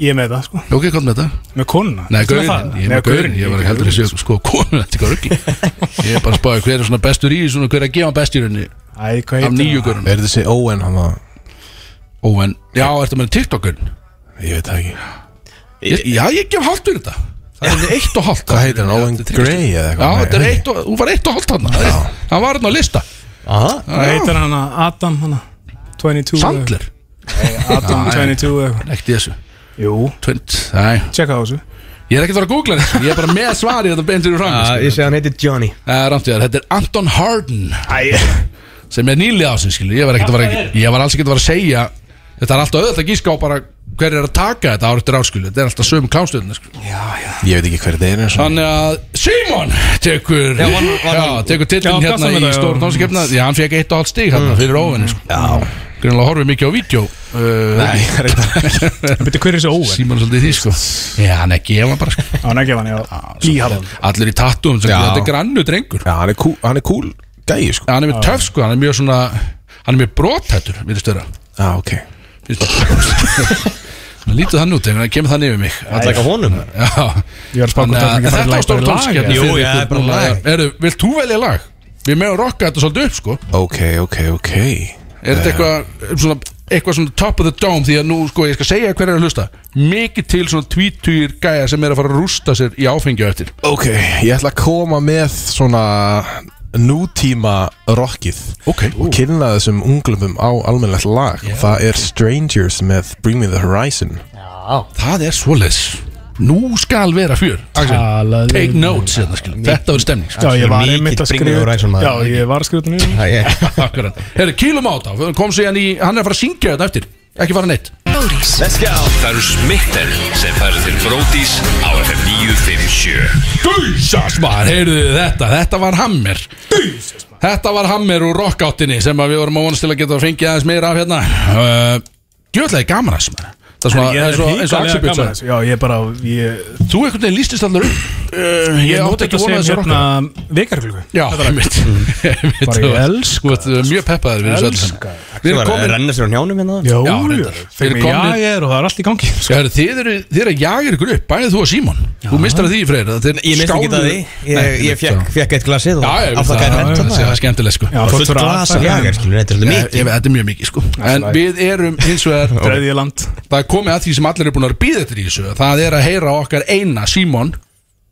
S8: ég er með það, sko
S1: Ok, hvað með þetta?
S8: Með konuna
S1: Nei,
S8: Ertu með það?
S1: gaurin, ég er
S8: Nei,
S1: með gaurin Ég var ekki heldur að segja, sko, konu þetta er
S8: <laughs>
S1: ekki Ég er bara að spáði hver er svona bestur í þessu og Hver er að gefa best í rauninni
S8: Æ, hvað
S1: Af
S8: heitir
S1: nýju gaurin
S5: Er þessi Owen hann að
S1: Óven, já, ertu með TikTokur?
S5: Ég veit það ekki
S1: Já, ég gef hálft fyrir þetta Það er eitt og hálft
S5: Hvað heitir hann? Owen Gray eða
S1: Já,
S5: eitthvað?
S1: þetta er eitt og, hún var eitt og hálft hann Hann var hann á lista
S2: Aha
S8: Hvað heitir hann að Adam, hann að 22
S1: Sandler,
S8: eða- Adam
S1: Já,
S8: 22 eða eitthvað
S1: ekkert í þessu
S8: Jú,
S1: Tvind, næ,
S8: tjekka á þessu
S1: Ég er ekkert að vera að googla þetta Ég er bara með svari þetta beintur úr
S2: Já,
S1: fram
S2: ég segi hann heitir Johnny
S1: Rámtíðar, þetta er Anton Harden sem er nýlið á sinni, skilu Ég var, ekkert að vera, ég var alls ekkert að vera að segja Þetta er alltaf auðvitað að gíska á bara hver er að taka þetta ár eftir ár, skilu Þetta er alltaf sömu klánstöðuna, skilu
S5: Ég veit ekki hver þetta er eins og
S1: Þannig að Simon tekur Já,
S2: hann- var hann-
S1: tekur
S8: Já,
S1: tillin
S8: gafst
S1: hérna
S8: hann
S1: í
S8: þetta, já.
S1: stór námskefna Já, hann fekk eitt og allt stig hérna fyrir óvinni, sko Já Grunlega horfið mikið á vídeo uh, Nei,
S8: Byrju, hver er þessi óver?
S1: Simon er svolítið í því, sko Já, hann er ekki, ég var bara, sko
S8: Á, hann ekki hann, já Blíharðan
S1: Allir í tattum, sko, þetta er grannu drengur
S5: Já, hann er cool, hann er cool gæi sko
S1: Já, hann er mjög töff sko, hann er mjög svona hann er mjög brothættur, við störa
S5: Já, ok
S1: <laughs> hann lítið þann út, en hann kemur þann yfir mig
S2: Það er
S1: Alla-
S2: ekki honum
S1: Já,
S8: Ég var að spaka þetta
S1: þannig að
S8: ekki
S1: þetta var stór tónskjöld
S2: Jú, já, það er bara lag.
S1: Eru, vilt þú velja lag? Við meðum rocka þetta svolítið upp sko
S5: Ok, ok, ok
S1: Er
S9: Eh,
S1: þetta eitthvað svona, eitthvað svona top of the dome því að nú sko, ég skal segja hver er að hlusta mikið til svona tvítugir gæja sem er að fara að rústa sér í áfengju eftir
S5: Ok, ég ætla að koma með svona
S9: nútíma rockið
S1: Ok.
S9: og kynna þessum unglöfum á almennlegt lag og það er Strangers með Bring Me The Horizon
S1: Það er svoleiðs Nú skal vera fjör Axel,
S10: Talaðu
S1: take
S10: um-
S1: notes hérna, skilur. Þetta verður stemning
S10: Já, ég var
S2: Mikill
S10: einmitt að
S2: Bring Me The
S10: skrifa
S2: Horizon, maður.
S10: Já, ég var að skrifa þetta niður.
S1: <laughs> Akkurat Herri, kýlum á þetta Kom síðan í Hann er að fara að syngja þetta eftir Ekki fara neitt
S11: Bóris
S6: Það eru smitten sem færi til Brótis á FM 957
S1: Jesus maður, heyrðu þið þetta Þetta var Hammer Þetta var Hammer úr rockáttinni sem að við vorum að vonast til að geta að fengja aðeins meira af hérna uh, Gjöðlega gaman aðeins maður Það er
S3: Ég
S1: svona
S3: er
S1: eins og, eins og
S3: híkalega
S1: Axel Björn
S3: gaman
S1: sagði
S3: þessu. Já, ég bara, ég
S1: Þú einhvern veginn lístist allar upp uh, Ég
S3: Ég
S1: átti
S3: nota
S1: ekki
S3: þetta
S1: að vona
S3: sem
S1: þessi
S3: hérna
S1: rockáttinni
S3: vekarklukku
S1: Já, einmitt <laughs> Einmitt,
S3: Bara
S1: þú
S3: ég
S1: varst-
S3: elska
S1: þú varst, uh, Mjög peppaður við þessu öllu saman.
S3: Elska
S1: Við erum
S2: Var að
S1: komin
S2: renna sér á njánum hérna
S3: Jó,
S1: Já,
S3: já,
S1: reyndar. Þeir
S3: fyrir mig
S1: komnir-
S3: já ég er og það er allt í gangi
S1: Já, herru, þið eru þið eru að jaga ykkur upp, bæðið þú og Símon Þú mistar af því, Freyr að þeir
S2: Ég misti ekki
S1: skáluðu-
S2: það því Ég,
S1: Nei,
S2: ég fekk, fekk eitt glasið og
S1: Já, ég veit
S2: afþakkaði
S1: það,
S2: mér.
S1: það það er skemmtilegt sko
S3: Já, fullt
S12: fullt
S3: fyrir
S12: glas
S3: aðsaka.
S12: af
S2: Já, skilur, þetta er
S1: Ég,
S2: svolítið
S1: ég,
S2: mikið
S1: veit, þetta er mjög mikið sko En við erum hins
S2: <laughs>
S1: vegar
S3: Þriðja land
S1: Það er komið að því sem allir eru búin að býða eftir í þessu Það er að heyra okkar eina Símon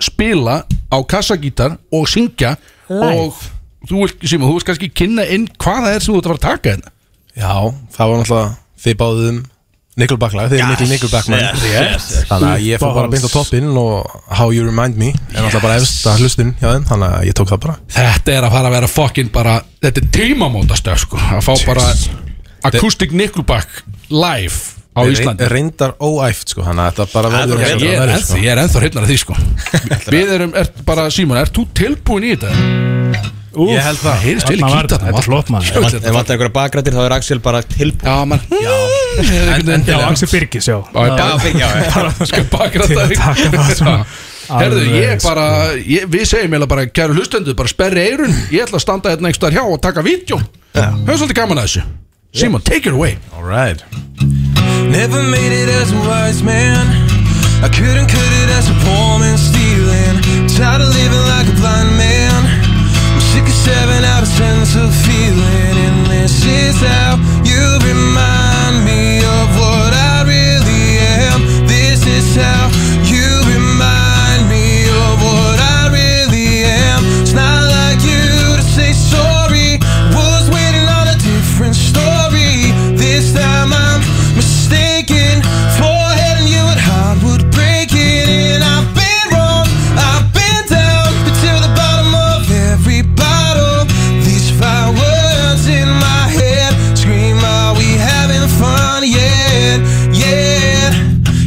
S1: Spila á kassagítar Og syngja Og þú vilt, Símon, þú vilt kannski kynna inn Hvað það er sem þú ert að fara að taka hérna
S9: Já, það var náttúrulega þið báðum Nickelbacklag, þið er Nickel Nickelbackman Þannig að ég fór bara beint á toppinn og How You Remind Me er náttúrulega bara efst að hlustin hjá þeim þannig að ég tók það bara
S1: Þetta er að fara að vera fucking bara Þetta er tímamótastöf sko Að fá bara Acoustic Nickelback Live á Íslandi
S9: Reyndar óæft sko, þannig að þetta bara
S2: Það er
S9: verður
S2: bara
S9: eins og það verður,
S1: Ég er ennþá, ég er ennþá hrifnar af því sko Við erum, er, bara Símon, ert þú tilbúin í þetta?
S3: Úf,
S9: Ég held það.
S1: heyrist til í
S3: Þarna var
S1: gítarnum
S3: þetta, þetta er flott, maður.
S1: Sjöfull er
S2: Ef
S1: þetta flott.
S2: vantar einhverja bakrættir þá er Axel bara tilbúin
S1: Já, mann En
S3: Já, Axel Birgis, já
S1: Já,
S2: Já,
S1: <laughs>
S3: <laughs>
S1: Skal bakra
S3: Til að taka það
S1: þetta
S3: svona
S1: Herðu, ég
S3: alveg, sko.
S1: bara ég, Við segjum eiginlega bara, kæru hlustendur Bara sperri eirun, ég ætla að standa hérna einhverstaðar hjá Og taka vídjó, höfum svolítið gaman að þessu Simon, take it away
S9: Alright Never made it as a wise man I couldn't cut it as a poor man stealing Tired of living like a blind man I'm sick of seven out of sense of feeling And this is how you remind me of what I really am This is how you remind me of what I really am It's not like you to say sorry Was waiting on a different story This time I'm mistaken for heading you at Hardwood breaking And I've been wrong, I've been down Until the bottom of every bottle These fireworks in my head Scream, are we having fun yet? Yeah,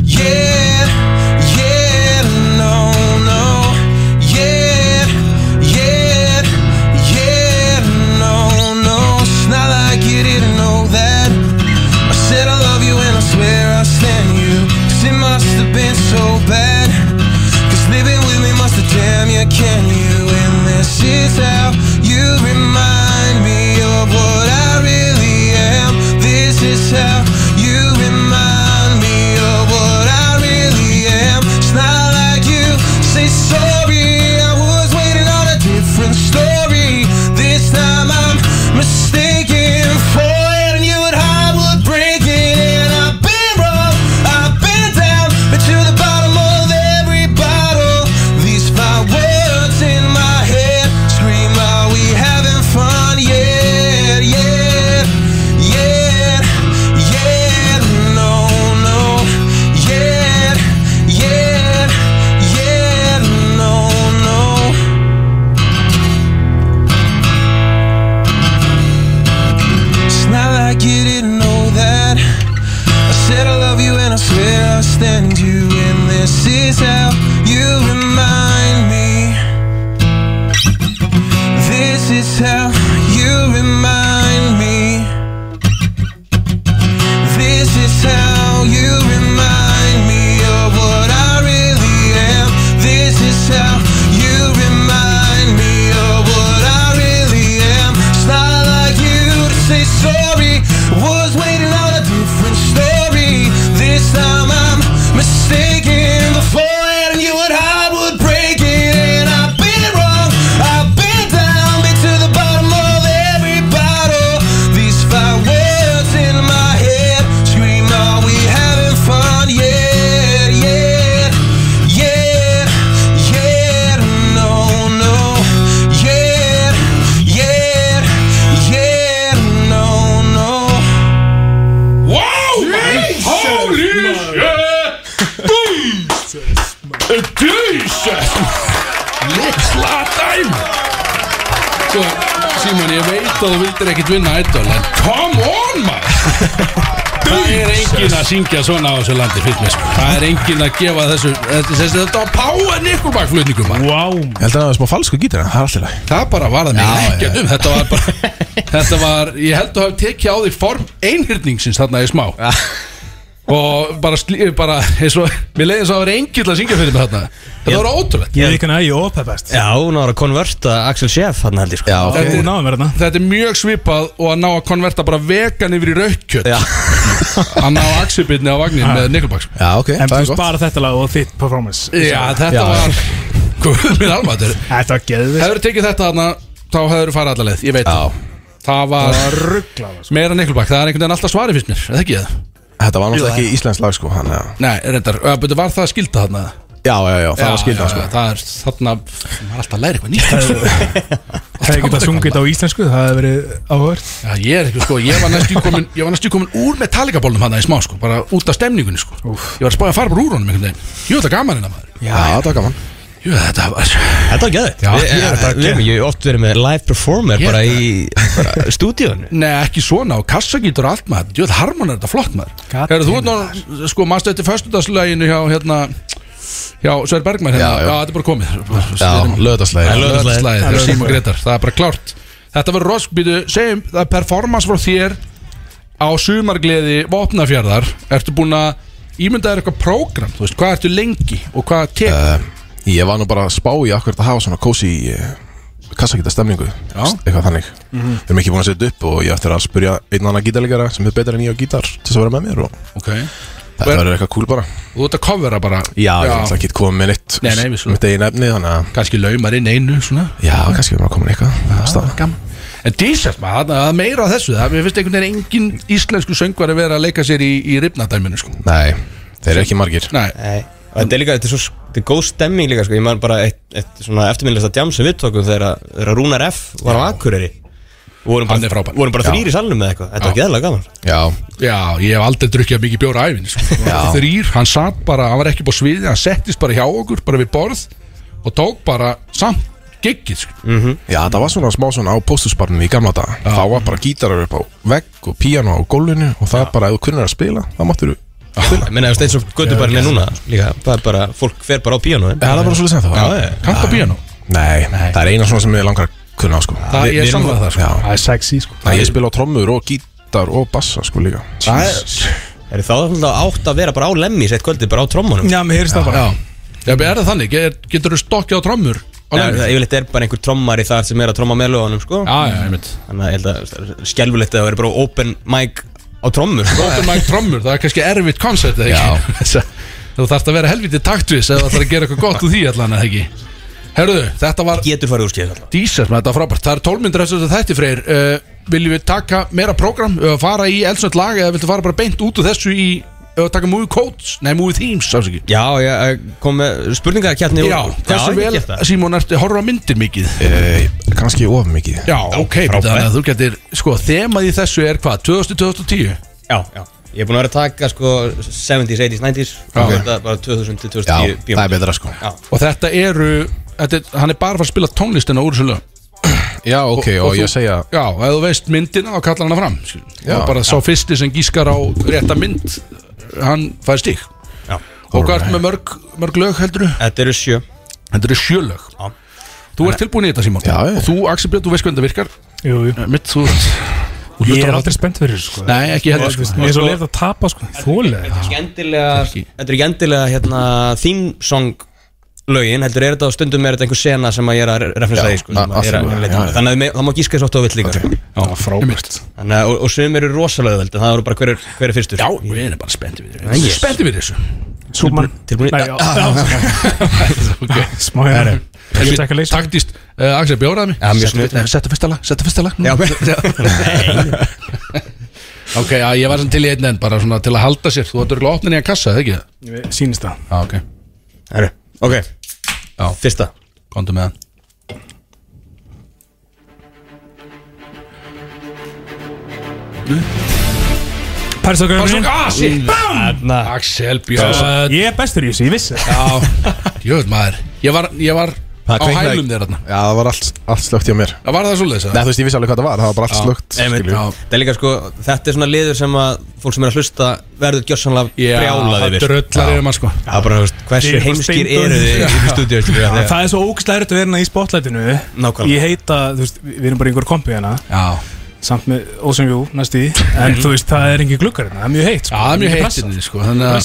S9: yeah, yeah No, no, yeah, yeah, yeah No, no, it's not like you didn't know that I said I love you and I swear I stand you Cause it must have been so bad Cause living with me must have damn you can you And this is how you remind me of what I really am This is how you remind me of what I really am It's not like you say sorry I was waiting on a different story This time I'm mistaken for it And you at Hollywood breaking And I've been wrong, I've been down But to the bottom of every bottle These five words in my head Scream, are we having fun? Yeah, yeah, yeah, yeah No, no, yeah, yeah, yeah No, no It's not like you didn't know that. I said I love you and I swear I stand you. And this is how you remind me. This is how you remind me. This is how you remind me of what I really am. This is how you remind me of what I really am. It's not like you to say sorry. Was waiting on a different story. This time I'm mistaken before.
S1: Jesus Lilla dæm Sko, Simon, ég veit að þú vildir ekkit vinna Idol En come on, maður Það er engin að syngja svona á þessu landi fyrir mér sko. Það er engin að gefa þessu Þetta, þessi, þetta var páen ykkur bakflutningum maður.
S8: Wow
S5: held að það var smá falsku gítar en það er alltaf læg
S1: Það bara varða mig ekkert um Þetta var bara Þetta var, ég held að hafa tekið á því form einhyrningsins þarna í smá Og bara, slí- bara eins og, Mér leiði svo að vera engill að syngja fyrir mig þarna Þetta var ótrúlegt
S8: Ég er ekki að ég opa best
S2: Já, hún var að konverta Axel Schiff hann held ég sko
S8: Þú
S1: Þetta er-
S8: náðum mér þarna
S1: Þetta er mjög svipað og að ná að konverta bara vegan yfir í raukkjöt
S2: Já.
S1: að ná axibitni á vagnin með Nickelbacks
S5: já ok,
S8: En
S5: það
S8: þú
S5: er gott
S8: spara þetta lag og þitt performance
S1: Já, þetta var Guð minn almatur
S8: Þetta var geðvist
S1: Hefur tekið þetta þarna þá hefur farið alla leið, ég veit það Það var
S8: Rugglað sko.
S1: meira Nickelback, það er einhvern veginn alltaf svarið fyrst mér, eða ekki það?
S5: þetta var náttúrulega ekki íslensk lag sko hann, já.
S1: Nei, reyndar, eða, betur, var það skilda þarna?
S5: já, já, já, það var skildan
S1: já,
S5: sko
S1: Það er þarna, maður er alltaf að læra eitthvað nýtt sko.
S5: <laughs>
S8: Hefði getað sungið þetta á íslensku Það hefði verið áhört
S1: Já, ég er ekki, sko, ég var næstu komin, ég var næstu komin úr Metallica-bólnum hann í smá, sko, bara út af stemningunni, sko Ég var að spája að fara bara úr honum einhvern veginn Jú, þetta er gaman hérna, maður
S5: já, það var gaman
S1: Jú, þetta var,
S2: Þetta var gæðið
S1: Já,
S2: Við
S1: ég er bara
S2: við- ég hef oft verið með live performer
S1: Ég er
S2: bara í bara stúdíónu
S1: nei, ekki svona og kassa getur allt, maður, jú, þetta harmonar þetta flott, maður
S8: God
S1: Herra, þú ert nú, sko, mannstu eftir föstudagslöginu hjá, hérna, hjá Sver Bergmann, hérna,
S5: Já,
S1: já,
S5: já.
S1: þetta er bara komið
S5: já, löðarslæg
S1: Löðarslæðið, hjá Simon Gretar, það er bara klárt Þetta var roskbytu, segjum, það er performance frá þér á sumargleði vopnafjörðar Ertu búin að ímynda þér eitthvað prógram, þú veist, hvað ertu lengi og hvað tek
S5: ég var nú bara að spá í akkurat að hafa svona kósi kassakita stemningu eitthvað þannig við erum ekki búin að setja upp og ég á eftir að spurja einn annan gítarleikara sem er betur en ég á gítar til þess að vera með mér og
S1: Ok,
S5: þetta verður eitthvað cool bara
S1: og þú ert að covera bara
S5: já, ég ætla ekki að koma með neitt
S1: Nei, nei, við skulum.
S5: mitt eigin efni þannig að
S1: kannski laumar inn einu svona
S5: já, kannski við erum að koma með eitthvað af stað.
S1: gaman En Dísert maður, það er meira á þessu það Mér finnst einhvern veginn engin íslensku söngvar að vera að leika sér í, í ripnadæminu sko
S5: nei, þeir eru ekki margir
S1: Nei,
S2: Nei, og þetta er líka, þetta er svo þetta er góð stemming líka, sko, ég man bara eitt, eitt svona eftirminnlegasta djam sem við tókum þegar, að- þegar að Rúnar F var á Akureyri vorum
S1: Hann er
S2: bara,
S1: frábær.
S2: vorum bara þrýr í salnum með eitthvað, þetta var geðlega gaman
S5: já,
S1: já, ég hef aldrei drukkið mikið bjóra æfin sko. Þrýr, hann satt bara, hann var ekki búið sviðið Hann settist bara hjá okkur, bara við borð Og tók bara samt giggið sko.
S5: já, það var svona smá svona á póstusbarnum í gamla daga þá var bara gítarar upp á vegg og píano á gólfinu og það er bara ef þú kunnir að spila, það máttur þú
S2: ég meina, það er eins og göttubarinn er núna líka, það er bara, fólk fer bara á bíónu
S5: Já, það er bara svolítið sem það var.
S1: Kanta bíano
S5: Nei, það er eina svona sem ég langar að kunna á sko
S1: Það
S5: Vi-
S1: er
S5: við erum-
S1: samlega það sko
S5: Já,
S8: Það er sexy sko
S5: Nei, ég spila á trommur og gítar og bassa sko líka
S1: Það er-
S2: er þá alltaf átt að vera bara á lemmis eitt kvöldið bara á trommunum
S8: Já, mér heyrist það bara
S1: Já, já er það þannig, Get- getur þú stokkið á trommur á
S2: Það
S1: leiðinni?
S2: er yfirleitt er bara einhver trommar í það sem er að tromma með lögunum sko.
S1: Já, já, ég mynd
S2: Þannig að ég held að það er skelfulegt að það veri bara open mic á trommur sko.
S1: Open mic trommur, það er kannski erfitt koncept eða ekki Þess að- <laughs> Þú þarfst að vera helviti taktvis eða það er að gera eitthvað gott úr því allan eða ekki Herðu, þetta var
S2: Getur farið úr skeið alltaf
S1: dísast með þetta var frábært Það er tólmyndir eftir þetta þætti freyr uh, Viljum við taka meira program, uh, fara í elsnöld lag eða viltu fara bara beint út úr þessu í uh, taka movie codes, nei movie themes afsakið.
S2: Já, ég kom með spurningakjarni
S1: Já, hversu
S2: ég
S1: vel,
S2: get það.
S1: Simón, ertu horfa á myndir mikið?
S5: Eh, Kannski of mikið
S1: Já, ok, þannig að þú getur, sko, þemað í þessu er hvað, 2000-2010?
S2: Já, já Ég er búin að vera að taka sko 70s, 80s, 90s og þetta bara 2000 til 2010
S5: Já, það er
S2: bíómynd.
S5: betra sko
S1: Og þetta eru, þetta, er- hann er bara að fara að spila tónlistina úr þessu lög
S5: Já, ok, og,
S1: þú-
S5: ég segja
S1: Já, ef þú veist myndina þá kallar hana fram skilur.
S5: Já.
S1: og bara sá fyrsti sem gískar á rétta mynd hann fær stík
S2: Já.
S1: og hvað ertu með mörg, mörg lög heldur
S2: Þetta eru sjö
S1: þetta eru sjölög
S2: Já.
S1: þú ert tilbúin í þetta Simon
S5: Já, já.
S1: og þú Axel Björn, þú veist hvernig það virkar
S8: Jú, jú
S1: Eh, mitt, þú, þú
S8: Ég
S1: hlustar
S8: er
S1: á-
S8: aldrei spennt fyrir þessu sko
S1: nei, ekki heldur sko.
S8: Ég er svo leið að tapa sko Þólega
S2: Þetta er ekki endilega,
S1: Ekki.
S2: þetta er ekki endilega hérna, theme song lögin, heldur er þetta á stundum er þetta einhver sena sem að ég er að referensa í sko, sem
S5: að-
S2: að ég er að-
S5: að-
S2: leita að-
S5: já, já.
S2: þannig að það má gíska svo oft á vill líka okay.
S1: já, frábært
S2: þannig að, og, og sum eru rosalega veldi, það eru bara hver er, hver er fyrstur
S1: já, við erum bara spenntið við þessu
S2: yes.
S1: spenntið við þessu
S8: Súman
S2: tilbúin
S8: Nei,
S2: í,
S8: já <laughs> Smá hérna Ég vil taka leysa
S1: taktist uh, Axel bjóraði mig
S2: Já,
S1: Settu-
S2: mjög sniðugt.
S1: nei, settu fyrsta lag settu fyrsta
S2: <laughs>
S1: lag já, ok, já, ég var sem til í einn enn bara svona til að halda sér þú ættir að opna nýja kassa, eða ekki?
S8: Sýnist það
S1: já, ok,
S2: Herru, ok,
S1: Já.
S2: fyrsta
S1: komdu með hann
S3: Persókaugurinn
S1: Asi
S8: Mm. Hérna.
S3: Bam!
S1: Axel Björn
S3: Ég er bestur í þessu, ég vissi það.
S1: Já, jöfn maður Ég var, ég var
S5: Það
S1: á
S5: kviknaði-
S1: hælum þér þarna
S5: Já, það var allt, allt slögt hjá mér
S1: Það var það svoleiðis
S5: Nei, þú veist, ég vissi alveg hvað það var, það var bara allt slögt
S2: Einmitt,
S5: skilju.
S2: já. Það er líka sko, þetta er svona liður sem að fólk sem er að hlusta verður gjörsanlega brjálaði
S1: það
S2: yfir
S1: dröllar
S2: Já.
S1: yfir maður sko
S2: Það er bara, þú veist,
S3: Þið
S2: hversu
S3: eru bara
S2: heimskir
S3: steindauðir.
S2: eru þið í stúdíu skilur við,
S3: Það er svo ógstlega erfitt að vera hérna í spotlightinu
S2: Nákvæmlega.
S3: Ég heita, þú veist, við erum bara einhver kompi hérna
S1: Já,
S3: Samt með Ocean View, næst í
S8: Mhm.
S3: En þú veist, það er engin glukkar hérna, það er mjög heitt
S1: Já, það er mjög heitt
S3: Mikil
S8: hérna.
S3: pressa.
S1: inni sko Þannig að,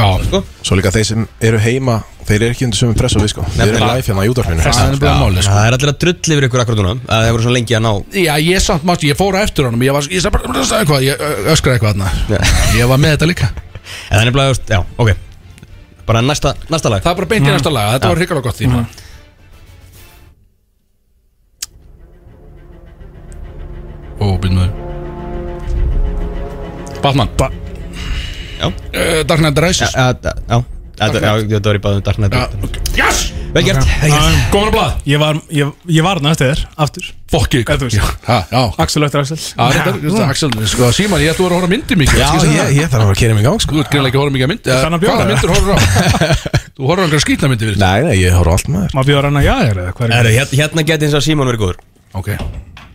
S1: já,
S2: sko.
S5: Svo líka þeir sem eru heima, þeir eru ekki undir sömu press og við sko Við erum
S2: Nefnilega.
S5: live hérna í útvarpinu
S1: það er nefnilega málið sko
S2: Það er allir að drull yfir ykkur akkur núna að Það hefur svona lengi að ná
S1: Já, ég samt mátti, ég fór á eftir honum Ég var, ég sagði bara, sagði eitthvað, ég ö- öskraði eitthvað
S2: Já.
S1: þarna Ég var með þetta líka
S2: En það er nefnilega, þú veist, já, ok Bara næsta, næsta lag
S1: Það er bara beint í næsta laga, þetta var hrikalega gott því Ó, býtum við Batman
S3: Ba-
S2: Já.
S1: Eh, Dark Knight
S2: Já,
S1: Rises
S2: já, já, þetta- já, þetta var í báðum Dark Knight
S1: Já,
S2: Returns.
S1: ok. Yes!
S2: Vel gert, vel gert
S1: Góðan á blað
S3: Ég var, ég, ég var næst þér, aftur
S1: Fokki
S3: Eða þú veist.
S1: Já, já
S3: Axel eftir Axel
S1: Já, þetta er- þetta er Axel, sko, Síman, ég ætti að vera að horfa á myndir mikið
S5: Já, ég, ég þarf að fara að kera mig í gang sko
S1: Þú ert greinlega ekki að horfa mikið að myndi
S3: kann að bjóða
S1: Hvaða
S3: þér.
S1: myndir <laughs> horfur á? Þú horfur á einhverja skýtna myndi við
S5: Nei, nei, ég horf á allt maður
S3: Má bjóða hann að jaðir eða hvað er
S2: Herru, hér- Hérna geti eins og Simon verið góður
S1: Ok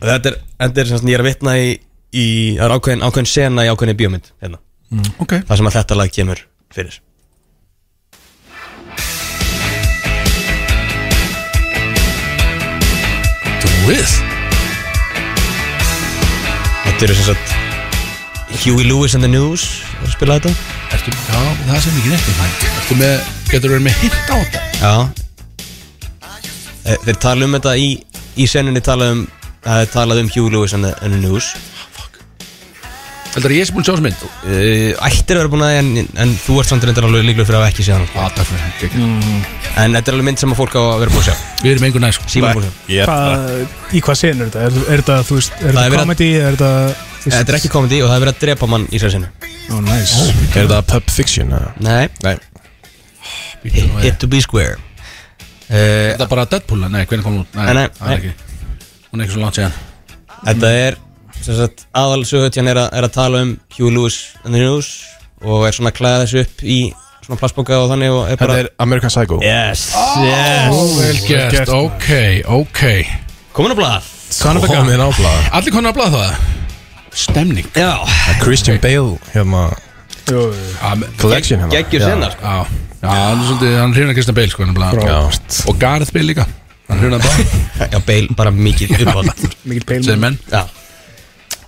S2: Þetta er, þetta er sem sagt, ég er að vitna í, í Það er ákveðin, ákveðin sena í ákveðin bíómynd hérna.
S1: Ok
S2: Það sem að þetta lag kemur fyrir
S1: Þú við
S2: Þetta eru sem sagt Huey Lewis and the News er að spila þetta
S1: Ertu, já, það sem ekki neitt Ertu með, getur verið með hint á þetta
S2: Já Eh, Þeir tala um þetta í, í senunni tala um Það er talað um Hugh Lewis and the, and the News
S1: Heldur að ég sem búin að sjá þessu mynd
S2: uh, Ættir að vera búin að því en, en þú ert samt reyndar alveg líklega fyrir að hafa ekki séð hann
S1: Já, takk fyrir geggjað.
S5: Mm.
S2: En þetta er alveg mynd sem að fólk á að vera búin að sjá
S1: Við erum einhver næ, sko
S2: Síma búin að sjá
S3: Hvað- Í hvað sen er þetta? Er- Er þetta, þú veist, er
S2: er
S3: þetta
S2: verið-
S3: comedy? Er þetta þú veist-
S2: Þetta er ekki komandi og það er verið að drepa mann í sér sinu
S3: Ó, næs
S5: Er það Pub Fiction? eða?
S2: Nei,
S5: Nei,
S1: Bíddu nú,
S2: hit to be square uh,
S1: Þetta er bara Deadpool, nei, hvernig kom hún út?
S2: Nei, nei,
S1: það er
S2: nei.
S1: ekki Hún er ekki svo langt séðan
S2: Þetta er sem sagt, aðalsögutjan er, að- er að tala um Hugh Lewis and the News og er svona að klæða þessu upp í svona plastbóka og þannig og er Ah!
S5: þetta
S2: bara
S5: er American Psycho
S2: Yes, yes
S1: Vel gert, ok, ok
S2: Komin á blað
S5: Komin á blaða
S1: Allir konar að blaða það Stemning
S2: Já,
S5: Christian Bale, hérna Collection hérna
S2: geggjur
S5: Já.
S2: sinna sko.
S1: Já, já, hann er svolítið, hann hrifna Kristján Bale, sko, hann er
S5: Já.
S1: Og Gareth Bale líka Hann hrifna það,
S2: Já, beil bara mikið uppátt <laughs>
S3: Mikið peilum
S1: segir menn
S2: Já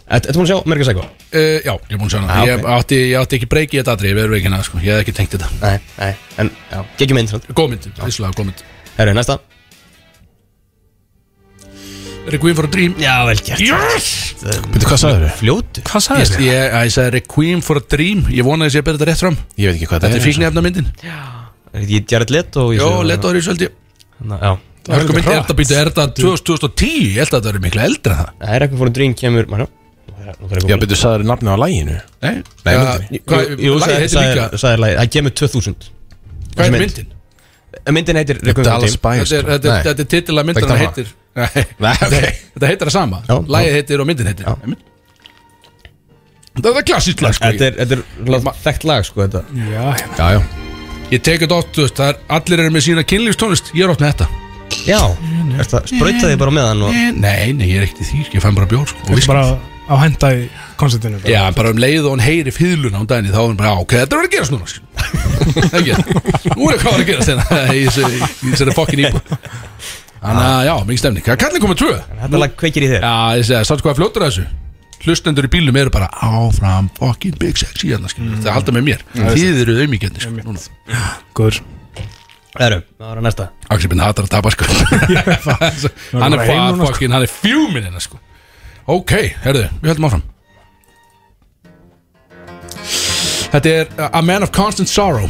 S2: Þetta er múin að sjá Merga Sækó?
S1: Uh, já, ég er búinn að sjá hana
S2: Ah,
S1: ég,
S2: ok.
S1: átti, ég átti ekki breyki í þetta atrið, við erum ekki hana sko. Ég hef ekki tengt þetta
S2: Nei, nei, en já, geggjum einn svona
S1: Góð mynd, vissulega góð mynd
S2: Herru, næsta
S1: Requiem for a Dream
S2: Já, vel gert
S1: Yes!
S5: Veitu hvað sagður þau?
S2: Fljótu
S1: Hvað sagði þetta? Ég, ég sagði Requiem for a Dream Ég vona að ég sé að bera þetta rétt fram
S5: Ég veit ekki hvað sko.
S1: Þetta er fíknefna myndin
S2: Ég er Jared Leto og ég
S1: Jó,
S2: sé-
S1: lett árið svolítið
S2: Na, Já
S1: Hörku mynd, er þetta býtu, er þetta 2010? Ég held að þetta eru miklu eldra en það
S2: Það er eitthvað fórum drýn kemur Mæna Nú þarf ég að
S5: Já,
S2: koma
S5: betur sagður nafni á læginu
S1: Nei,
S5: Nei,
S1: Ja,
S5: myndinni.
S1: hvað-
S2: Jú, jú,
S1: lagið
S2: sagði-
S1: heitir líka
S2: sagði- sagði lagið. Það kemur 2000
S1: Hvað er
S2: mynd?
S1: myndin?
S2: En Myndin heitir Requiem for a
S5: Dallas
S2: Dream.
S5: Bias
S1: Þetta er- þetta er- þetta er titill að myndin
S5: Þetta er
S1: heitir Nei, <laughs>
S5: Nei, ok
S1: Þetta heitir það sama
S2: Já,
S1: Lægið heitir og myndin heitir
S2: Já.
S1: Einmitt. Þetta er klassískt lag sko
S2: Þetta er- þetta er svona þekkt lag sko þetta
S3: Já, já
S5: Já, já
S1: Ég tek þetta oft, þú veist, það er, allir eru með sína kynlífstónlist, ég er oft með þetta
S2: Já Þetta sprauta þig bara á meðan og
S1: Nei, nei, ég er ekkert í því, sko, ég fann bara bjór sko, og
S3: Þetta
S1: viskí.
S3: er bara á henda í koncertinu bara.
S1: Já, en bara um leið og hún heyri fýðluna á daginn þá er hún bara, já, ok, þetta er að gerast <laughs> núna skilur. Ekki, nú er hvað var að gerast hérna <laughs> í þessu- í þessari fokkin íbú Þannig að, já, mikið stemning Það kallir komið tvö Já,
S2: Þetta lag kveikir í þér
S1: ég segi, samt hvað fljótur að þessu Hlustendur í bílum eru bara áfram fokkin big sexy hérna,
S3: Mm.
S1: skilur, það halda með mér Þið eru auðmíkjarnir, sko, núna
S3: Góður
S2: Herru, það var að næsta
S1: Axel Binn hatar að tapa
S3: <laughs>
S1: sko Hann er
S3: bara heim
S1: hvað
S3: núna, sko.
S1: fokkin, hann er fjúminn hérna sko Ok, herðu, við höldum áfram Þetta er uh, A Man of Constant Sorrow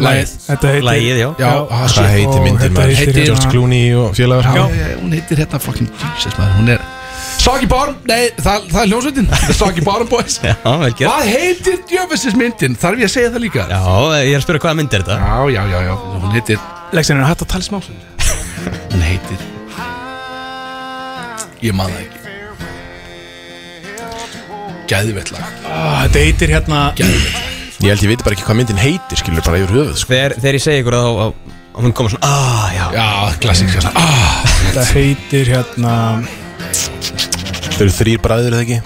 S1: Læð
S3: Þetta heitir
S2: Lagið, já
S1: Já, ah,
S5: Hvað
S1: shit.
S5: heitir
S3: Ó,
S5: myndin
S3: þetta
S5: maður?
S3: heitir
S5: Heitir George
S3: hérna-
S5: Clooney og félagar
S1: Já, já, Hún heitir hérna fokkin Jesus maður, hún er Soggy Bottom, nei, það, það er
S5: <laughs>
S1: hljómsveitin The Soggy Bottom Boys
S2: Já, vel gert
S1: Hvað heitir djöfessis myndin? Þarf ég að segja það líka?
S2: Já, ég er að spyrja hvaða mynd er þetta
S1: já, já, já, já. hún heitir
S3: Lexin er hægt að tala smá
S1: Hún heitir Ég man það ekki Gæðvett lag
S3: Ah, Þetta heitir hérna
S1: Gæðvett
S5: Ég held ég veit bara ekki hvað myndin heitir skilur bara yfir höfuð sko.
S2: Þegar, þegar ég segi ykkur að þá að- að hún koma svona aaa, já
S1: Já, klassík hérna ah,
S3: Þetta heitir hérna
S5: Þau eru þrýr bræður eða ekki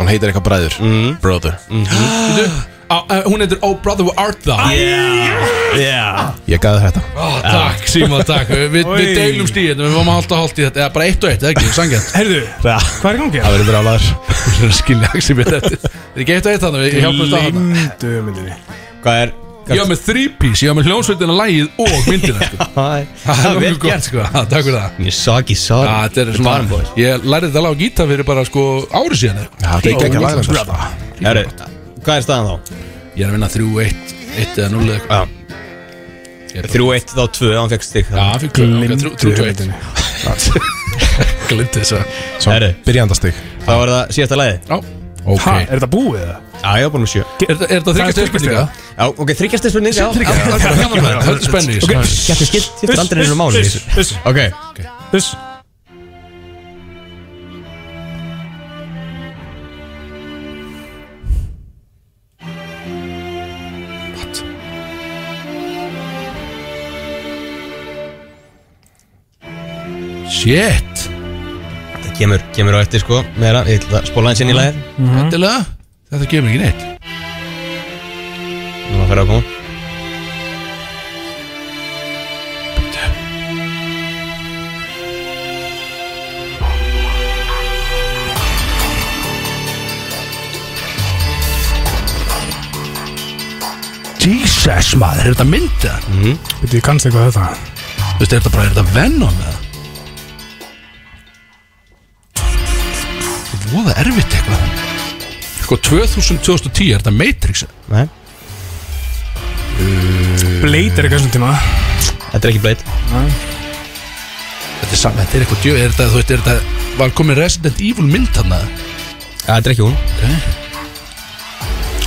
S5: Hann heitir eitthvað bræður mm. Brother
S1: á, eh, Hún heitir Oh Brother Who Art Thou
S5: Ég gaði þetta
S1: ah, Takk, Simon,
S5: <laughs>
S1: takk Við, við, við
S3: Oi.
S1: deilum stíðin Við varum hálft og hálft í þetta Eða bara eitt og eitt, eða ekki, sangjant
S3: Heyrðu, hvað er í gangi? hérna?
S5: Það verður bara alvar
S1: Skilja <laughs> Axi mér þetta Það er ekki eitt og eitt þannig Við hjálpum þetta hann
S3: Lindu myndinni
S2: Hvað er
S1: Ég var með þrípís, ég var með hljónsveitina, lægið og myndina <laughs> sko. Það
S2: Það
S1: er mjög gott sko, Ha, takk fyrir það
S2: Ég sagi sorry
S1: Já, þetta er
S2: Barn
S1: svona,
S2: boys.
S1: ég lærði þetta lag á gítar fyrir bara sko ári síðan eða.
S5: Það er ekki ekki að laga þetta
S2: Herru, Hvað er staðan þá?
S1: Ég er að vinna 3-1, 1 eða 0 eða eitthvað.
S2: Já.
S1: Ég er bara-
S2: 3-1 þá 2 hann fekk stig
S1: Já, fyrir klöðu, 3-2-1 <laughs> Glimti þess að
S2: Herru,
S5: Byrjandastig
S2: þá var það síðasta lagi
S1: Já, ok
S3: Ha, er þetta búið eða?
S2: Já, ég var búin með 7
S1: Er þetta- er þetta þryggja
S3: þriggja
S1: stjórnbyrninga?
S2: Já, ok, þryggjast spurning Já,
S1: Það er sko. gaman að vera, höldu spennu í þessu
S2: Gætti skilt, skiptir aldrei
S1: um
S2: nefnum máli í
S3: Uss,
S2: þessu.
S3: uss,
S2: Ok,
S3: uss
S1: Shit,
S2: það kemur, kemur á eftir sko meira, ég ætla að spóla hans inn í lagið
S1: endilega Þetta gefur ekki neitt
S2: Nú að fara að koma
S1: Jesus maður, er þetta myndið?
S3: Veitu, ég kannst eitthvað þetta
S1: Þú veist, er þetta bara, er þetta Venom eða? Þetta er Voða erfitt eitthvað Sko, 2000-2010, er þetta Matrix? eða?
S2: Nei,
S3: Blade er eitthvað svona tíma
S2: þetta er ekki bleitt
S1: Þetta er saman, þetta er eitthvað djö, er þetta, þú veist, er þetta Var komið Resident Evil mynd hann að
S2: Þetta er ekki hún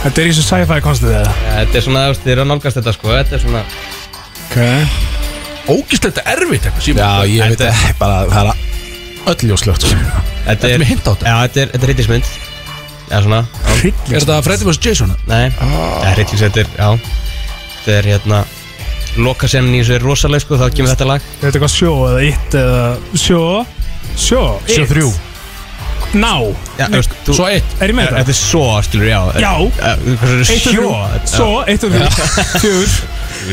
S3: Þetta er í þessu sci-fi konstið eða
S2: Þetta er svona, þú veist, þið eru að nálgast þetta sko Þetta er svona
S3: Ok
S1: Ógislega erfitt eitthvað, síma
S5: Já, ég veit ekki bara Það er öll ljóslögt
S1: sko.
S2: Þetta
S1: Þetta
S2: er
S1: með hint á þetta
S2: Já, þetta er, þetta er hryllismynd Já, svona
S1: Er þetta Freddy vs. Jason?
S2: Nei,
S1: Ah.
S2: það er hryllis, þetta er, já Þetta er hérna Lokasennin í þessu er rosaleg sko, þá kemur þetta lag
S3: Er þetta eitthvað sjó eða itt eða Sjó Sjó Sjó þrjú Ná
S2: Já, þú veist, þú
S1: Svo eitt
S3: Er ég með þetta?
S2: Þetta er svo, skilur, já
S3: Já
S2: Eh, Hvað er
S3: Eitt og
S2: sjó?
S3: þrjú Svo Eitt og þrjú Fjör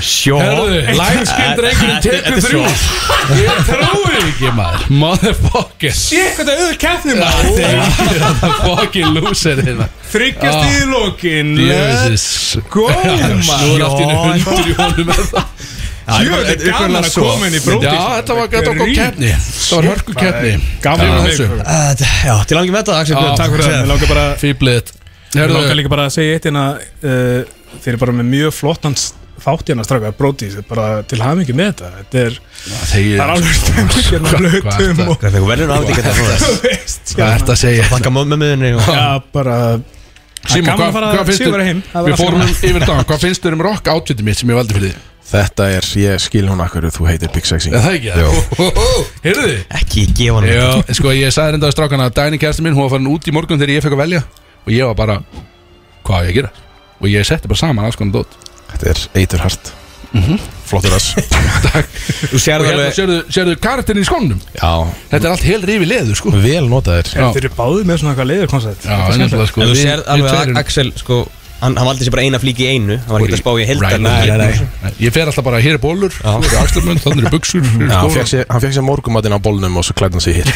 S2: Sjó
S1: Herðu, lagskinn drengurinn tekur þrjú <laughs> Ég trúi ekki maður Motherfucker
S3: Ég hvað þetta er auður keppni
S1: Þetta er ekki þetta fucking loser hérna
S3: Þryggjast í lokin
S1: Jesus
S3: Go
S1: Nú er allt í
S3: maður
S1: henni hundur í honum er það?
S3: Jú, þetta er gaman að koma inn í bróti
S1: Já, þetta var gæta okkur keppni Þetta var hörku keppni
S3: Gaman að
S1: þessu.
S3: mig
S2: Já, til langi með þetta, Axel
S1: Ah,
S2: Björn,
S3: Takk fyrir það Mér langar bara
S1: Fýblið
S3: Mér langar
S1: Herðu,
S3: líka bara að segja eitt hérna uh, Þeir eru bara með mjög flottan s- þátt hérna strákar Brótis, bara til hamingi með þetta Þetta er, það er
S1: þegar
S3: alveg stengið hérna
S1: Hvað- hvað er
S3: blötum
S1: þetta?
S3: og
S2: Hvað er það, verður náttúrulega ekki þetta frá
S3: þú
S1: <laughs>
S2: þess
S3: veist
S1: Hvað ert
S3: hérna.
S1: að segja?
S2: Þakka mömmuðinni og
S3: Já, bara
S1: Simon,
S3: gaman
S1: hvað
S3: að fara
S1: hvað finnst
S3: sigur
S1: þér?
S3: heim. Það var
S1: Við
S3: allt
S1: fórum
S3: gaman.
S1: yfir dag Hvað finnst þér um rock átvitum mitt sem ég valdi fyrir því?
S5: Þetta er, ég skil hún akkur Þú heitir Big Sexy
S1: Er það ekki?
S5: Jó.
S1: Hó, hó, hó. Heyrðu þið?
S2: Ekki gefa hann
S1: Já, sko ég sagði reynda á strákan að Dæni kærstin minn, hún var farin út í morgun þegar ég fekk að velja og ég var bara, hvað á ég að gera? Og ég setti bara saman alls
S3: <laughs>
S1: konar dót
S5: Þetta er eitur hart Flottur ass
S2: Þú sér
S1: Og
S2: það
S1: hérna
S2: alveg
S1: sérðu, sérðu karakterin í skónum
S5: Já,
S1: Þetta er allt hel rifi leður sko
S5: vel notaðir
S1: Já,
S3: Þeir eru báðið með svona eitthvað leiðurkoncept
S1: já en náttúrulega sko
S2: En þú
S1: við-
S2: sér
S1: við
S2: alveg
S1: tveir
S2: að
S1: erum-
S2: Axel, sko Hann, hann valdi sér bara eina flík í einu Hann var ekki að spá í heldar
S1: Right, nei, nei, nei. Ég fer alltaf bara, hér er bólur,
S2: Já.
S1: hér er axlumönd, þannig er buksur
S5: Já, hann fekk sér, hann fékk sér morgumatinn á bólnum og svo klæði hann sig hér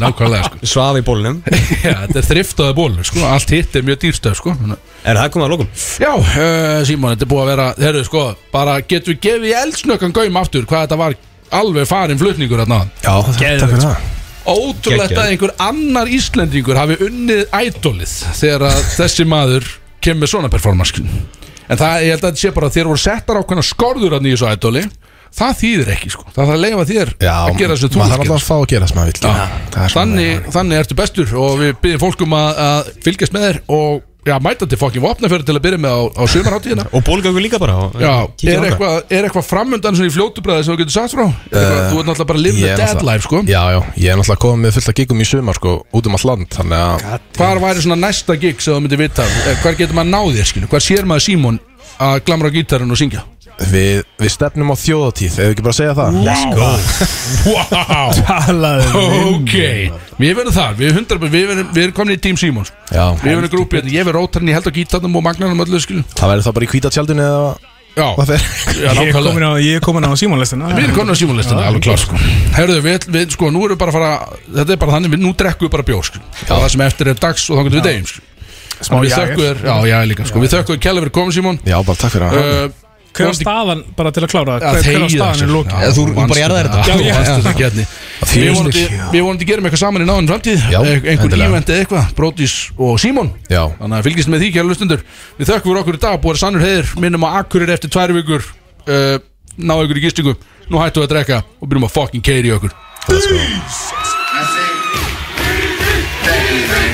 S1: Nákvæmlega sko
S2: Svaf í bólnum
S1: <laughs> Já, þetta er þriftaði bólur sko Allt hitt er mjög dýrstöð sko Þannig að-
S2: Er það komið að lokum?
S1: Já, uh, Simon, þetta er búið að vera Herru, sko, bara getum við gefið í eldsnökkan gaum aftur Hvað þetta var alveg farin flutningur þarna áðan.
S5: Já, takk fyrir það
S1: Ótrúlegt
S2: Geggjað.
S1: að einhver annar Íslendingur hafi unnið ædolið Þegar að þessi maður kemur með svona performance En það, ég held að þetta sé bara að þér voru settar ákveðna skorður þarna í þessu ædoli Það þýðir ekki, sko Það þarf að leifa þér
S5: Já,
S1: að sko. gera þessu
S5: maður þarf alltaf að fá að gera það sem maður vill Það er svona-
S1: Þannig, þannig ertu bestur og við byggjum fólkum að, að um fylgjast með þér og já, mæta til fokkin vopnafjörð til að byrja með á, á sumarháttíðina
S2: Og bólgangur líka bara og-
S1: Já, er
S2: kíkja þangað.
S1: eitthvað er eitthvað framöndan svona í fljótubræði sem þú getur sagt frá? Er eitthvað, þú ert náttúrulega bara að live
S5: Eh, ég
S1: the
S5: er
S1: dead
S5: náttúrulega-
S1: life, sko
S5: Já, já, ég er náttúrulega komið með fullt að gigum í sumar sko, út um all land Þannig að
S1: Hvar væri svona næsta gig sem þú myndir vita Eh, Hvar getur maður náðið, skilu? Hvar sér maður Simon að glamra á gítarinn og syngja?
S5: við, við stefnum á þjóðatíð, ef við ekki bara að segja það
S1: Wow
S3: Talaðu
S1: Ok, við verðum þar Við, hundra, við, verðum, við erum komin í Team Simons
S5: Já,
S1: Við verðum grúpi, hérna. ég verð rótarinn, ég held á gítarnum og magnarnum öllu, skilu
S5: það verður það bara í kvítatjaldinu eða
S1: Já,
S5: hvað fer
S1: já,
S3: Ég er komin
S1: nákvæmlega
S3: á, ég er komin á símanlistina
S1: Við erum komin á símanlistinu, alveg klart sko Herðu, við, við, sko, nú erum við bara að fara Þetta er bara þannig, við, nú drekkum við bara bjór sko Og það sem eftir er dags og þá getum við degim sko
S3: Smá
S1: Við
S3: jæger.
S1: þökkum þér, já, já, líka sko Við þökkum þér kella fyrir komið Simon
S5: Já, bara takk fyrir að
S1: Uh,
S3: Hver var
S1: vonandi-
S3: staðan, bara til að klára
S1: að
S3: það Hver- Hver
S1: þegja
S3: var staðan
S1: þessu.
S3: í lókin
S1: Já,
S2: Eða þú- þú
S1: vannst
S2: bara jarðaðir þetta.
S1: Já,
S3: Já,
S1: já,
S3: já.
S1: vannst þetta gætni Við
S5: fjögur
S1: vonandi-
S5: stykki, já.
S1: við vonandi gerum eitthvað saman í náðin framtíð
S5: Já,
S1: Eit- Einhver
S5: endilega.
S1: ívent eða eitthvað, Brótis og Símon
S5: Já.
S1: Þannig að fylgist með því kjæra lustundur Við þökkum fyrir okkur í dag, búið að sannur heiðir Minnum að akkurir eftir tvær vikur uh, Náðu ykkur í gistingu Nú hættu að drekka og byrjum að fucking keiri okkur
S5: Let's go
S13: I say, baby, baby.